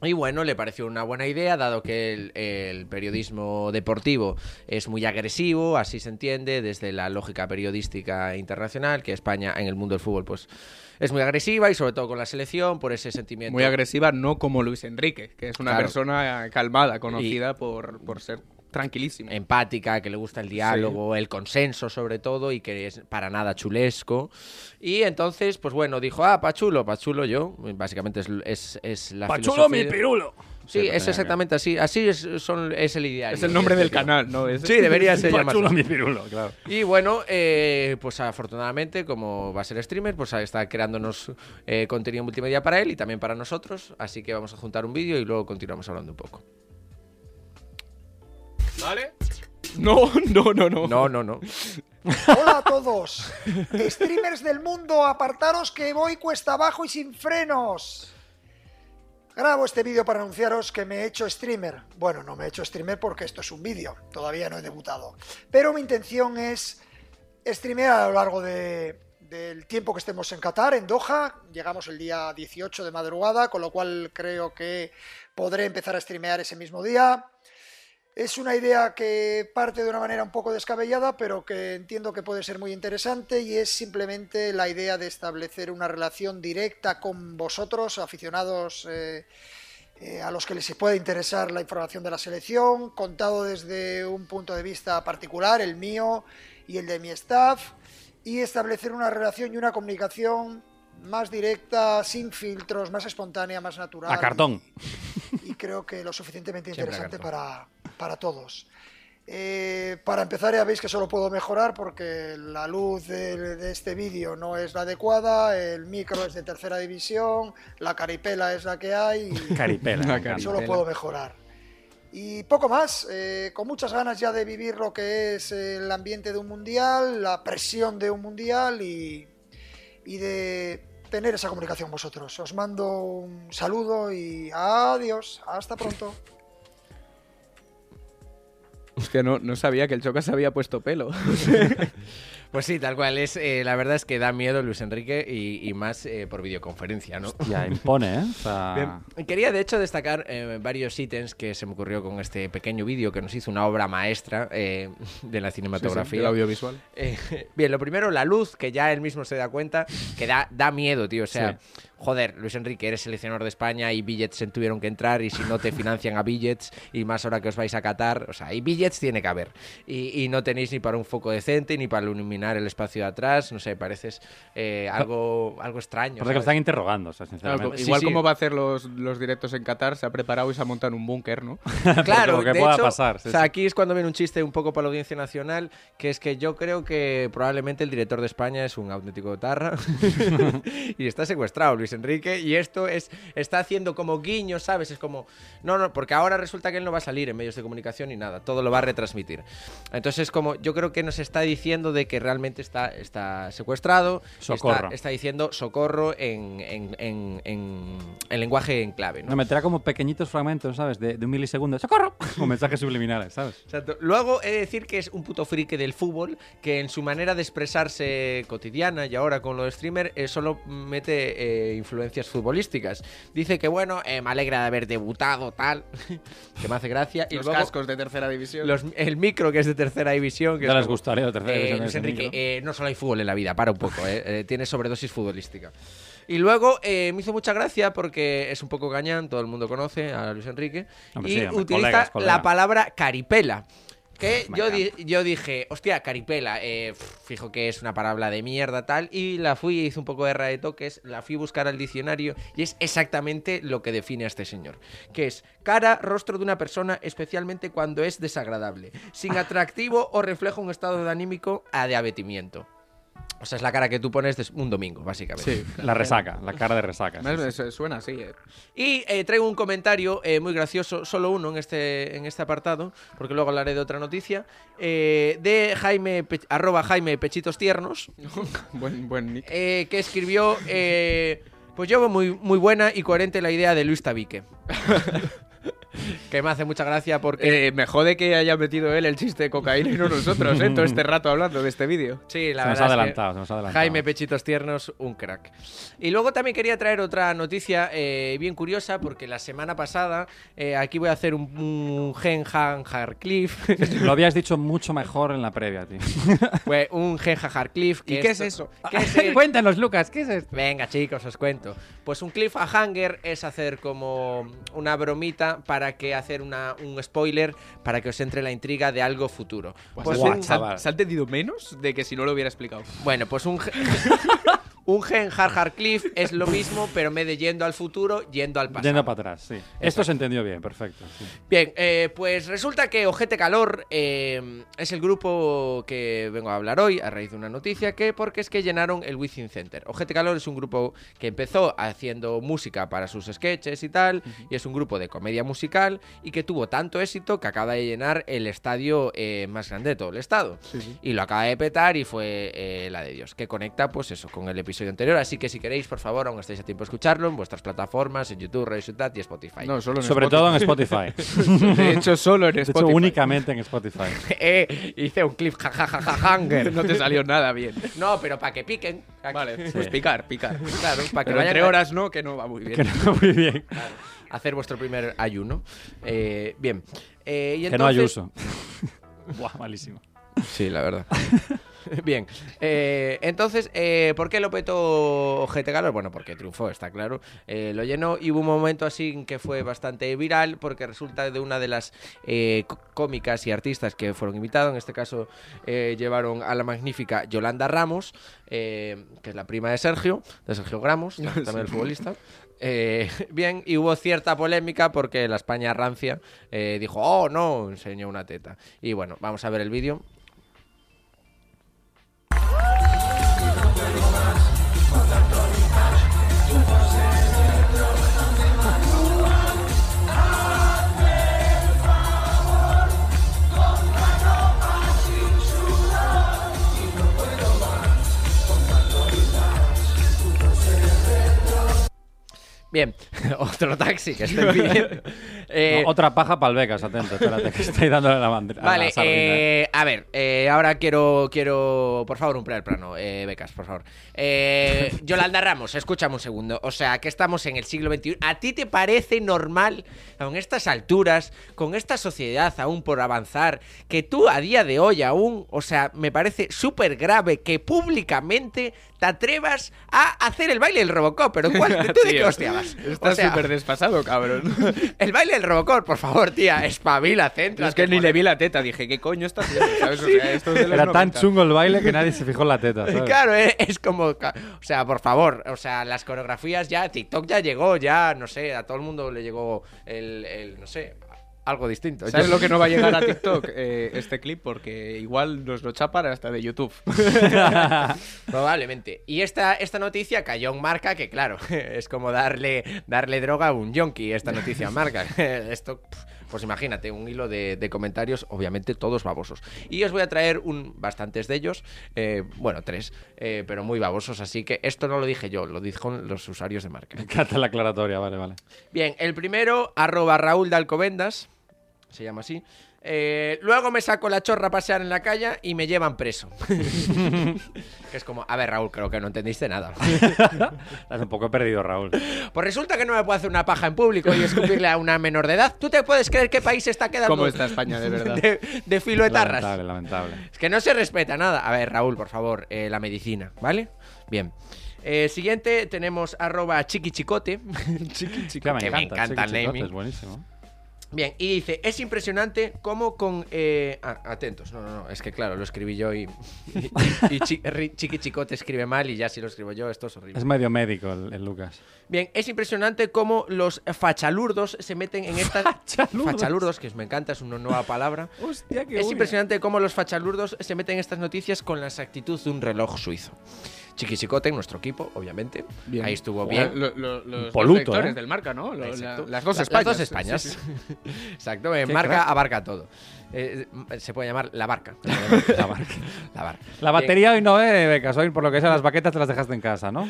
[SPEAKER 4] y bueno, le pareció una buena idea, dado que el, el periodismo deportivo es muy agresivo, así se entiende, desde la lógica periodística internacional, que España en el mundo del fútbol pues es muy agresiva y sobre todo con la selección, por ese sentimiento.
[SPEAKER 6] Muy agresiva, no como Luis Enrique, que es una
[SPEAKER 4] Claro.
[SPEAKER 6] persona calmada, conocida por, por ser tranquilísima.
[SPEAKER 4] empática, que le gusta el diálogo, el consenso sobre todo, y que es para nada chulesco. Y entonces, pues bueno, dijo, ah, pachulo, pachulo yo, básicamente es, es, es la
[SPEAKER 5] Pachulo mi
[SPEAKER 4] filosofía-
[SPEAKER 5] pirulo.
[SPEAKER 4] Sí,
[SPEAKER 5] Sí,
[SPEAKER 4] es
[SPEAKER 5] tenía
[SPEAKER 4] exactamente así, así es, son, es el ideal.
[SPEAKER 6] Es el nombre del canal, ¿no? Es-
[SPEAKER 4] Sí, debería ser
[SPEAKER 5] Pachulo
[SPEAKER 4] llamarse.
[SPEAKER 5] mi pirulo, claro.
[SPEAKER 4] Y bueno, eh, pues afortunadamente, como va a ser streamer, pues está creándonos eh, contenido multimedia para él y también para nosotros. Así que vamos a juntar un vídeo y luego continuamos hablando un poco.
[SPEAKER 6] ¿Vale? No, no, no, no.
[SPEAKER 4] No, no, no.
[SPEAKER 15] Hola a todos. Streamers del mundo, apartaros que voy cuesta abajo y sin frenos. Grabo este vídeo para anunciaros que me he hecho streamer. Bueno, no me he hecho streamer porque esto es un vídeo, todavía no he debutado. Pero mi intención es streamear a lo largo de, del tiempo que estemos en Qatar, en Doha. Llegamos el día 18 de madrugada, con lo cual creo que podré empezar a streamear ese mismo día. Es una idea que parte de una manera un poco descabellada, pero que entiendo que puede ser muy interesante y es simplemente la idea de establecer una relación directa con vosotros, aficionados eh, eh, a los que les pueda interesar la información de la selección, contado desde un punto de vista particular, el mío y el de mi staff, y establecer una relación y una comunicación más directa, sin filtros, más espontánea, más natural.
[SPEAKER 5] A cartón.
[SPEAKER 15] Y creo que lo suficientemente
[SPEAKER 5] Siempre a
[SPEAKER 15] interesante para, para todos. Eh, para empezar, ya veis que solo puedo mejorar porque la luz de, de este vídeo no es la adecuada, el micro es de tercera división, la caripela es la que hay. y-
[SPEAKER 5] Caripela, me encanta.
[SPEAKER 15] Solo puedo mejorar. Y poco más, eh, con muchas ganas ya de vivir lo que es eh, el ambiente de un mundial, la presión de un mundial y, y de tener esa comunicación vosotros. Os mando un saludo y adiós, hasta pronto.
[SPEAKER 6] Hostia, no, no sabía que el Choca se había puesto pelo.
[SPEAKER 4] Pues sí, tal cual. Es, eh, la verdad es que da miedo Luis Enrique y, y más eh, por videoconferencia, ¿no?
[SPEAKER 5] Ya, impone, ¿eh? O sea,
[SPEAKER 4] Bien. Quería de hecho destacar eh, varios ítems que se me ocurrió con este pequeño vídeo que nos hizo una obra maestra eh, de la cinematografía.
[SPEAKER 6] del audiovisual.
[SPEAKER 4] Eh, bien, lo primero, la luz, que ya él mismo se da cuenta, que da, da miedo, tío. O sea, joder, Luis Enrique, eres seleccionador de España y billets se tuvieron que entrar y si no te financian a billets y más ahora que os vais a Qatar, o sea, y billets tiene que haber. Y, y no tenéis ni para un foco decente ni para iluminar el espacio de atrás, no sé, pareces eh, algo, algo
[SPEAKER 5] Ah. Parece
[SPEAKER 4] extraño.
[SPEAKER 5] que lo
[SPEAKER 4] ¿sabes?
[SPEAKER 5] están interrogando, o sea, sinceramente.
[SPEAKER 4] Claro,
[SPEAKER 6] Ah, pues, Igual
[SPEAKER 4] sí.
[SPEAKER 6] como va a hacer los, los directos en Qatar, se ha preparado y se ha montado en un búnker, ¿no?
[SPEAKER 4] Claro,
[SPEAKER 5] lo que
[SPEAKER 4] de
[SPEAKER 5] pueda
[SPEAKER 4] hecho,
[SPEAKER 5] pasar, sí,
[SPEAKER 4] o sea,
[SPEAKER 5] sí.
[SPEAKER 4] aquí es cuando viene un chiste un poco para la audiencia nacional, que es que yo creo que probablemente el director de España es un auténtico tarra y está secuestrado Luis Enrique y esto es está haciendo como guiño, ¿sabes? Es como no, no, porque ahora resulta que él no va a salir en medios de comunicación ni nada, todo lo va a retransmitir. Entonces como yo creo que nos está diciendo de que realmente está está secuestrado, está-
[SPEAKER 5] Socorro.
[SPEAKER 4] está, diciendo socorro en en, en- en- en lenguaje en clave, ¿no?
[SPEAKER 5] No, meterá como pequeñitos fragmentos, ¿sabes? De, de un milisegundo. ¡Socorro! Con mensajes subliminales, ¿sabes?
[SPEAKER 4] Exacto. Luego he de decir que es un puto frique del fútbol que en su manera de expresarse cotidiana y ahora con lo de streamer eh, solo mete eh, influencias futbolísticas. Dice que bueno, eh, me alegra de haber debutado tal, que me hace gracia. Y
[SPEAKER 6] los
[SPEAKER 4] luego
[SPEAKER 6] cascos de tercera división.
[SPEAKER 4] los- el micro que es de tercera división. Que
[SPEAKER 5] Ya
[SPEAKER 4] es
[SPEAKER 5] les
[SPEAKER 4] como,
[SPEAKER 5] gustaría la tercera
[SPEAKER 4] eh,
[SPEAKER 5] división
[SPEAKER 4] Luis
[SPEAKER 5] ese
[SPEAKER 4] Enrique,
[SPEAKER 5] micro.
[SPEAKER 4] eh, no solo hay fútbol en la vida, para un poco, eh, eh, tiene sobredosis futbolística. Y luego eh, me hizo mucha gracia porque es un poco gañán, todo el mundo conoce a Luis Enrique.
[SPEAKER 5] Hombre,
[SPEAKER 4] y
[SPEAKER 5] sí, hombre,
[SPEAKER 4] utiliza
[SPEAKER 5] colegas, colega.
[SPEAKER 4] la palabra caripela. Que
[SPEAKER 5] Me
[SPEAKER 4] yo, di- yo dije, hostia, caripela, eh, pf, fijo que es una palabra de mierda tal. Y la fui, hice un poco de erra de toques, la fui a buscar al diccionario y es exactamente lo que define a este señor. Que es cara, rostro de una persona, especialmente cuando es desagradable, sin atractivo o refleja un estado de anímico a de abatimiento. O sea, es la cara que tú pones des- un domingo, básicamente.
[SPEAKER 5] Sí, la resaca, la cara de resaca. sí,
[SPEAKER 6] Más-
[SPEAKER 5] sí.
[SPEAKER 6] eso Suena así, eh.
[SPEAKER 4] Y eh, traigo un comentario eh, muy gracioso, solo uno en este, en este apartado, porque luego hablaré de otra noticia, eh, de Jaime, Pe- arroba Jaime Pechitos Tiernos,
[SPEAKER 6] buen, buen nick.
[SPEAKER 4] eh, que escribió, eh, pues yo veo muy, muy buena y coherente la idea de Luis Tabique. que me hace mucha gracia porque...
[SPEAKER 6] Eh, me jode que haya metido él el chiste de cocaína y no nosotros, ¿eh? Todo este rato hablando de este vídeo.
[SPEAKER 4] Sí, la
[SPEAKER 5] Se nos
[SPEAKER 4] verdad
[SPEAKER 5] ha
[SPEAKER 4] es que
[SPEAKER 5] adelantado, se nos ha adelantado.
[SPEAKER 4] Jaime Pechitos Tiernos, un crack. Y luego también quería traer otra noticia eh, bien curiosa, porque la semana pasada, eh, aquí voy a hacer un, un Gen Han Harcliffe.
[SPEAKER 5] Lo habías dicho mucho mejor en la previa, tío.
[SPEAKER 4] Fue un Genja Harcliffe.
[SPEAKER 6] ¿Y qué es eso?
[SPEAKER 4] Cuéntanos, Lucas, ¿qué es esto? Venga, chicos, os cuento. Pues un cliffhanger es hacer como una bromita para que hacer una- un spoiler para que os entre la intriga de algo futuro. Pues
[SPEAKER 6] Guau,
[SPEAKER 4] un-
[SPEAKER 6] chaval. ¿Se ha entendido menos de que si no lo hubiera explicado?
[SPEAKER 4] Bueno, pues un, ge- un Gen Harcliffe es lo mismo, pero en vez de yendo al futuro, yendo al pasado.
[SPEAKER 5] Yendo para atrás, sí. Esto se entendió bien, perfecto. sí.
[SPEAKER 4] Bien, eh, pues resulta que Ojete Calor eh, es el grupo que vengo a hablar hoy a raíz de una noticia que porque es que llenaron el Within Center. Ojete Calor es un grupo que empezó haciendo música para sus sketches y tal, y es un grupo de comedia musical y que tuvo tanto éxito que acaba de llenar el estadio eh, más grande de todo el estado. Y lo acaba de petar y fue eh, la de Dios, que conecta pues eso con el episodio episodio anterior. Así que si queréis, por favor, aún estáis a tiempo de escucharlo en vuestras plataformas, en YouTube, Radio Ciudad y Spotify.
[SPEAKER 6] No, solo en
[SPEAKER 5] Sobre
[SPEAKER 6] Spotify.
[SPEAKER 5] todo en Spotify.
[SPEAKER 6] De hecho, solo en
[SPEAKER 5] De hecho,
[SPEAKER 6] Spotify.
[SPEAKER 5] únicamente en Spotify.
[SPEAKER 4] Eh, hice un clip jajajajajanger.
[SPEAKER 6] No te salió nada bien.
[SPEAKER 4] No, pero para que piquen.
[SPEAKER 6] Vale, pues picar, picar.
[SPEAKER 4] Claro, para que
[SPEAKER 6] Pero
[SPEAKER 4] vayan
[SPEAKER 6] entre
[SPEAKER 4] con-
[SPEAKER 6] horas no, que no va muy bien.
[SPEAKER 4] Que no
[SPEAKER 5] va muy bien.
[SPEAKER 4] Claro. Hacer vuestro primer ayuno. Eh, bien. Eh, y
[SPEAKER 5] Que no hay
[SPEAKER 4] entonces-
[SPEAKER 5] uso. Buah, malísimo.
[SPEAKER 4] Sí, la verdad. Bien, eh, entonces, eh, ¿por qué lo petó GT Calor? Bueno, porque triunfó, está claro. Eh, lo llenó y hubo un momento así en que fue bastante viral porque resulta de una de las eh, c- cómicas y artistas que fueron invitados. En este caso, eh, llevaron a la magnífica Yolanda Ramos, eh, que es la prima de Sergio, de Sergio Gramos, también el
[SPEAKER 6] Sí.
[SPEAKER 4] futbolista. Eh, bien, y hubo cierta polémica porque la España rancia eh, dijo, oh no, enseñó una teta. Y bueno, vamos a ver el vídeo. Bien, otro taxi que estoy pidiendo. Eh,
[SPEAKER 5] No, otra paja para el Becas, atento. Espérate, que estoy dándole la bandera.
[SPEAKER 4] Vale, eh, a ver, eh, ahora quiero, quiero, por favor, un primer plano, eh, becas, por favor. Eh, Yolanda Ramos, escúchame un segundo. O sea, que estamos en el siglo XXI. ¿A ti te parece normal, aun estas alturas, con esta sociedad aún por avanzar, que tú a día de hoy aún, o sea, me parece súper grave que públicamente te atrevas a hacer el baile del Robocop? Pero ¿cuál? ¿Tú de qué
[SPEAKER 6] Tío,
[SPEAKER 4] hostiabas?
[SPEAKER 6] Estás súper despasado, cabrón.
[SPEAKER 4] El baile del Robocop, por favor, tía, espabila,
[SPEAKER 6] Yo
[SPEAKER 4] centra.
[SPEAKER 6] es que ni le vi la teta, dije, ¿qué coño está haciendo? ¿Sabes? O sea, esto es de los
[SPEAKER 5] Era tan
[SPEAKER 6] 90.
[SPEAKER 5] chungo el baile que nadie se fijó en la teta. ¿sabes?
[SPEAKER 4] Claro, eh, es, como. ca- O sea, por favor, o sea, las coreografías ya, TikTok ya llegó, ya, no sé, a todo el mundo le llegó el. el, no sé, algo distinto.
[SPEAKER 6] ¿Sabes
[SPEAKER 4] Yo-
[SPEAKER 6] lo que no va a llegar a TikTok? Eh, este clip, porque igual nos lo chapan hasta de YouTube.
[SPEAKER 4] Probablemente. Y esta, esta noticia cayó en marca que, claro, es como darle, darle droga a un yonki, esta noticia marca. Esto, pf, pues imagínate, un hilo de, de comentarios, obviamente todos babosos. Y os voy a traer un, bastantes de ellos, eh, bueno, tres, eh, pero muy babosos, así que esto no lo dije yo, lo dijo los usuarios de marca.
[SPEAKER 5] Me encanta la aclaratoria, vale, vale.
[SPEAKER 4] Bien, el primero, arroba Raúl de Alcobendas, se llama así. Eh, luego me saco la chorra a pasear en la calle y me llevan preso. Que es como, a ver, Raúl, creo que no entendiste nada.
[SPEAKER 5] Estás un poco perdido, Raúl.
[SPEAKER 4] Pues resulta que no me puedo hacer una paja en público y escupirle a una menor de edad. ¿Tú te puedes creer qué país está quedando?
[SPEAKER 6] ¿Cómo está España, de verdad?
[SPEAKER 4] De, de filoetarras.
[SPEAKER 5] Lamentable, lamentable.
[SPEAKER 4] Es que no se respeta nada. A ver, Raúl, por favor, eh, la medicina, ¿vale? Bien. Eh, siguiente tenemos arroba chiquichicote.
[SPEAKER 5] Que me
[SPEAKER 4] Que
[SPEAKER 5] encanta,
[SPEAKER 4] me encanta el
[SPEAKER 5] Chiqui Chicote,
[SPEAKER 4] naming.
[SPEAKER 5] Es buenísimo.
[SPEAKER 4] Bien, y dice, es impresionante cómo con... eh, ah, atentos, no, no, no, es que claro, lo escribí yo y, y, y Chi- Ri- Chiqui Chicote escribe mal y ya si lo escribo yo, esto es horrible.
[SPEAKER 5] Es medio médico el, el Lucas.
[SPEAKER 4] Bien, es impresionante cómo los fachalurdos se meten en estas... ¿Fachalurdos? que me encanta, es una nueva palabra.
[SPEAKER 5] Hostia,
[SPEAKER 4] es impresionante cómo los fachalurdos se meten en estas noticias con la exactitud de un reloj suizo. Chiqui Chicote, nuestro equipo, obviamente.
[SPEAKER 6] Bien.
[SPEAKER 4] Ahí estuvo
[SPEAKER 6] Joder,
[SPEAKER 4] bien.
[SPEAKER 6] lo- lo- los dos
[SPEAKER 4] Poluto,
[SPEAKER 6] lectores
[SPEAKER 4] ¿eh?
[SPEAKER 6] del marca, ¿no? Lo- la-
[SPEAKER 4] Exacto.
[SPEAKER 6] las dos
[SPEAKER 4] La-
[SPEAKER 6] Españas.
[SPEAKER 4] Las dos Españas.
[SPEAKER 6] Sí,
[SPEAKER 4] Exacto, eh,
[SPEAKER 6] Qué
[SPEAKER 4] marca
[SPEAKER 6] crack.
[SPEAKER 4] abarca todo. Eh, eh, se puede llamar la barca.
[SPEAKER 5] La barca.
[SPEAKER 4] La barca.
[SPEAKER 5] La
[SPEAKER 4] Bien.
[SPEAKER 5] batería hoy no, eh, Becas. Hoy, por lo que sea, las baquetas te las dejaste en casa, ¿no?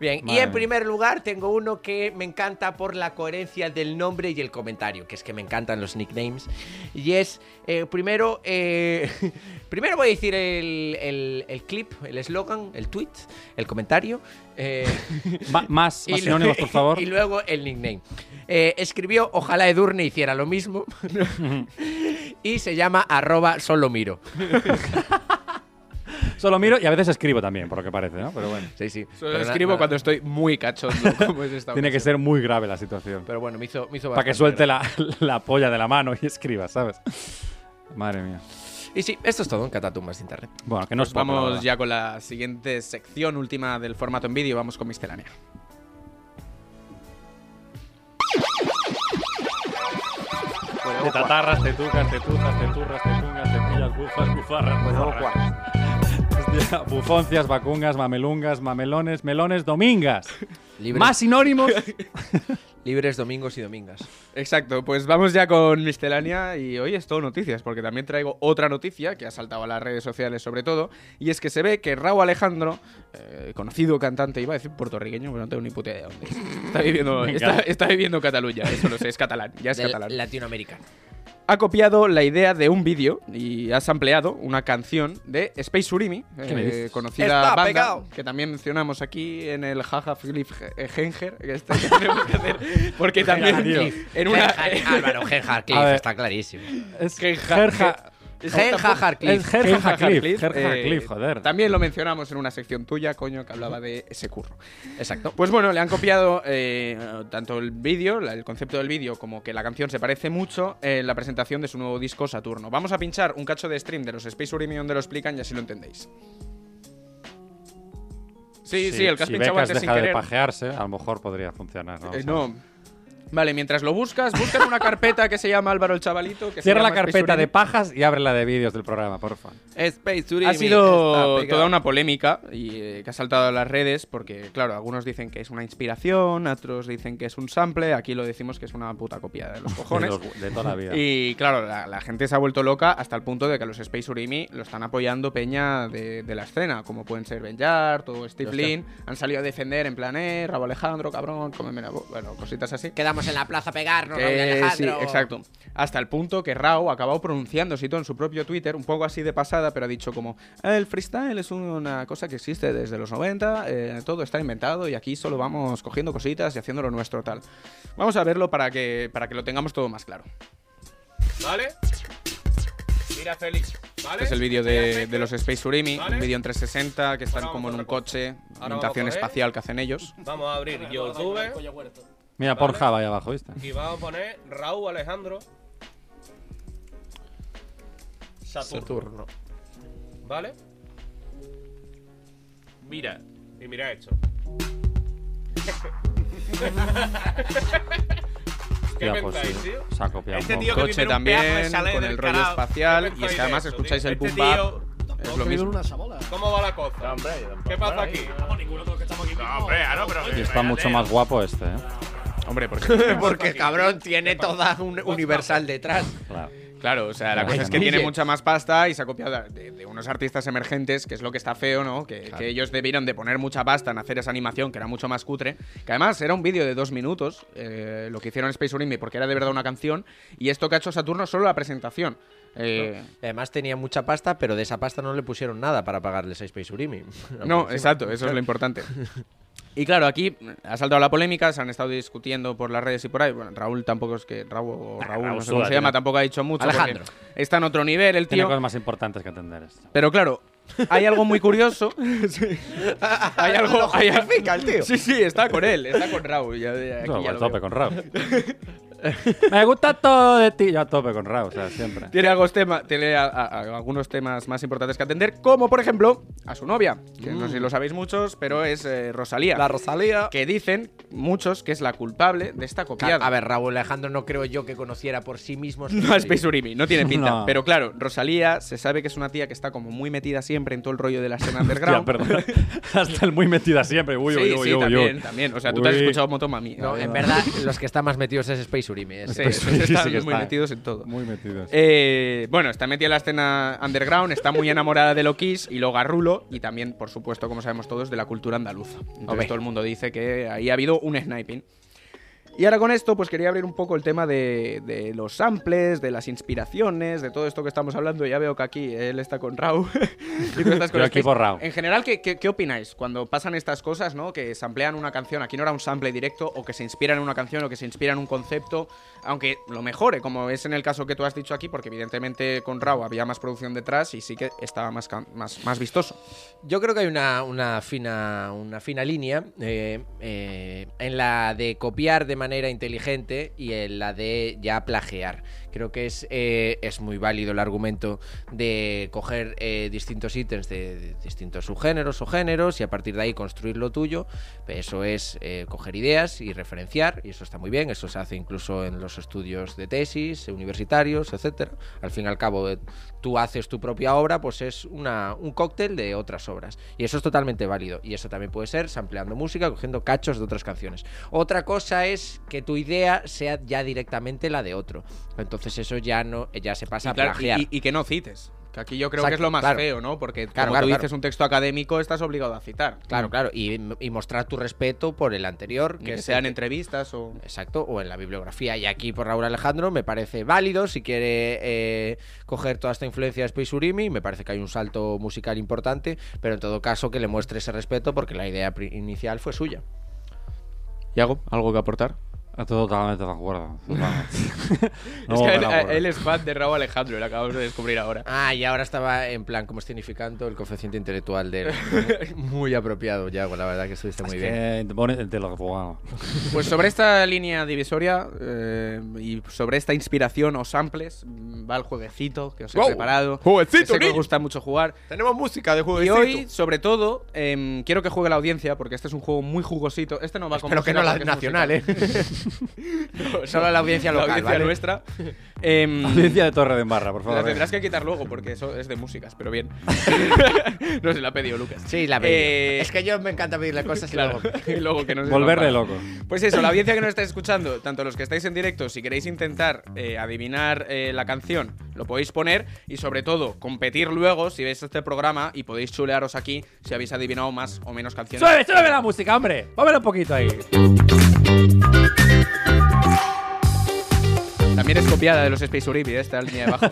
[SPEAKER 4] Bien, y
[SPEAKER 5] Madre
[SPEAKER 4] en
[SPEAKER 5] mía.
[SPEAKER 4] primer lugar tengo uno que me encanta por la coherencia del nombre y el comentario, que es que me encantan los nicknames. Y es, eh, primero, eh, primero voy a decir el, el- el clip, el eslogan, el tweet, el comentario. eh,
[SPEAKER 5] Ma- más,
[SPEAKER 4] y
[SPEAKER 5] más
[SPEAKER 4] lo-
[SPEAKER 5] sinónimos, por favor.
[SPEAKER 4] Y luego el nickname. Eh, escribió, ojalá Edurne hiciera lo mismo. y se llama arroba solo miro.
[SPEAKER 5] Solo miro y a veces escribo también, por lo que parece, ¿no? Pero bueno.
[SPEAKER 4] Sí, sí.
[SPEAKER 6] Solo
[SPEAKER 4] Pero na-
[SPEAKER 6] escribo
[SPEAKER 4] nada.
[SPEAKER 6] cuando estoy muy cachondo, como es esta
[SPEAKER 5] Tiene que
[SPEAKER 6] ocasión.
[SPEAKER 5] ser muy grave la situación.
[SPEAKER 4] Pero bueno, me hizo, me hizo
[SPEAKER 5] Para que
[SPEAKER 4] bastante
[SPEAKER 5] suelte la, la polla de la mano y escriba, ¿sabes? Madre mía.
[SPEAKER 4] Y sí, esto es todo en Catatumbas de Internet.
[SPEAKER 5] Bueno, que no
[SPEAKER 6] Pues
[SPEAKER 5] es poco, la
[SPEAKER 6] vamos
[SPEAKER 5] verdad.
[SPEAKER 6] ya con la siguiente sección, última del formato en vídeo. Vamos con miscelánea.
[SPEAKER 5] Te tatarras, te tucas, te tutas, te turras, te tungas, te pillas, bufas, bufarras, bufarras. Hostia, Bufoncias, vacungas, mamelungas, mamelones, melones, domingas.
[SPEAKER 4] Libre.
[SPEAKER 5] Más sinónimos.
[SPEAKER 4] libres domingos y domingas.
[SPEAKER 6] Exacto, pues vamos ya con miscelánea y hoy es todo noticias, porque también traigo otra noticia que ha saltado a las redes sociales sobre todo, y es que se ve que Raúl Alejandro, eh, conocido cantante, iba a decir puertorriqueño, pero no tengo ni puta idea de dónde es. Está viviendo,
[SPEAKER 4] Venga.
[SPEAKER 6] está, está viviendo en Cataluña, eso lo sé, es catalán, ya es
[SPEAKER 4] Del
[SPEAKER 6] catalán
[SPEAKER 4] Latinoamericano.
[SPEAKER 6] ha copiado la idea de un vídeo y has ampliado una canción de Space Urimi,
[SPEAKER 4] ¿Qué me
[SPEAKER 6] eh,
[SPEAKER 4] dices?
[SPEAKER 6] conocida
[SPEAKER 4] Está
[SPEAKER 6] banda
[SPEAKER 4] pegado.
[SPEAKER 6] que también mencionamos aquí en el Jaja Philip Henger, que este que tenemos que hacer, porque también
[SPEAKER 4] tío.
[SPEAKER 6] en una
[SPEAKER 4] Genjar, Álvaro, Genjar Cliff,
[SPEAKER 6] A ver.
[SPEAKER 4] está clarísimo.
[SPEAKER 5] Es
[SPEAKER 6] Gerja-
[SPEAKER 4] Gerja-
[SPEAKER 6] Gerja
[SPEAKER 4] Gerja Cliff.
[SPEAKER 6] Harcliffe.
[SPEAKER 4] Es Gerja
[SPEAKER 6] Gerja
[SPEAKER 4] Cliff,
[SPEAKER 6] Harcliffe,
[SPEAKER 4] Gerja
[SPEAKER 6] eh,
[SPEAKER 4] Cliff, joder.
[SPEAKER 6] También lo mencionamos en una sección tuya, coño, que hablaba de ese curro.
[SPEAKER 4] Exacto.
[SPEAKER 6] Pues bueno, le han copiado eh, tanto el vídeo, la- el concepto del vídeo, como que la canción se parece mucho en la presentación de su nuevo disco Saturno. Vamos a pinchar un cacho de stream de los Space Urimi donde lo explican y así lo entendéis. Sí, sí, el que has
[SPEAKER 5] si
[SPEAKER 6] pinchado
[SPEAKER 5] Becas
[SPEAKER 6] antes sin
[SPEAKER 5] deja de
[SPEAKER 6] querer.
[SPEAKER 5] pajearse, a lo mejor podría funcionar. ¿no?
[SPEAKER 6] Eh, no. Vale, mientras lo buscas, busca en una carpeta que se llama Álvaro el Chavalito. Que se
[SPEAKER 5] Cierra la
[SPEAKER 6] llama Space
[SPEAKER 5] carpeta
[SPEAKER 6] Urimi.
[SPEAKER 5] de pajas y abre la de vídeos del programa, porfa.
[SPEAKER 6] Ha sido toda una polémica y, eh, que ha saltado a las redes porque, claro, algunos dicen que es una inspiración, otros dicen que es un sample, aquí lo decimos que es una puta copia de los cojones.
[SPEAKER 5] los- de toda la vida.
[SPEAKER 6] Y, claro, la, la gente se ha vuelto loca hasta el punto de que los Space Urimi lo están apoyando peña de, de la escena, como pueden ser Ben Yard o Steve
[SPEAKER 4] Hostia.
[SPEAKER 6] Lin. Han salido a defender en plan, eh, Rabo Alejandro, cabrón, cómeme la bo-". Bueno, cositas así.
[SPEAKER 4] Quedamos en la plaza a pegarnos,
[SPEAKER 6] Que
[SPEAKER 4] Raúl Alejandro.
[SPEAKER 6] Sí, exacto. Hasta el punto que Rao ha acabado pronunciándose y todo en su propio Twitter, un poco así de pasada, pero ha dicho como, el freestyle es una cosa que existe desde los 90, eh, todo está inventado y aquí solo vamos cogiendo cositas y haciéndolo nuestro tal. Vamos a verlo para que, para que lo tengamos todo más claro.
[SPEAKER 16] ¿Vale? Mira, Félix, ¿vale?
[SPEAKER 6] Este es el vídeo de, de los Space Urimi,
[SPEAKER 16] ¿Vale?
[SPEAKER 6] un vídeo en 360 que están como en un coche,
[SPEAKER 16] vamos
[SPEAKER 6] ambientación
[SPEAKER 16] a correr.
[SPEAKER 6] espacial que hacen ellos.
[SPEAKER 16] Vamos a abrir YouTube
[SPEAKER 5] Mira,
[SPEAKER 16] ¿Vale?
[SPEAKER 5] Porja va ahí abajo, ¿viste?
[SPEAKER 16] y vamos a poner Raúl Alejandro Saturno.
[SPEAKER 6] Saturno.
[SPEAKER 16] ¿Vale? Mira, y mira esto. ¿Qué
[SPEAKER 5] Hostia, pues
[SPEAKER 16] pensáis,
[SPEAKER 5] sí,
[SPEAKER 16] tío?
[SPEAKER 5] se ha copiado
[SPEAKER 16] Este
[SPEAKER 5] un
[SPEAKER 16] tío
[SPEAKER 5] poco.
[SPEAKER 16] que
[SPEAKER 6] Coche
[SPEAKER 16] vive en un peaje
[SPEAKER 6] también,
[SPEAKER 16] sale
[SPEAKER 6] con
[SPEAKER 16] del
[SPEAKER 6] el rollo
[SPEAKER 16] canal.
[SPEAKER 6] espacial,
[SPEAKER 16] ¿Qué
[SPEAKER 6] y es
[SPEAKER 16] pensáis
[SPEAKER 6] que además
[SPEAKER 16] de eso,
[SPEAKER 6] escucháis
[SPEAKER 16] tío?
[SPEAKER 6] el boom
[SPEAKER 16] Este
[SPEAKER 6] bap, es lo
[SPEAKER 16] que vive
[SPEAKER 6] mismo.
[SPEAKER 16] ¿Cómo va la cosa? ¿Qué pasa aquí? No, hombre, ah, no, pero
[SPEAKER 5] Y está mucho más guapo este, ¿eh?
[SPEAKER 6] Hombre,
[SPEAKER 4] Porque cabrón tiene toda un universal detrás.
[SPEAKER 5] Claro.
[SPEAKER 6] Claro, o sea, la
[SPEAKER 5] Claro,
[SPEAKER 6] cosa es que
[SPEAKER 5] ¿no?
[SPEAKER 6] tiene
[SPEAKER 5] Oye.
[SPEAKER 6] mucha más pasta y se ha copiado de, de unos artistas emergentes, que es lo que está feo, ¿no? Que, que ellos debieron de poner mucha pasta en hacer esa animación, que era mucho más cutre. Que además era un vídeo de dos minutos, eh, lo que hicieron Space Urimi, porque era de verdad una canción. Y esto que ha hecho Saturno es solo la presentación. Eh,
[SPEAKER 4] Y Además tenía mucha pasta, pero de esa pasta no le pusieron nada para pagarle 6 Space Urimi.
[SPEAKER 6] No, exacto, eso es lo importante. Y claro, aquí ha saltado la polémica, se han estado discutiendo por las redes y por ahí. Bueno, Raúl tampoco es que. Raúl, o Raúl,
[SPEAKER 5] Raúl
[SPEAKER 6] no sé cómo
[SPEAKER 5] suda,
[SPEAKER 6] se llama,
[SPEAKER 5] tiene-
[SPEAKER 6] tampoco ha dicho mucho. porque
[SPEAKER 5] Alejandro.
[SPEAKER 6] Está en otro nivel el
[SPEAKER 5] Tiene
[SPEAKER 6] tío.
[SPEAKER 5] cosas más importantes que atender este. esto.
[SPEAKER 6] Pero claro, hay algo muy curioso. Sí. hay algo.
[SPEAKER 5] Lo
[SPEAKER 6] hay-
[SPEAKER 5] justifica el tío.
[SPEAKER 6] Sí, sí, está con él, está con Raúl. Ya, ya- aquí
[SPEAKER 5] Yo voy
[SPEAKER 6] ya
[SPEAKER 5] a
[SPEAKER 6] lo
[SPEAKER 5] pues
[SPEAKER 6] veo.
[SPEAKER 5] tope con Raúl. Me gusta todo de ti. Yo a tope con Raúl, o sea, siempre.
[SPEAKER 6] Tiene, algunos tema- tiene a- a- a algunos temas más importantes que atender, como por ejemplo a su novia, que no sé si lo sabéis muchos, pero es eh, Rosalía. La Rosalía. Que dicen muchos que es la culpable de esta copiada.
[SPEAKER 4] A ver, Raúl Alejandro no creo yo que conociera por sí mismo.
[SPEAKER 6] No es Space Urimi, no tiene pinta.
[SPEAKER 4] No.
[SPEAKER 6] Pero claro, Rosalía se sabe que es una tía que está como muy metida siempre en todo el rollo de la escena underground.
[SPEAKER 5] perdón. Hasta el muy metida siempre. Uy, uy,
[SPEAKER 6] Sí,
[SPEAKER 5] uy,
[SPEAKER 6] sí,
[SPEAKER 5] uy,
[SPEAKER 6] también,
[SPEAKER 5] uy.
[SPEAKER 6] también. O sea, tú te has
[SPEAKER 5] Uy.
[SPEAKER 6] escuchado Motomami.
[SPEAKER 4] No, en verdad, los que están más metidos es Space Urimi. es-
[SPEAKER 6] Sí, pues están muy metidos en todo. Eh, bueno, está metida en la escena underground, está muy enamorada de Lokis y luego a Rulo y también, por supuesto, como sabemos todos, de la cultura andaluza. Entonces
[SPEAKER 4] Hombre.
[SPEAKER 6] todo el mundo dice que ahí ha habido un sniping. Y ahora con esto, pues quería abrir un poco el tema de, de los samples, de las inspiraciones, de todo esto que estamos hablando. Ya veo que aquí él está con Rau. y tú estás con
[SPEAKER 5] Yo aquí
[SPEAKER 6] Space.
[SPEAKER 5] por Rau.
[SPEAKER 6] En general, ¿qué, qué, qué opináis cuando pasan estas cosas, ¿no? Que samplean una canción, aquí no era un sample directo, o que se inspiran en una canción, o que se inspiran en un concepto, aunque lo mejore, como es en el caso que tú has dicho aquí, porque evidentemente con Rau había más producción detrás y sí que estaba más, can- más, más vistoso.
[SPEAKER 4] Yo creo que hay una, una fina, una fina línea eh, eh, en la de copiar de manera inteligente y en la de ya plagiar. Creo que es, eh, es muy válido el argumento de coger eh, distintos ítems de, de distintos subgéneros o géneros y a partir de ahí construir lo tuyo. Eso es eh, coger ideas y referenciar, y eso está muy bien. Eso se hace incluso en los estudios de tesis, eh, universitarios, etcétera. Al fin y al cabo, eh, tú haces tu propia obra, pues es una, un cóctel de otras obras. Y eso es totalmente válido. Y eso también puede ser sampleando música, cogiendo cachos de otras canciones. Otra cosa es que tu idea sea ya directamente la de otro. Entonces eso ya no ya se pasa
[SPEAKER 6] Y claro,
[SPEAKER 4] a plagiar.
[SPEAKER 6] y- y- y que no cites. Que aquí yo creo que
[SPEAKER 4] Exacto,
[SPEAKER 6] es lo más
[SPEAKER 4] claro.
[SPEAKER 6] feo, ¿no? Porque
[SPEAKER 4] Claro,
[SPEAKER 6] como
[SPEAKER 4] claro,
[SPEAKER 6] tú
[SPEAKER 4] claro.
[SPEAKER 6] dices un texto académico, estás obligado a citar.
[SPEAKER 4] Claro, claro. Y, y mostrar tu respeto por el anterior.
[SPEAKER 6] Ni que sean
[SPEAKER 4] entrevistas o. Exacto, o en la bibliografía. Y aquí por Raúl Alejandro me parece válido si quiere eh, coger toda esta influencia de Space Urimi. Me parece que hay un salto musical importante, pero en todo caso que le muestre ese respeto porque la idea pri- inicial fue suya.
[SPEAKER 6] Yago, ¿algo que aportar?
[SPEAKER 5] Totalmente de acuerdo. No,
[SPEAKER 6] es que él,
[SPEAKER 5] pero bueno.
[SPEAKER 6] él es fan de Raúl Alejandro, lo acabamos de descubrir ahora.
[SPEAKER 4] Ah, y ahora estaba en plan como escenificando el coeficiente intelectual de él. muy apropiado, Yago, la verdad que estuviste muy bien.
[SPEAKER 5] Eh, bueno, de lo que jugaba.
[SPEAKER 6] Pues sobre esta línea divisoria eh, y sobre esta inspiración o samples mm, va el jueguecito que os he
[SPEAKER 4] ¡Wow!
[SPEAKER 6] preparado.
[SPEAKER 4] ¡Jueguecito,
[SPEAKER 6] que sé que os
[SPEAKER 4] niño!
[SPEAKER 6] gusta mucho jugar.
[SPEAKER 4] Tenemos música de
[SPEAKER 6] Y hoy, sobre todo, em, quiero que juegue la audiencia porque este es un juego muy jugosito. Este no va con
[SPEAKER 4] Espero que no la
[SPEAKER 6] música porque es
[SPEAKER 4] nacional,
[SPEAKER 6] musical. No,
[SPEAKER 4] Solo
[SPEAKER 6] no,
[SPEAKER 4] la audiencia local,
[SPEAKER 6] La audiencia
[SPEAKER 4] ¿vale?
[SPEAKER 6] nuestra. Em,
[SPEAKER 5] Audiencia de Torre de Embarra, por favor.
[SPEAKER 6] La tendrás que quitar luego porque eso es de músicas, pero bien. no se la ha pedido Lucas.
[SPEAKER 4] Sí, la pedí.
[SPEAKER 6] Eh,
[SPEAKER 4] Es que yo me encanta pedirle cosas y
[SPEAKER 6] Claro,
[SPEAKER 4] luego-
[SPEAKER 6] y luego que no se
[SPEAKER 5] Volverle
[SPEAKER 6] nos
[SPEAKER 5] loco.
[SPEAKER 6] Pues eso, la audiencia que nos estáis escuchando, tanto los que estáis en directo, si queréis intentar eh, adivinar eh, la canción, lo podéis poner y sobre todo competir luego si veis este programa y podéis chulearos aquí si habéis adivinado más o menos canciones.
[SPEAKER 5] ¡Sube, sube la música, hombre! Póngala un poquito ahí.
[SPEAKER 6] También es copiada de los Space Uribe, ¿eh? esta línea de abajo.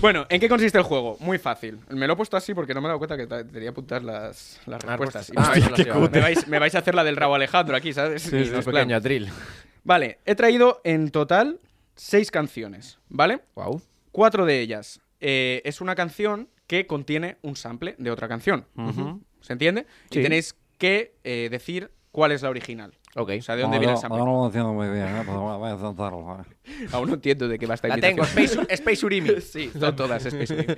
[SPEAKER 6] Bueno, ¿en qué consiste el juego? Muy fácil. Me lo he puesto así porque no me he dado cuenta que ta- tenía apuntar las, las respuestas.
[SPEAKER 4] respuestas.
[SPEAKER 6] Y me
[SPEAKER 4] Ah,
[SPEAKER 6] vais-
[SPEAKER 4] hostia, qué cutre.
[SPEAKER 6] me, vais, me vais a hacer la del rabo Alejandro aquí, ¿sabes?
[SPEAKER 4] Sí,
[SPEAKER 6] Y
[SPEAKER 4] sí,
[SPEAKER 6] nos
[SPEAKER 4] pequeño
[SPEAKER 6] plan.
[SPEAKER 4] atril.
[SPEAKER 6] Vale, he traído en total seis canciones, ¿vale?
[SPEAKER 4] Wow.
[SPEAKER 6] Cuatro de ellas eh, es una canción que contiene un sample de otra canción.
[SPEAKER 5] Ujú.
[SPEAKER 6] ¿Se entiende?
[SPEAKER 5] Sí.
[SPEAKER 6] Y tenéis que eh, decir cuál es la original.
[SPEAKER 4] Ok.
[SPEAKER 6] O sea, de dónde viene el sample.
[SPEAKER 5] Ahora no lo entiendo muy bien, ¿eh? pero bueno, voy a intentarlo. ¿vale?
[SPEAKER 6] Aún no entiendo de qué va esta
[SPEAKER 4] La
[SPEAKER 6] invitación.
[SPEAKER 4] tengo, Space- Space Urimi.
[SPEAKER 6] sí, son todas Space Urimi.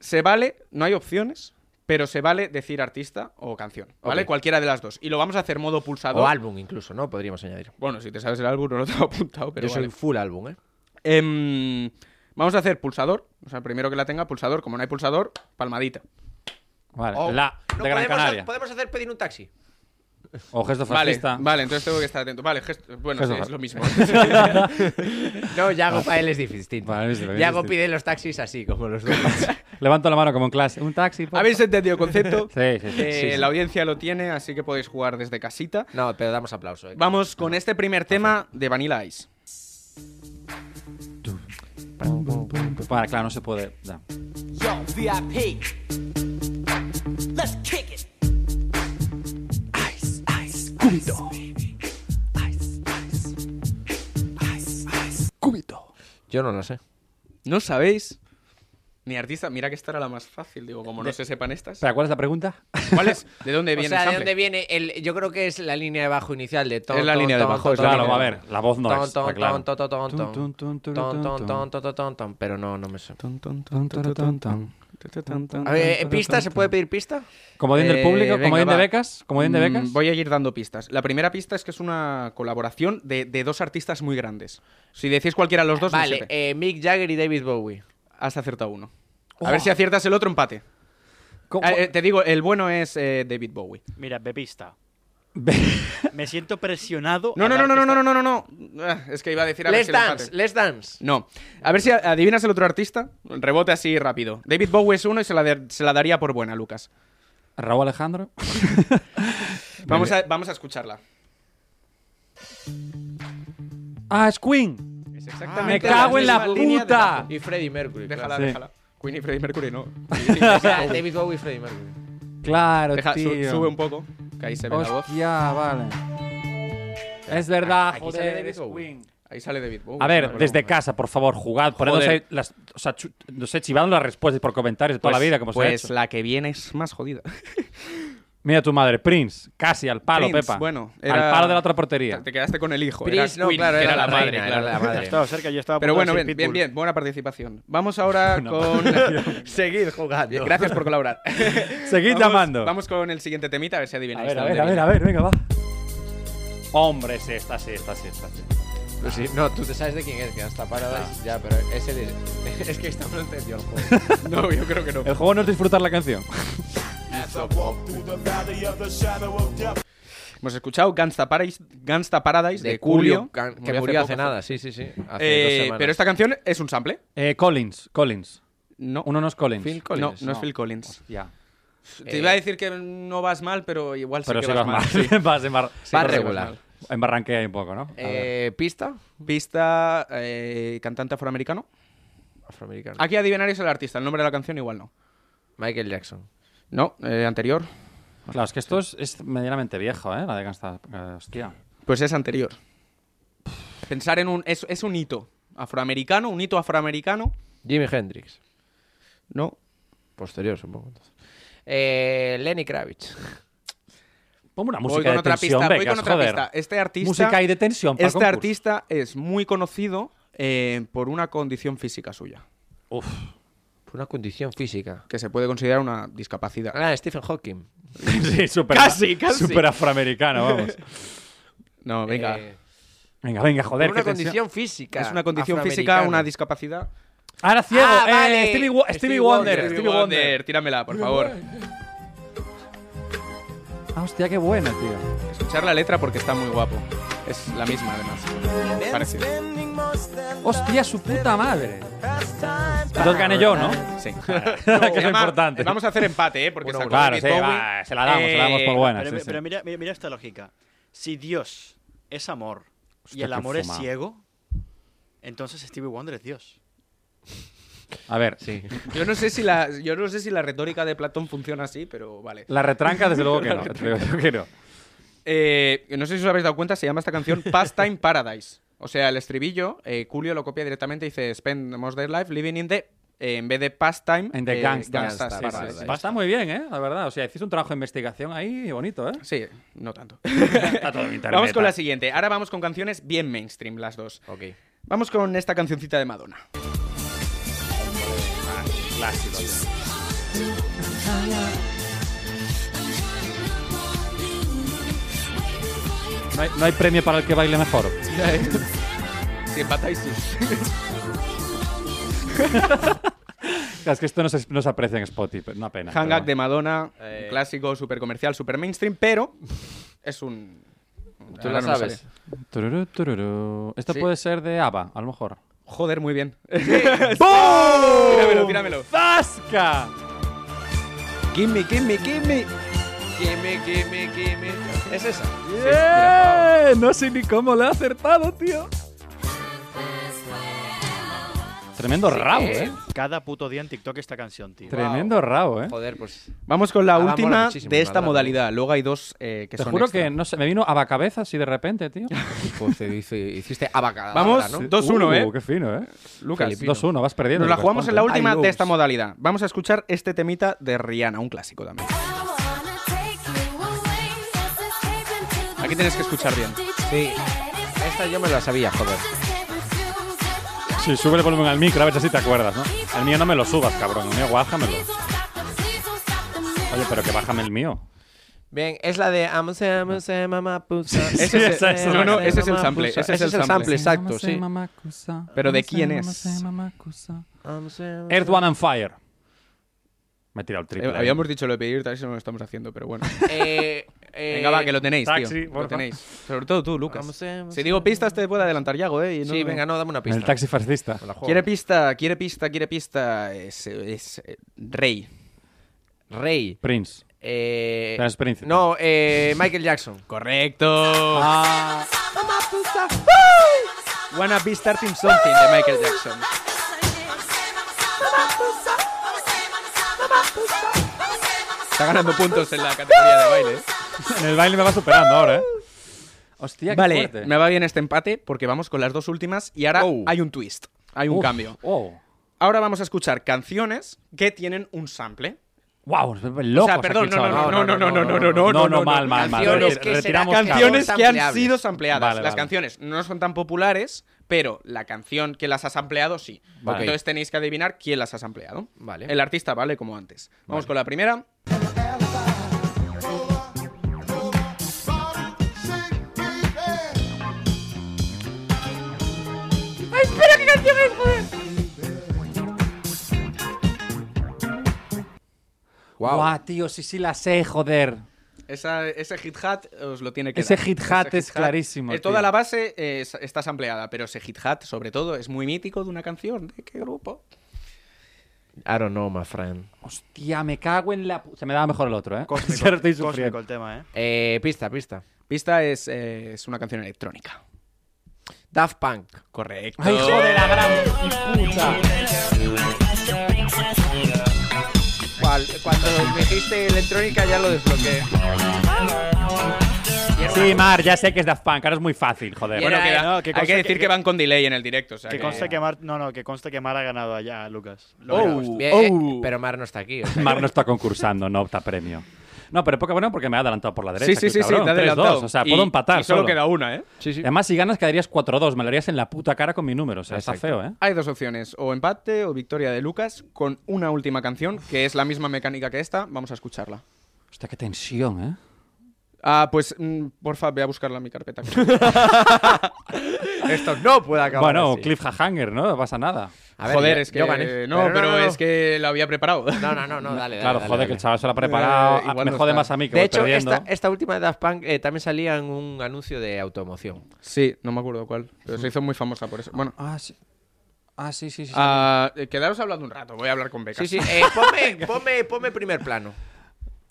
[SPEAKER 6] Se vale, no hay opciones, pero se vale decir artista o canción, ¿vale?
[SPEAKER 4] Ok.
[SPEAKER 6] Cualquiera de las dos. Y lo vamos a hacer modo pulsador.
[SPEAKER 4] O álbum incluso, ¿no? Podríamos añadir.
[SPEAKER 6] Bueno, si te sabes el álbum, no lo tengo apuntado, pero
[SPEAKER 4] Yo soy
[SPEAKER 6] vale.
[SPEAKER 4] full álbum, ¿eh?
[SPEAKER 6] Em, vamos a hacer pulsador. O sea, primero que la tenga, pulsador. Como no hay pulsador, palmadita.
[SPEAKER 5] Vale,
[SPEAKER 6] Oh.
[SPEAKER 5] la de
[SPEAKER 6] No
[SPEAKER 5] Gran
[SPEAKER 6] podemos-
[SPEAKER 5] Canaria.
[SPEAKER 4] Podemos hacer pedir un taxi.
[SPEAKER 5] O gesto
[SPEAKER 6] Vale,
[SPEAKER 5] fascista.
[SPEAKER 6] vale, entonces tengo que estar atento. Vale, gesto- bueno,
[SPEAKER 5] Gesto
[SPEAKER 6] sí, es
[SPEAKER 5] fa-
[SPEAKER 6] lo mismo.
[SPEAKER 4] No, Yago para él es distinto.
[SPEAKER 5] Para él es distinto.
[SPEAKER 4] Yago pide los taxis así, como los dos.
[SPEAKER 5] Levanto la mano como en clase. Un taxi. por-
[SPEAKER 6] ¿Habéis entendido el concepto?
[SPEAKER 5] Sí, sí, sí,
[SPEAKER 6] Eh,
[SPEAKER 5] sí, sí.
[SPEAKER 6] La audiencia lo tiene, así que podéis jugar desde casita.
[SPEAKER 4] No, pero damos aplauso. ¿eh?
[SPEAKER 6] Vamos con este primer tema de Vanilla Ice.
[SPEAKER 5] Para, claro, no se puede. ya.
[SPEAKER 17] Yo, VIP. Let's kick it. Ice, ice, cubito. Ice, ice. Ice, ice, cubito.
[SPEAKER 4] Yo no lo sé.
[SPEAKER 6] ¿No sabéis? Ni artista, mira que esta era la más fácil, digo, como no se sepan estas.
[SPEAKER 5] Espera, ¿cuál es la pregunta?
[SPEAKER 6] ¿Cuál es? ¿De dónde
[SPEAKER 4] O
[SPEAKER 6] viene
[SPEAKER 4] sea,
[SPEAKER 6] el
[SPEAKER 4] ¿de
[SPEAKER 6] sample?
[SPEAKER 4] dónde viene el...? Yo creo que es la línea de bajo inicial de ton,
[SPEAKER 6] Es la
[SPEAKER 4] ton,
[SPEAKER 6] línea de
[SPEAKER 4] ton,
[SPEAKER 6] bajo,
[SPEAKER 4] ton,
[SPEAKER 6] es
[SPEAKER 4] ton,
[SPEAKER 6] claro,
[SPEAKER 4] ton,
[SPEAKER 6] a ver,
[SPEAKER 5] la voz no
[SPEAKER 4] ton,
[SPEAKER 5] es,
[SPEAKER 4] ton,
[SPEAKER 5] está claro.
[SPEAKER 4] ton, ton, ton, ton,
[SPEAKER 5] Tun, tun, tun, tun,
[SPEAKER 4] ton, ton,
[SPEAKER 5] tun.
[SPEAKER 4] ton, ton, ton, ton, Pero no, no me sé.
[SPEAKER 5] A
[SPEAKER 4] A ver, eh, ¿pista? ¿Se puede pedir pista?
[SPEAKER 5] Comodín del público, comodín de becas, comodín de
[SPEAKER 6] Eh, Mm,
[SPEAKER 5] becas.
[SPEAKER 6] voy a ir dando pistas. La primera pista es que es una colaboración de, de dos artistas muy grandes. Si decís cualquiera de los dos, no
[SPEAKER 4] Vale,
[SPEAKER 6] sirve.
[SPEAKER 4] eh, Mick Jagger y David Bowie.
[SPEAKER 6] Has acertado uno.
[SPEAKER 4] Oh.
[SPEAKER 6] A ver si aciertas el otro empate.
[SPEAKER 5] ¿Cómo?
[SPEAKER 6] Ah, eh, te digo, el bueno es eh, David Bowie.
[SPEAKER 8] Mira, bepista. Me siento presionado.
[SPEAKER 6] No,
[SPEAKER 8] a
[SPEAKER 6] no, no,
[SPEAKER 8] dar
[SPEAKER 6] no, no,
[SPEAKER 8] esta-
[SPEAKER 6] no, no, no, no. Ah, Es que iba a decir a ver
[SPEAKER 4] Let's
[SPEAKER 6] si lo
[SPEAKER 4] dance,
[SPEAKER 6] empate.
[SPEAKER 4] let's dance.
[SPEAKER 6] No. A ver si a- adivinas el otro artista. Rebote así rápido. David Bowie es uno y se la, de- se la daría por buena, Lucas.
[SPEAKER 5] Raúl Alejandro.
[SPEAKER 6] Vamos a, vamos a escucharla.
[SPEAKER 5] Ah, es Queen.
[SPEAKER 6] Es
[SPEAKER 5] me
[SPEAKER 6] exactamente
[SPEAKER 5] cago en la
[SPEAKER 6] misma línea de
[SPEAKER 5] puta.
[SPEAKER 6] bajo.
[SPEAKER 4] Y Freddie Mercury. claro.
[SPEAKER 6] Déjala,
[SPEAKER 5] Sí.
[SPEAKER 6] déjala. Queen y Freddie Mercury no.
[SPEAKER 4] O sea, David Bowie y Freddie Mercury.
[SPEAKER 5] Claro,
[SPEAKER 6] Deja, su-
[SPEAKER 5] tío.
[SPEAKER 6] sube un poco, que ahí se ve la voz.
[SPEAKER 5] Hostia, vale. Es verdad,
[SPEAKER 6] Aquí sale
[SPEAKER 5] joder.
[SPEAKER 6] David
[SPEAKER 5] es
[SPEAKER 6] Bowie.
[SPEAKER 5] Queen.
[SPEAKER 6] Ahí sale David Uh, Bowie.
[SPEAKER 5] A
[SPEAKER 6] no
[SPEAKER 5] ver,
[SPEAKER 6] me
[SPEAKER 5] desde
[SPEAKER 6] acuerdo.
[SPEAKER 5] casa, por favor, jugad. Ponednos
[SPEAKER 6] Joder.
[SPEAKER 5] ahí las, o sea, chu- no sé, chivadnos las respuestas por comentarios de toda la vida, como se ha
[SPEAKER 6] pues
[SPEAKER 5] hecho.
[SPEAKER 6] la que viene es más jodida.
[SPEAKER 5] Mira tu madre, Prince, casi al palo,
[SPEAKER 6] Prince,
[SPEAKER 5] Pepa.
[SPEAKER 6] Bueno,
[SPEAKER 5] Al
[SPEAKER 6] era-
[SPEAKER 5] palo de la otra portería.
[SPEAKER 6] Te quedaste con el hijo.
[SPEAKER 5] Prince,
[SPEAKER 6] eras
[SPEAKER 5] no,
[SPEAKER 6] Queen,
[SPEAKER 5] claro,
[SPEAKER 6] que
[SPEAKER 5] era
[SPEAKER 6] Pues era,
[SPEAKER 5] la
[SPEAKER 6] la madre.
[SPEAKER 5] reina,
[SPEAKER 6] claro.
[SPEAKER 5] era la madre. Yo estaba cerca, yo estaba a
[SPEAKER 6] Pero
[SPEAKER 5] punto de
[SPEAKER 6] bueno,
[SPEAKER 5] decir
[SPEAKER 6] bien, bien,
[SPEAKER 5] Pitbull.
[SPEAKER 6] bien, buena participación. Vamos ahora con. Seguid jugando. Gracias por colaborar.
[SPEAKER 5] Seguid
[SPEAKER 6] Vamos-
[SPEAKER 5] llamando.
[SPEAKER 6] Vamos con el siguiente temita, a ver si
[SPEAKER 5] A
[SPEAKER 6] adivináis.
[SPEAKER 5] ver,
[SPEAKER 6] de
[SPEAKER 5] a
[SPEAKER 6] dónde
[SPEAKER 5] ver, a ver,
[SPEAKER 6] viene.
[SPEAKER 5] a ver, venga, va.
[SPEAKER 11] Hombre, sí, esta sí, esta sí, esta sí.
[SPEAKER 4] Pues sí, no, tú te sabes de quién es, que hasta paradas. Ya, pero ese de- es que esta no entendió el juego.
[SPEAKER 6] No, yo creo que no.
[SPEAKER 5] El juego no es disfrutar la canción.
[SPEAKER 6] Hemos escuchado Gangsta Paradise, Gangsta Paradise de,
[SPEAKER 4] De
[SPEAKER 6] Coolio.
[SPEAKER 4] Coolio, can- que
[SPEAKER 6] murió hace
[SPEAKER 4] murió hace Eh,
[SPEAKER 6] poco, Eh,
[SPEAKER 4] nada, sí, sí, sí, hace dos semanas.
[SPEAKER 6] Pero esta canción es un sample.
[SPEAKER 5] Eh, Collins, Collins.
[SPEAKER 6] No.
[SPEAKER 5] Uno no es Collins.
[SPEAKER 6] Phil Collins. No, no es Phil Collins.
[SPEAKER 5] Hostia.
[SPEAKER 6] Te iba a decir que no vas mal, pero igual sí
[SPEAKER 5] Pero
[SPEAKER 6] que
[SPEAKER 5] si vas mal.
[SPEAKER 6] sí.
[SPEAKER 5] vas en bar-
[SPEAKER 6] Sí, vas
[SPEAKER 5] regular.
[SPEAKER 6] mal.
[SPEAKER 5] En barranquea un poco, ¿no? A ver.
[SPEAKER 4] Eh, ¿Pista?
[SPEAKER 6] Pista, eh, cantante afroamericano.
[SPEAKER 4] Afroamericano.
[SPEAKER 6] Aquí adivinaréis el artista, el nombre de la canción igual no.
[SPEAKER 4] Michael Jackson.
[SPEAKER 6] No, eh, anterior.
[SPEAKER 5] Claro, es que esto es, es medianamente viejo, ¿eh? La de Gangsta. eh, hostia.
[SPEAKER 6] Pues es anterior. Pensar en un. Es, es un hito afroamericano, un hito afroamericano.
[SPEAKER 4] Jimi Hendrix.
[SPEAKER 6] No.
[SPEAKER 4] Posterior, supongo. entonces. Eh, Lenny Kravitz.
[SPEAKER 5] Ponme una
[SPEAKER 6] Voy
[SPEAKER 5] música
[SPEAKER 6] con
[SPEAKER 5] de
[SPEAKER 6] otra
[SPEAKER 5] tensión,
[SPEAKER 6] pista, voy
[SPEAKER 5] vengas,
[SPEAKER 6] con otra
[SPEAKER 5] joder.
[SPEAKER 6] pista. Este artista.
[SPEAKER 5] Música y de tensión para el
[SPEAKER 6] Este
[SPEAKER 5] concurso.
[SPEAKER 6] artista es muy conocido eh, por una condición física suya.
[SPEAKER 4] Uf. Por una condición física.
[SPEAKER 6] Que se puede considerar una discapacidad.
[SPEAKER 4] Ah, Stephen Hawking.
[SPEAKER 5] Sí, súper
[SPEAKER 6] Casi, casi.
[SPEAKER 5] Súper afroamericano, vamos.
[SPEAKER 6] No, venga.
[SPEAKER 4] Eh,
[SPEAKER 5] Venga, venga, joder.
[SPEAKER 4] Por una
[SPEAKER 5] qué tensión.
[SPEAKER 4] condición física.
[SPEAKER 6] Es una condición física,
[SPEAKER 4] afroamericana.
[SPEAKER 6] una discapacidad.
[SPEAKER 5] Ahora ciego.
[SPEAKER 4] Ah,
[SPEAKER 5] eh,
[SPEAKER 4] vale.
[SPEAKER 5] Stevie, Wo-
[SPEAKER 4] Stevie
[SPEAKER 5] Stevie Wonder.
[SPEAKER 4] Wonder,
[SPEAKER 5] Stevie Wonder.
[SPEAKER 6] tíramela, por favor.
[SPEAKER 5] Ah, hostia, qué buena, tío.
[SPEAKER 6] Escuchar la letra porque está muy guapo. Es la misma, además. Parecido.
[SPEAKER 5] Hostia, su puta madre. Entonces gané yo, ¿no?
[SPEAKER 6] Sí.
[SPEAKER 5] que es lo
[SPEAKER 6] Llama-
[SPEAKER 5] importante.
[SPEAKER 6] Vamos a hacer empate, ¿eh? Porque
[SPEAKER 5] Uno,
[SPEAKER 6] sacó
[SPEAKER 5] uno. Claro,
[SPEAKER 6] David
[SPEAKER 5] sí,
[SPEAKER 6] Bowie.
[SPEAKER 5] va, se la damos, se la damos por
[SPEAKER 6] Eh,
[SPEAKER 5] buena.
[SPEAKER 6] pero-
[SPEAKER 5] sí,
[SPEAKER 8] Pero,
[SPEAKER 5] sí.
[SPEAKER 8] pero mira, mira, mira esta lógica. Si Dios es amor y
[SPEAKER 5] Hostia,
[SPEAKER 8] el
[SPEAKER 5] qué
[SPEAKER 8] amor es
[SPEAKER 5] fumado.
[SPEAKER 8] ciego, entonces Stevie Wonder es Dios.
[SPEAKER 5] A ver.
[SPEAKER 6] Yo no, sé si la, yo no sé si la retórica de Platón funciona así, pero vale.
[SPEAKER 5] La retranca, desde luego que
[SPEAKER 6] La
[SPEAKER 5] no. Te
[SPEAKER 6] retranca.
[SPEAKER 5] digo yo que no.
[SPEAKER 6] Eh, no sé si os habéis dado cuenta, se llama esta canción Pastime Paradise. O sea, el estribillo, eh, Julio lo copia directamente y dice Spend most of their life living in the... eh, en vez de Pastime...
[SPEAKER 5] En The
[SPEAKER 6] eh,
[SPEAKER 5] Gangsta.
[SPEAKER 6] Gangsta
[SPEAKER 5] Sí, sí,
[SPEAKER 6] Paradise.
[SPEAKER 5] sí. Está muy bien, ¿eh? La verdad. O sea, hiciste un trabajo de investigación ahí bonito, ¿eh?
[SPEAKER 6] Sí, no tanto.
[SPEAKER 5] Está todo en internet.
[SPEAKER 6] Vamos con la siguiente. Ahora vamos con canciones bien mainstream, las dos.
[SPEAKER 4] Ok.
[SPEAKER 6] Vamos con esta cancioncita de Madonna.
[SPEAKER 5] Clásico. No hay, no hay premio para el que baile mejor. eh.
[SPEAKER 6] Si empatáis, sí.
[SPEAKER 5] Es que esto no se, no se aprecia en Spotify, pero una pena.
[SPEAKER 6] Hang
[SPEAKER 5] pero
[SPEAKER 6] Up de Madonna,
[SPEAKER 4] Eh.
[SPEAKER 6] un clásico, super comercial, super mainstream, pero es un...
[SPEAKER 4] Tú
[SPEAKER 6] ahora
[SPEAKER 4] la
[SPEAKER 6] no me
[SPEAKER 4] sabes.
[SPEAKER 6] sale.
[SPEAKER 5] bueno. Tururú, tururú. Esto
[SPEAKER 6] Sí.
[SPEAKER 5] puede ser de ABBA, a lo mejor.
[SPEAKER 6] Joder, muy bien.
[SPEAKER 5] ¡Tíramelo,
[SPEAKER 6] Tíramelo, tíramelo.
[SPEAKER 5] ¡Zasca!
[SPEAKER 6] Gimme, gimme, gimme. Gimme, gimme, gimme. Es esa.
[SPEAKER 5] ¡Eh! No sé ni cómo le ha acertado, tío. Tremendo rabo, ¿eh?
[SPEAKER 8] Cada puto día en TikTok esta canción, tío.
[SPEAKER 5] Tremendo rabo, ¿eh?
[SPEAKER 4] Joder, pues.
[SPEAKER 6] Vamos con la
[SPEAKER 4] Ah, mola
[SPEAKER 6] última
[SPEAKER 4] muchísimo,
[SPEAKER 6] de esta
[SPEAKER 4] la verdad.
[SPEAKER 6] modalidad. Luego hay dos eh, que
[SPEAKER 5] Te
[SPEAKER 6] son
[SPEAKER 5] juro
[SPEAKER 6] extra.
[SPEAKER 5] que no sé, me vino ABBA cabeza así de repente, tío.
[SPEAKER 4] Pues te dice, hiciste abacada.
[SPEAKER 6] Vamos,
[SPEAKER 4] ¿no?
[SPEAKER 6] 2-1, ¿eh?
[SPEAKER 5] Uh, Qué fino, ¿eh?
[SPEAKER 6] Lucas.
[SPEAKER 5] Filipino. 2-1, vas perdiendo.
[SPEAKER 6] Nos la
[SPEAKER 5] Lucas
[SPEAKER 6] jugamos
[SPEAKER 5] Ponte.
[SPEAKER 6] en la última
[SPEAKER 5] Ay,
[SPEAKER 6] de
[SPEAKER 5] Lux.
[SPEAKER 6] esta modalidad. Vamos a escuchar este temita de Rihanna, un clásico también. Aquí tienes que escuchar bien.
[SPEAKER 4] Sí. Esta yo me la sabía, joder.
[SPEAKER 5] Sí, sube el volumen al micro, a ver si te acuerdas, ¿no? El mío no me lo subas, cabrón. El mío, bájamelo. Oye, pero que bájame el mío.
[SPEAKER 4] Bien, es la de Amo se amo se mamá pusa.
[SPEAKER 6] Ese es- ese es- no, no, ese es el sample, ese es el sample.
[SPEAKER 4] exacto, sí.
[SPEAKER 6] Pero ¿de quién es?
[SPEAKER 5] Earth, One and Fire. Me he tirado el triple.
[SPEAKER 6] Eh, habíamos dicho lo de pedir, tal vez no lo estamos haciendo, pero bueno.
[SPEAKER 4] Eh, eh,
[SPEAKER 6] Venga, va, que lo tenéis,
[SPEAKER 5] Taxi,
[SPEAKER 6] tío.
[SPEAKER 5] porfa.
[SPEAKER 6] Lo tenéis. Sobre todo tú, Lucas.
[SPEAKER 4] Vamos, eh, vamos,
[SPEAKER 6] si digo este pistas, te puede adelantar Yago, ¿eh? y no me-
[SPEAKER 4] Sí, venga, no, dame una pista.
[SPEAKER 5] El taxi fascista.
[SPEAKER 4] Me la juego.
[SPEAKER 6] Quiere pista, quiere pista, quiere pista. Es, es, eh, Rey.
[SPEAKER 4] Rey.
[SPEAKER 5] Prince.
[SPEAKER 4] Eh,
[SPEAKER 5] Pero es príncipe.
[SPEAKER 4] No, eh, Michael Jackson.
[SPEAKER 6] Correcto. Ah. Wanna be starting something de Michael Jackson. Está ganando puntos en la categoría de baile. ¿eh?
[SPEAKER 5] En el baile me va superando ahora, ¿eh? Hostia, qué
[SPEAKER 6] Vale,
[SPEAKER 5] fuerte.
[SPEAKER 6] me va bien este empate porque vamos con las dos últimas y ahora
[SPEAKER 5] Oh.
[SPEAKER 6] hay un twist, hay un
[SPEAKER 5] Uf,
[SPEAKER 6] cambio.
[SPEAKER 5] oh.
[SPEAKER 6] Ahora vamos a escuchar canciones que tienen un sample.
[SPEAKER 5] Wow, loco.
[SPEAKER 6] o sea, perdón, no, no, no, no, no, no, no, no, no,
[SPEAKER 5] no, no, mal, mal, mal.
[SPEAKER 6] Canciones
[SPEAKER 5] Re-
[SPEAKER 6] que,
[SPEAKER 5] retiramos
[SPEAKER 6] canciones
[SPEAKER 5] caos.
[SPEAKER 6] que han sido sampleadas.
[SPEAKER 5] Vale,
[SPEAKER 6] Las
[SPEAKER 5] vale.
[SPEAKER 6] canciones no son tan populares, pero la canción que las has sampleado sí.
[SPEAKER 5] Vale.
[SPEAKER 6] Entonces tenéis que adivinar quién las ha sampleado.
[SPEAKER 4] Vale.
[SPEAKER 6] El artista vale como antes. Vamos
[SPEAKER 4] Vale.
[SPEAKER 6] con la primera.
[SPEAKER 17] ¡Ay, espera, qué canción es, joder!
[SPEAKER 5] Guau, tío, sí, sí la sé, joder.
[SPEAKER 6] Esa- ese hit hat os lo tiene que
[SPEAKER 5] Ese
[SPEAKER 6] dar.
[SPEAKER 5] hit hat
[SPEAKER 6] Ese
[SPEAKER 5] es clarísimo,
[SPEAKER 6] Eh, toda
[SPEAKER 5] tío.
[SPEAKER 6] la base eh, es- está sampleada, pero ese hit hat, sobre todo, es muy mítico de una canción. ¿De qué grupo?
[SPEAKER 4] I don't know, my friend.
[SPEAKER 5] Tía, me cago en la... pu- Se me daba mejor el otro, ¿eh?
[SPEAKER 8] Cósmico,
[SPEAKER 5] Ahora estoy
[SPEAKER 8] cósmico
[SPEAKER 5] sufriendo.
[SPEAKER 8] el tema, ¿eh?
[SPEAKER 4] Eh, pista, pista.
[SPEAKER 6] Pista es, eh, es una canción electrónica.
[SPEAKER 4] Daft Punk.
[SPEAKER 6] Correcto.
[SPEAKER 4] ¡Ay, hijo de la gran
[SPEAKER 5] puta!
[SPEAKER 6] Cuando me dijiste electrónica ya lo desbloqueé.
[SPEAKER 5] Sí, Mar, ya sé que es Daft Punk, ahora es muy fácil, joder.
[SPEAKER 6] Bueno, eh, que,
[SPEAKER 8] no, que
[SPEAKER 6] hay
[SPEAKER 8] conste
[SPEAKER 6] que decir
[SPEAKER 8] que-
[SPEAKER 6] que, van con delay en el directo. o sea
[SPEAKER 8] Que
[SPEAKER 6] que-
[SPEAKER 8] conste que Mar, no, no, que conste que Mar ha ganado allá, Lucas. Lo
[SPEAKER 6] Oh,
[SPEAKER 8] ganamos.
[SPEAKER 4] Bien, eh, pero Mar no está aquí. o sea
[SPEAKER 5] Mar no está concursando, no opta premio. No, pero poca bueno porque me ha adelantado por la derecha.
[SPEAKER 6] Sí, sí,
[SPEAKER 5] que
[SPEAKER 6] sí, sí,
[SPEAKER 5] cabrón,
[SPEAKER 6] te ha
[SPEAKER 5] 3-2,
[SPEAKER 6] adelantado.
[SPEAKER 5] O sea,
[SPEAKER 6] Y-
[SPEAKER 5] puedo empatar.
[SPEAKER 6] y solo queda una, ¿eh?
[SPEAKER 5] Sí, sí. Además, si ganas, quedarías 4-2. Me lo harías en la puta cara con mi número. O sea, está
[SPEAKER 6] Exacto.
[SPEAKER 5] feo, ¿eh?
[SPEAKER 6] Hay dos opciones, o empate o victoria de Lucas con una última canción, que es la misma mecánica que esta. Vamos a escucharla.
[SPEAKER 5] Hostia, qué tensión, ¿eh?
[SPEAKER 6] Ah, pues, mm, porfa, voy a buscarla en mi carpeta.
[SPEAKER 4] Esto no puede acabar.
[SPEAKER 5] bueno,
[SPEAKER 4] así.
[SPEAKER 5] cliffhanger, ¿no? No pasa nada.
[SPEAKER 4] A ver,
[SPEAKER 6] Joder,
[SPEAKER 4] yo-
[SPEAKER 6] es que. eh,
[SPEAKER 4] yo gané.
[SPEAKER 6] No,
[SPEAKER 4] Pero
[SPEAKER 6] pero,
[SPEAKER 4] no, no, no.
[SPEAKER 6] es que la había preparado.
[SPEAKER 4] No, no, no, no, dale, dale.
[SPEAKER 5] claro,
[SPEAKER 4] dale,
[SPEAKER 5] joder,
[SPEAKER 4] dale.
[SPEAKER 5] que el chaval se lo ha preparado.
[SPEAKER 6] Eh, igual
[SPEAKER 5] Ah, me
[SPEAKER 6] no
[SPEAKER 5] jode
[SPEAKER 6] está.
[SPEAKER 5] más a mí que
[SPEAKER 4] de
[SPEAKER 5] voy
[SPEAKER 4] hecho,
[SPEAKER 5] perdiendo.
[SPEAKER 6] eh,
[SPEAKER 4] esta, esta última de Daft Punk eh, también salía en un anuncio de automoción.
[SPEAKER 6] Sí, no me acuerdo cuál, pero se hizo muy famosa por eso. Bueno,
[SPEAKER 5] Ah, sí. Ah, sí, sí, sí.
[SPEAKER 6] ah, eh, quedaros hablando un rato, voy a hablar con Becas.
[SPEAKER 4] Sí, sí, eh, ponme, ponme, ponme primer plano.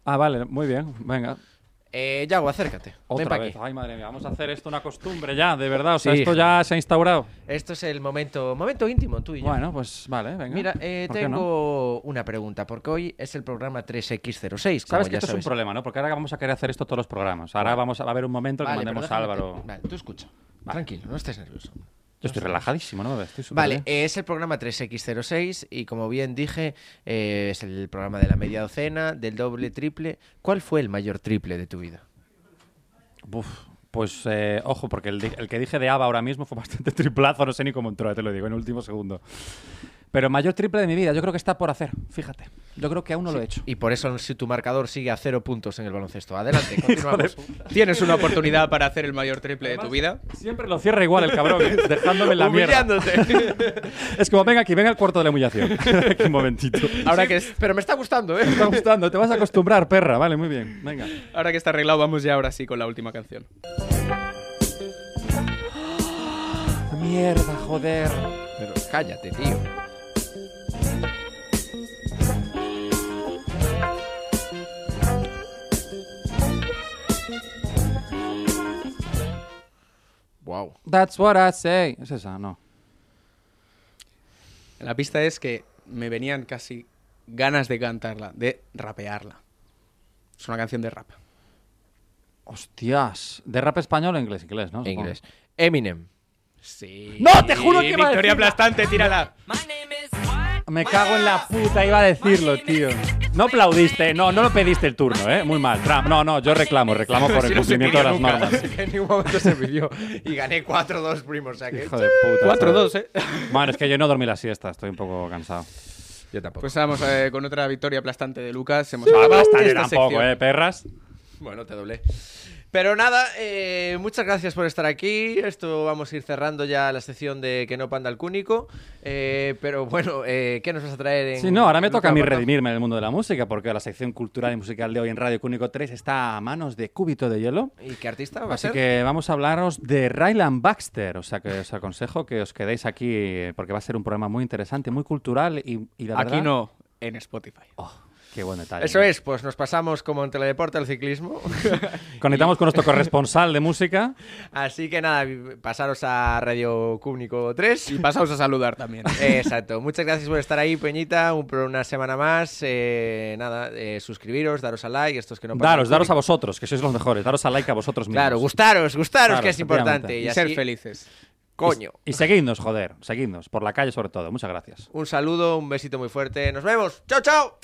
[SPEAKER 5] Ah, vale, muy bien. Venga.
[SPEAKER 4] Eh, Yago, acércate.
[SPEAKER 5] Otra
[SPEAKER 4] Ven pa'
[SPEAKER 5] vez.
[SPEAKER 4] aquí.
[SPEAKER 5] Ay, madre mía, vamos a hacer esto una costumbre ya, de verdad. O sea,
[SPEAKER 4] Sí.
[SPEAKER 5] esto ya se ha instaurado.
[SPEAKER 4] Esto es el momento, momento íntimo tú y yo.
[SPEAKER 5] Bueno, pues vale, venga.
[SPEAKER 4] Mira, eh,
[SPEAKER 5] ¿Por qué no?
[SPEAKER 4] tengo una pregunta, porque hoy es el programa 3X06. como
[SPEAKER 5] Sabes que
[SPEAKER 4] ya
[SPEAKER 5] esto es un
[SPEAKER 4] sabes.
[SPEAKER 5] problema, ¿no? Porque ahora vamos a querer hacer esto todos los programas. Ahora
[SPEAKER 4] Vale.
[SPEAKER 5] vamos a, va a haber un momento que
[SPEAKER 4] Vale, pero
[SPEAKER 5] mandemos a
[SPEAKER 4] déjame
[SPEAKER 5] Álvaro.
[SPEAKER 4] que- Vale, tú escucha. Tranquilo, no estés nervioso.
[SPEAKER 5] Yo estoy relajadísimo, ¿no? Estoy súper
[SPEAKER 4] Vale,
[SPEAKER 5] bien.
[SPEAKER 4] eh, es el programa 3X06 y como bien dije, eh, es el programa de la media docena, del doble, triple. ¿Cuál fue el mayor triple de tu vida? eh.
[SPEAKER 5] Buf, pues eh, ojo, porque el, di- el que dije de ABBA ahora mismo fue bastante triplazo, no sé ni cómo entró, ya te lo digo, en el último segundo. Pero mayor triple de mi vida, yo creo que está por hacer, fíjate. Yo creo que aún no lo he hecho.
[SPEAKER 4] Y por eso si tu marcador sigue a cero puntos en el baloncesto. Adelante, continuamos.
[SPEAKER 6] Tienes una oportunidad para hacer el mayor triple de tu vida.
[SPEAKER 5] Siempre lo cierra igual el cabrón, ¿eh? dejándome en la mierda. Es como, venga aquí, venga al cuarto de la humillación. Aquí un momentito.
[SPEAKER 6] Ahora que, es-
[SPEAKER 4] Pero me está gustando,
[SPEAKER 5] Te
[SPEAKER 4] ¿eh?
[SPEAKER 5] está gustando, te vas a acostumbrar, perra. Vale, muy bien. Venga.
[SPEAKER 6] ahora que está arreglado, vamos ya ahora sí con la última canción.
[SPEAKER 5] Mierda, joder.
[SPEAKER 4] Pero cállate, tío. Wow.
[SPEAKER 5] That's what I say. Es esa, no.
[SPEAKER 6] La pista es que me venían casi ganas de cantarla, de rapearla. Es una canción de rap.
[SPEAKER 5] Hostias. ¿De rap español o inglés? Inglés, ¿no? Supongo.
[SPEAKER 4] Inglés. Eminem.
[SPEAKER 6] Sí.
[SPEAKER 5] ¡No, te juro que iba a
[SPEAKER 6] Victoria
[SPEAKER 5] decirla!
[SPEAKER 6] aplastante, tírala.
[SPEAKER 5] Me cago en la puta, iba a decirlo, tío. No aplaudiste, no, no lo pediste el turno, ¿eh? Muy mal. Trump. No, no, yo reclamo, reclamo por el
[SPEAKER 4] no se
[SPEAKER 5] cumplimiento de las
[SPEAKER 4] pidió nunca,
[SPEAKER 5] normas.
[SPEAKER 4] que en ningún momento se pidió. Y gané 4-2 primos. O sea que...
[SPEAKER 5] Hijo de puta.
[SPEAKER 6] 4-2, ¿eh?
[SPEAKER 5] Bueno, es que yo no dormí la siesta, estoy un poco cansado.
[SPEAKER 4] Yo tampoco.
[SPEAKER 6] Pues vamos eh, con otra victoria aplastante de Lucas. Hemos
[SPEAKER 5] Ah,
[SPEAKER 6] acabado
[SPEAKER 5] bastante
[SPEAKER 6] esta
[SPEAKER 5] tampoco,
[SPEAKER 6] sección.
[SPEAKER 5] ¿eh? Perras.
[SPEAKER 4] Bueno, te doblé. Pero nada, eh, muchas gracias por estar aquí. Esto vamos a ir cerrando ya la sección de que no panda el cúnico. Eh, pero bueno, eh, ¿qué nos vas a traer en.?
[SPEAKER 5] Sí, no, ahora me
[SPEAKER 4] en
[SPEAKER 5] toca a
[SPEAKER 4] nuestro
[SPEAKER 5] mí
[SPEAKER 4] apartado?
[SPEAKER 5] redimirme en el mundo de la música, porque la sección cultural y musical de hoy en Radio Cúnico 3 está a manos de Cúbito de Hielo.
[SPEAKER 4] ¿Y qué artista va a
[SPEAKER 5] Así
[SPEAKER 4] ser?
[SPEAKER 5] que vamos a hablaros de Ryland Baxter, o sea que os aconsejo que os quedéis aquí eh, porque va a ser un programa muy interesante, muy cultural y, y la
[SPEAKER 6] Aquí
[SPEAKER 5] verdad- oh,
[SPEAKER 6] no, en Spotify.
[SPEAKER 5] Qué buen detalle.
[SPEAKER 4] Eso
[SPEAKER 5] ¿no?
[SPEAKER 4] es, pues nos pasamos como en teledeporte al ciclismo.
[SPEAKER 5] Conectamos con nuestro corresponsal de música.
[SPEAKER 4] Así que nada, vi- pasaros a Radio Cúnico 3.
[SPEAKER 6] Y pasamos a saludar también.
[SPEAKER 4] Eh, Exacto. Muchas gracias por estar ahí, Peñita. Un, por una semana más. Eh, nada, eh, suscribiros, daros a like. Estos que no pasan
[SPEAKER 5] Daros,
[SPEAKER 4] el
[SPEAKER 5] daros a
[SPEAKER 4] cúnico.
[SPEAKER 5] vosotros, que sois los mejores. Daros a like a vosotros mismos.
[SPEAKER 4] Claro, gustaros, gustaros,
[SPEAKER 5] Claro,
[SPEAKER 4] que es importante.
[SPEAKER 5] efectivamente.
[SPEAKER 4] Y,
[SPEAKER 6] Y
[SPEAKER 4] así,
[SPEAKER 6] ser felices.
[SPEAKER 4] Coño.
[SPEAKER 5] Y seguidnos, joder. Seguidnos. Por la calle, sobre todo. Muchas gracias.
[SPEAKER 4] Un saludo, un besito muy fuerte. Nos vemos. Chao, chao.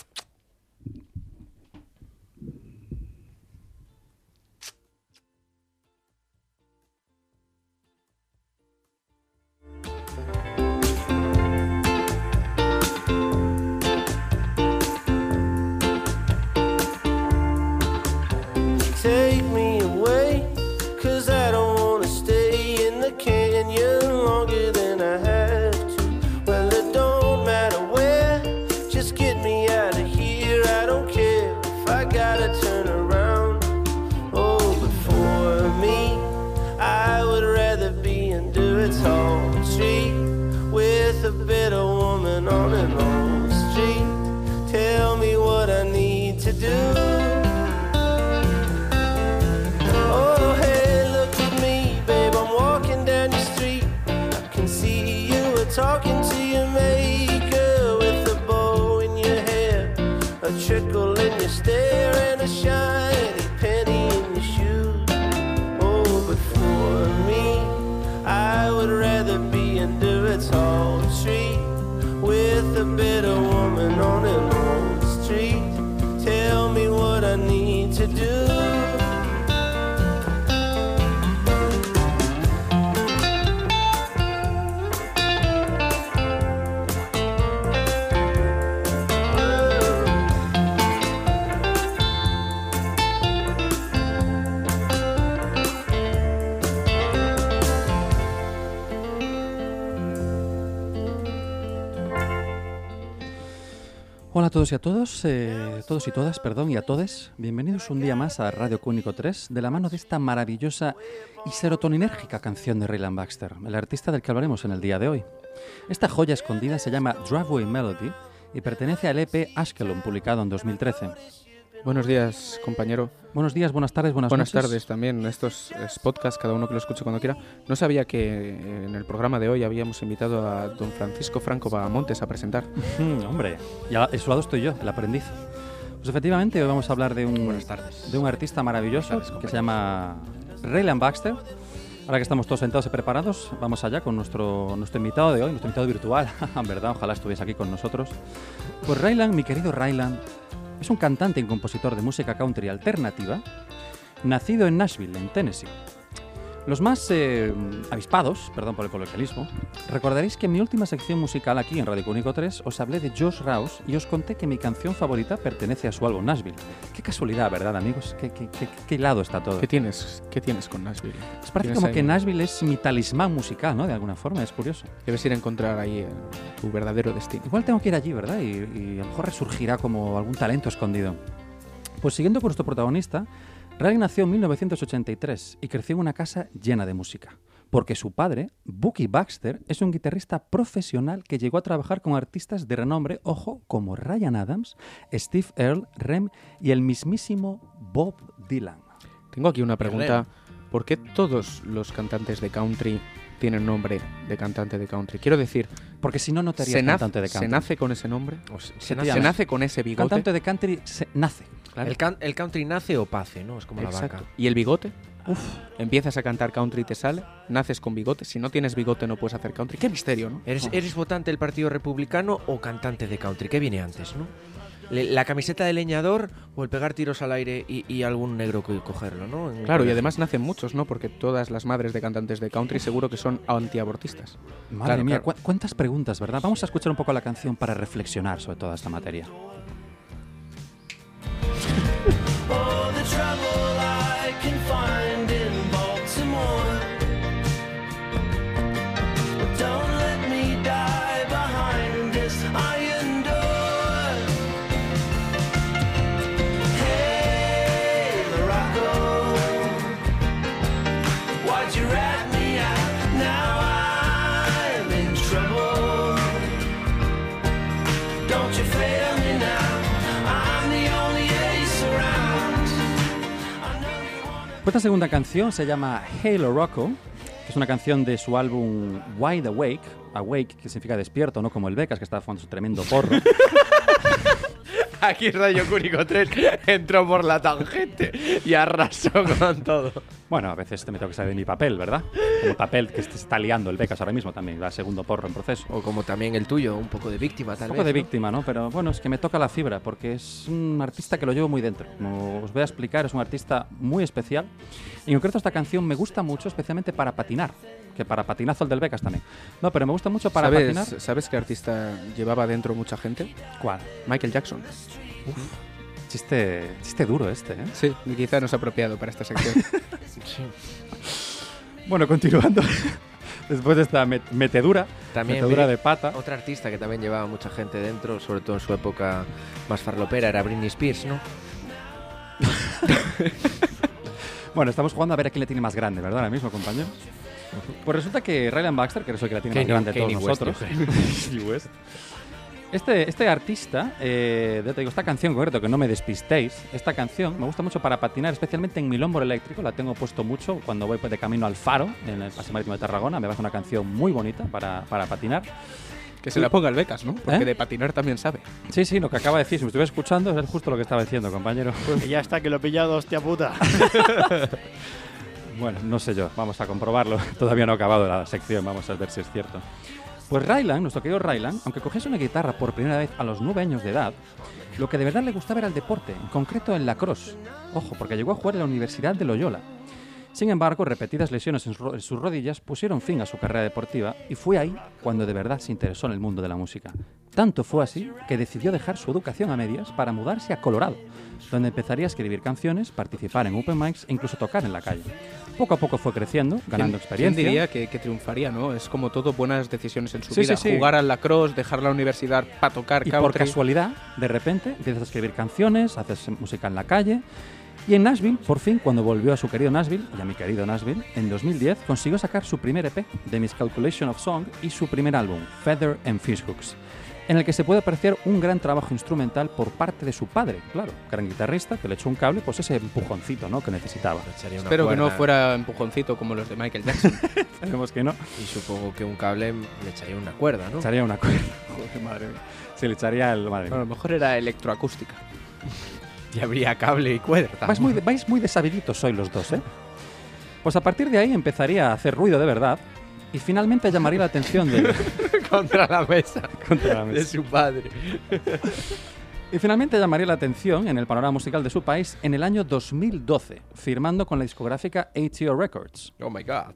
[SPEAKER 15] Oh,
[SPEAKER 18] do. Oh, hey, look at me, babe. I'm walking down the street. I can see you were talking to your maker with a bow in your hair, a trickle in your stare, and a shiny penny in your shoe. Oh, but for me, I would rather be under a tall tree with a bitter woman on an old street. Tell me what I need to do.
[SPEAKER 5] Hola a todos y a todos, eh, todos y todas, perdón, y a todes. Bienvenidos un día más a Radio Cúnico 3, de la mano de esta maravillosa y serotoninérgica canción de Raylan Baxter, el artista del que hablaremos en el día de hoy. Esta joya escondida se llama Driveway Melody y pertenece al EP Ashkelon, publicado en 2013.
[SPEAKER 6] Buenos días, compañero.
[SPEAKER 5] Buenos días, buenas tardes, buenas,
[SPEAKER 6] Buenas
[SPEAKER 5] noches.
[SPEAKER 6] tardes también. Estos es podcasts, cada uno que lo escuche cuando quiera. No sabía que eh, en el programa de hoy habíamos invitado a don Francisco Franco Bahamontes a presentar.
[SPEAKER 5] Mm, Hombre, y a a su lado estoy yo, el aprendiz. Pues efectivamente, hoy vamos a hablar de un, de un artista maravilloso que se llama Raylan Baxter. Ahora que estamos todos sentados y preparados, vamos allá con nuestro, nuestro invitado de hoy, nuestro invitado virtual. en verdad, ojalá estuviese aquí con nosotros. Pues Raylan, mi querido Raylan, es un cantante y compositor de música country alternativa, nacido en Nashville, en Tennessee. Los más eh, avispados, perdón por el coloquialismo, recordaréis que en mi última sección musical aquí en Radio Cúnico 3 os hablé de Josh Rouse y os conté que mi canción favorita pertenece a su álbum Nashville. Qué casualidad, ¿verdad, amigos? Qué, qué, qué- qué hilado está todo.
[SPEAKER 6] ¿Qué tienes, ¿Qué tienes con Nashville?
[SPEAKER 5] Os Pues parece
[SPEAKER 6] Tienes
[SPEAKER 5] como
[SPEAKER 6] ahí-
[SPEAKER 5] que Nashville es mi talismán musical, ¿no? De alguna forma, es curioso.
[SPEAKER 6] Debes ir a encontrar ahí eh, tu verdadero destino.
[SPEAKER 5] Igual tengo que ir allí, ¿verdad? Y, y a lo mejor resurgirá como algún talento escondido. Pues siguiendo con nuestro protagonista, Riley nació en 1983 y creció en una casa llena de música. Porque su padre, Bucky Baxter, es un guitarrista profesional que llegó a trabajar con artistas de renombre, ojo, como Ryan Adams, Steve Earle, Rem y el mismísimo Bob Dylan.
[SPEAKER 6] Tengo aquí una pregunta. ¿Por qué todos los cantantes de country tienen nombre de cantante de country? Quiero decir...
[SPEAKER 5] Porque si no, no te harías
[SPEAKER 6] ¿se nace-
[SPEAKER 5] cantante de country.
[SPEAKER 6] ¿Se nace con ese nombre? ¿Se, nace,
[SPEAKER 5] llama-
[SPEAKER 6] se nace con ese bigote?
[SPEAKER 5] Cantante de country se- nace.
[SPEAKER 4] El, can- el country nace o pace, ¿no? Es como la
[SPEAKER 6] Exacto.
[SPEAKER 4] vaca.
[SPEAKER 6] ¿Y el bigote? Uf. Empiezas a cantar country y te sale. Naces con bigote. Si no tienes bigote no puedes hacer country. Qué misterio, ¿no?
[SPEAKER 4] ¿Eres, ¿Eres votante del Partido Republicano o cantante de country? ¿Qué viene antes, no? Le- ¿La camiseta de leñador o el pegar tiros al aire y, y algún negro co- cogerlo, no? En-
[SPEAKER 6] Claro, y además nacen muchos, ¿no? Porque todas las madres de cantantes de country seguro que son antiabortistas.
[SPEAKER 5] Madre
[SPEAKER 6] Claro,
[SPEAKER 5] mía,
[SPEAKER 6] claro.
[SPEAKER 5] cu- cuántas preguntas, ¿verdad? Vamos a escuchar un poco la canción para reflexionar sobre toda esta materia.
[SPEAKER 18] All the trouble I can find in Baltimore. But don't let me die behind this iron door. Hey, Morocco, why'd you rat me out? Now I'm in trouble. Don't you fail me now. I'm the only ace around.
[SPEAKER 5] Pues Esta segunda canción se llama Halo Rocco, que es una canción de su álbum Wide Awake, Awake, que significa despierto, no como el Becas, que está fumando su tremendo porro.
[SPEAKER 4] Aquí Rayo Cúnico 3 entró por la tangente y arrasó con todo.
[SPEAKER 5] bueno, a veces te me tengo que salir de mi papel, ¿verdad? Como papel que se está liando el Becas ahora mismo también, va segundo porro en proceso.
[SPEAKER 4] O como también el tuyo, un poco de víctima
[SPEAKER 5] Un
[SPEAKER 4] tal
[SPEAKER 5] poco
[SPEAKER 4] vez,
[SPEAKER 5] de
[SPEAKER 4] ¿no?
[SPEAKER 5] víctima, ¿no? Pero bueno, es que me toca la fibra, porque es un artista que lo llevo muy dentro. Como os voy a explicar, es un artista muy especial. Y en concreto esta canción me gusta mucho, especialmente para patinar. Que para patinazo el del Becas también. No, pero me gusta mucho para
[SPEAKER 6] ¿Sabes,
[SPEAKER 5] patinar.
[SPEAKER 6] ¿Sabes qué artista llevaba dentro mucha gente?
[SPEAKER 5] ¿Cuál?
[SPEAKER 6] Michael Jackson.
[SPEAKER 5] Chiste, chiste duro este, ¿eh?
[SPEAKER 6] Sí, quizá no es apropiado para esta sección.
[SPEAKER 5] Bueno, continuando. Después de esta met- metedura, metedura
[SPEAKER 4] vi
[SPEAKER 5] de pata.
[SPEAKER 4] Otra artista que también llevaba mucha gente dentro, sobre todo en su época más farlopera, era Britney Spears, ¿no?
[SPEAKER 5] Bueno, estamos jugando a ver a quién le tiene más grande, ¿verdad? Ahora mismo, compañeros. Pues resulta que Ryan Baxter, que es el que la tiene más
[SPEAKER 4] Kanye-
[SPEAKER 5] grande de todos
[SPEAKER 4] Kanye West,
[SPEAKER 5] nosotros,
[SPEAKER 4] yo creo.
[SPEAKER 5] Kanye West, ¿eh? Este, este artista, eh, ya te digo, esta canción en concreto, que no me despistéis, esta canción me gusta mucho para patinar, especialmente en mi lombor eléctrico, la tengo puesto mucho cuando voy pues, de camino al faro, en el Paseo Marítimo de Tarragona, me parece una canción muy bonita para, para patinar.
[SPEAKER 6] Que se la ponga el Becas, ¿no? Porque
[SPEAKER 5] ¿Eh?
[SPEAKER 6] de patinar también sabe.
[SPEAKER 5] Sí, sí, lo que acaba de decir, si me estuviera escuchando, es justo lo que estaba diciendo, compañero.
[SPEAKER 8] Que ya está, que lo he pillado, hostia puta.
[SPEAKER 5] Bueno, no sé yo, vamos a comprobarlo. Todavía no ha acabado la sección, vamos a ver si es cierto. Pues Rylan, nuestro querido Rylan, aunque cogiese una guitarra por primera vez a los nueve años de edad, lo que de verdad le gustaba era el deporte, en concreto el lacrosse. Ojo, porque llegó a jugar en la Universidad de Loyola. Sin embargo, repetidas lesiones en, su ro- en sus rodillas pusieron fin a su carrera deportiva y fue ahí cuando de verdad se interesó en el mundo de la música. Tanto fue así que decidió dejar su educación a medias para mudarse a Colorado, donde empezaría a escribir canciones, participar en open mics e incluso tocar en la calle. Poco a poco fue creciendo, ganando
[SPEAKER 6] ¿Quién- ¿Quién
[SPEAKER 5] experiencia.
[SPEAKER 6] diría que, que triunfaría, no? Es como todo buenas decisiones en su
[SPEAKER 5] Sí,
[SPEAKER 6] vida.
[SPEAKER 5] sí, sí.
[SPEAKER 6] Jugar al lacrosse, dejar la universidad para tocar
[SPEAKER 5] Y
[SPEAKER 6] country.
[SPEAKER 5] por casualidad, de repente, empiezas a escribir canciones, haces música en la calle. Y en Nashville, por fin, cuando volvió a su querido Nashville, y a mi querido Nashville, en 2010 consiguió sacar su primer EP, The Miscalculation of Song, y su primer álbum, Feather and Fishhooks, en el que se puede apreciar un gran trabajo instrumental por parte de su padre, claro, gran guitarrista, que le echó un cable, pues ese empujoncito ¿no? que necesitaba.
[SPEAKER 6] Espero que no fuera empujoncito como los de Michael Jackson.
[SPEAKER 5] Esperemos que no.
[SPEAKER 4] Y supongo que un cable le echaría una cuerda, ¿no?
[SPEAKER 5] Echaría una cuerda. Joder, madre mía. Se le echaría el... Madre mía.
[SPEAKER 6] Bueno, a lo mejor era electroacústica.
[SPEAKER 4] Y habría cable y cuerda.
[SPEAKER 5] Vais muy, vais muy deshabilitos hoy los dos, ¿eh? Pues a partir de ahí empezaría a hacer ruido de verdad y finalmente llamaría la atención de...
[SPEAKER 4] Contra la mesa.
[SPEAKER 5] Contra la mesa.
[SPEAKER 4] De su padre.
[SPEAKER 5] Y finalmente llamaría la atención en el panorama musical de su país en el año 2012, firmando con la discográfica ATO Records.
[SPEAKER 6] Oh my god.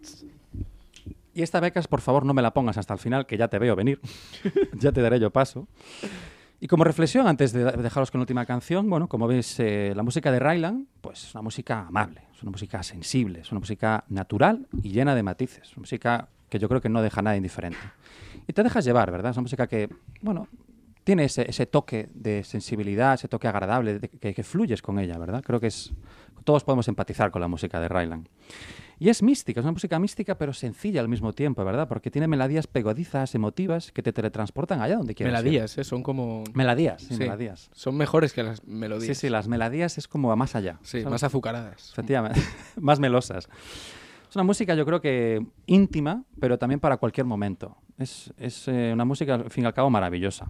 [SPEAKER 5] Y esta becas, por favor, no me la pongas hasta el final, que ya te veo venir. ya te daré yo paso. Y como reflexión, antes de dejaros con la última canción, bueno, como veis, eh, la música de Ryland, pues es una música amable, es una música sensible, es una música natural y llena de matices. Una música que yo creo que no deja nada indiferente. Y te dejas llevar, ¿verdad? Es una música que, bueno, tiene ese, ese toque de sensibilidad, ese toque agradable, de- que, que fluyes con ella, ¿verdad? Creo que es, todos podemos empatizar con la música de Ryland. Y es mística, es una música mística pero sencilla al mismo tiempo, ¿verdad? Porque tiene melodías pegodizas, emotivas, que te teletransportan allá donde quieras. ir.
[SPEAKER 6] Melodías, ¿eh? Son como...
[SPEAKER 5] Melodías, sí, melodías.
[SPEAKER 6] Son mejores que las melodías.
[SPEAKER 5] Sí, sí, las melodías es como a más allá.
[SPEAKER 6] Sí, más azucaradas.
[SPEAKER 5] Efectivamente, más melosas. Es una música, yo creo que íntima, pero también para cualquier momento. Es, es, eh, una música, al fin y al cabo, maravillosa.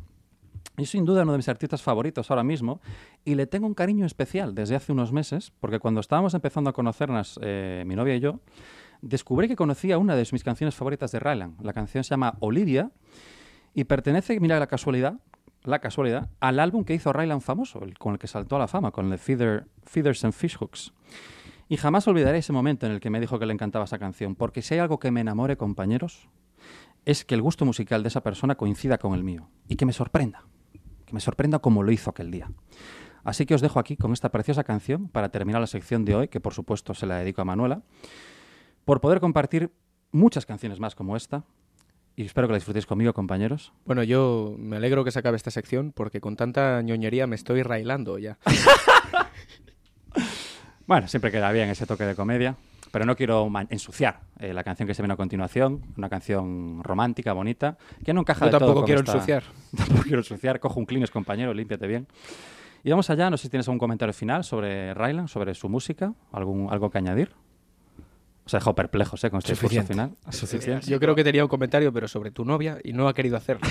[SPEAKER 5] Y sin duda uno de mis artistas favoritos ahora mismo, y le tengo un cariño especial desde hace unos meses, porque cuando estábamos empezando a conocernos, eh, mi novia y yo, descubrí que conocía una de mis canciones favoritas de Ryland. La canción se llama Olivia, y pertenece, mira la casualidad, la casualidad, al álbum que hizo Ryland famoso, el con el que saltó a la fama, con el Feather, Feathers and Fishhooks. Y jamás olvidaré ese momento en el que me dijo que le encantaba esa canción, porque si hay algo que me enamore, compañeros, es que el gusto musical de esa persona coincida con el mío y que me sorprenda, que me sorprenda como lo hizo aquel día. Así que os dejo aquí con esta preciosa canción para terminar la sección de hoy, que por supuesto se la dedico a Manuela, por poder compartir muchas canciones más como esta. Y espero que la disfrutéis conmigo, compañeros.
[SPEAKER 6] Bueno, yo me alegro que se acabe esta sección porque con tanta ñoñería me estoy railando ya.
[SPEAKER 5] Bueno, siempre queda bien ese toque de comedia, pero no quiero ma- ensuciar eh, la canción que se viene a continuación, una canción romántica, bonita, que no encaja
[SPEAKER 6] Yo
[SPEAKER 5] del todo
[SPEAKER 6] tampoco
[SPEAKER 5] con
[SPEAKER 6] quiero
[SPEAKER 5] esta-
[SPEAKER 6] ensuciar.
[SPEAKER 5] Tampoco quiero ensuciar. Cojo un cleaners, compañero, límpiate bien. Y vamos allá, no sé si tienes algún comentario final sobre Rylan, sobre su música, algún, algo que añadir. Os he dejado perplejos eh, con este discurso
[SPEAKER 6] Suficiente.
[SPEAKER 5] final. Suficiente.
[SPEAKER 6] Yo creo que tenía un comentario, pero sobre tu novia y no ha querido hacerlo.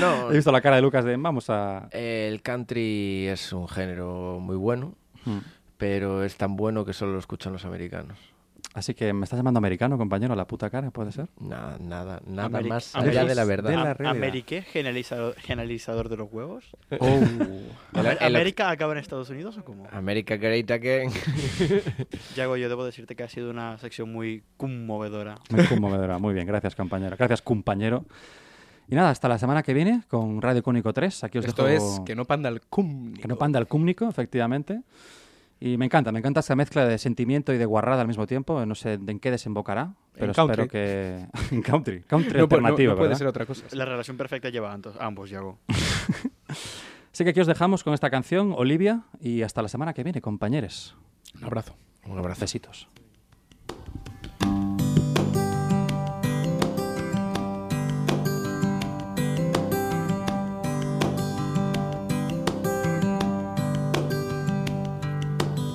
[SPEAKER 4] No.
[SPEAKER 5] He visto la cara de Lucas de vamos a...
[SPEAKER 4] El country es un género muy bueno,
[SPEAKER 5] Hmm.
[SPEAKER 4] pero es tan bueno que solo lo escuchan los americanos.
[SPEAKER 5] Así que me estás llamando americano, compañero, a la puta cara, ¿puede ser?
[SPEAKER 4] Nada, nada, nada
[SPEAKER 5] Ameri-
[SPEAKER 4] más
[SPEAKER 5] Ameri-
[SPEAKER 4] allá de la verdad.
[SPEAKER 5] de la
[SPEAKER 8] Am-
[SPEAKER 5] realidad.
[SPEAKER 8] ¿Ameriqué generalizador, generalizador de los huevos?
[SPEAKER 4] Oh.
[SPEAKER 8] Amer-
[SPEAKER 4] El- el-
[SPEAKER 8] ¿América acaba en Estados Unidos o cómo?
[SPEAKER 4] America Great Again.
[SPEAKER 8] Yago, yo debo decirte que ha sido una sección muy conmovedora.
[SPEAKER 5] Muy conmovedora, muy bien, gracias compañero. Gracias compañero. Y nada, hasta la semana que viene con Radio Cúnico 3. Aquí os
[SPEAKER 6] Esto
[SPEAKER 5] dejo
[SPEAKER 6] es que no panda el cum.
[SPEAKER 5] que no panda el cúmnico, efectivamente. Y me encanta, me encanta esa mezcla de sentimiento y de guarrada al mismo tiempo. No sé en qué desembocará, pero espero
[SPEAKER 8] country.
[SPEAKER 5] que... en country, country alternativo, ¿verdad?
[SPEAKER 8] La relación perfecta lleva a antos- ambos, Yago.
[SPEAKER 5] Así que aquí os dejamos con esta canción, Olivia, y hasta la semana que viene, compañeros.
[SPEAKER 6] Un abrazo.
[SPEAKER 5] Un abrazo. Besitos.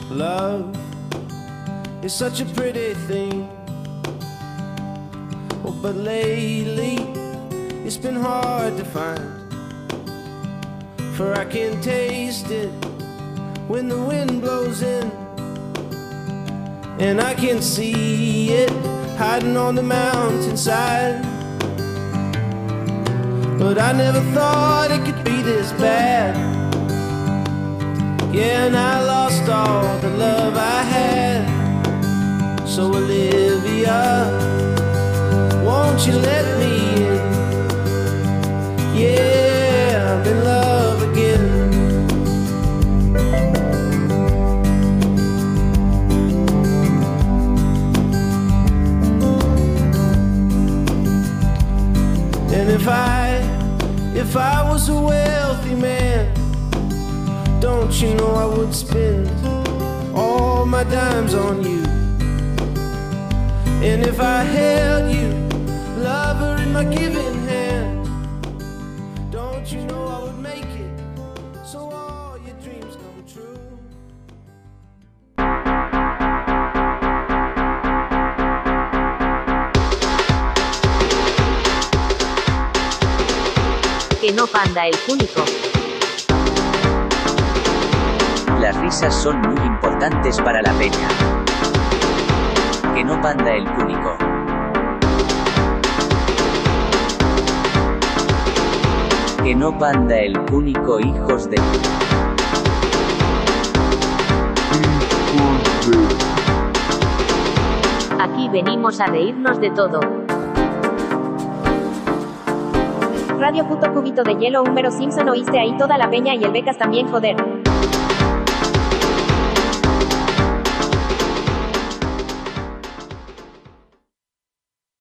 [SPEAKER 15] Love is such a pretty thing. Oh, but lately it's been hard to find. For I can taste it when the wind blows in. And I can see it hiding on the mountainside. But I never thought it could be this bad. Yeah, and I lost all the love I had. So, Olivia, won't you let me in? Yeah, I'm in love again. And if I, if I was a wealthy man, don't you know I would spend all my dimes on you? And if I held you, lover, in my giving hand, don't you know I would make it so all your dreams come true?
[SPEAKER 2] Que no panda el público.
[SPEAKER 3] Las risas son muy importantes para la peña. Que no panda el cúnico. Que no panda el cúnico, hijos de...
[SPEAKER 2] Aquí venimos a reírnos de todo. Radio Puto Cubito de Hielo, número Simpson, oíste ahí toda la peña y el Becas también, joder.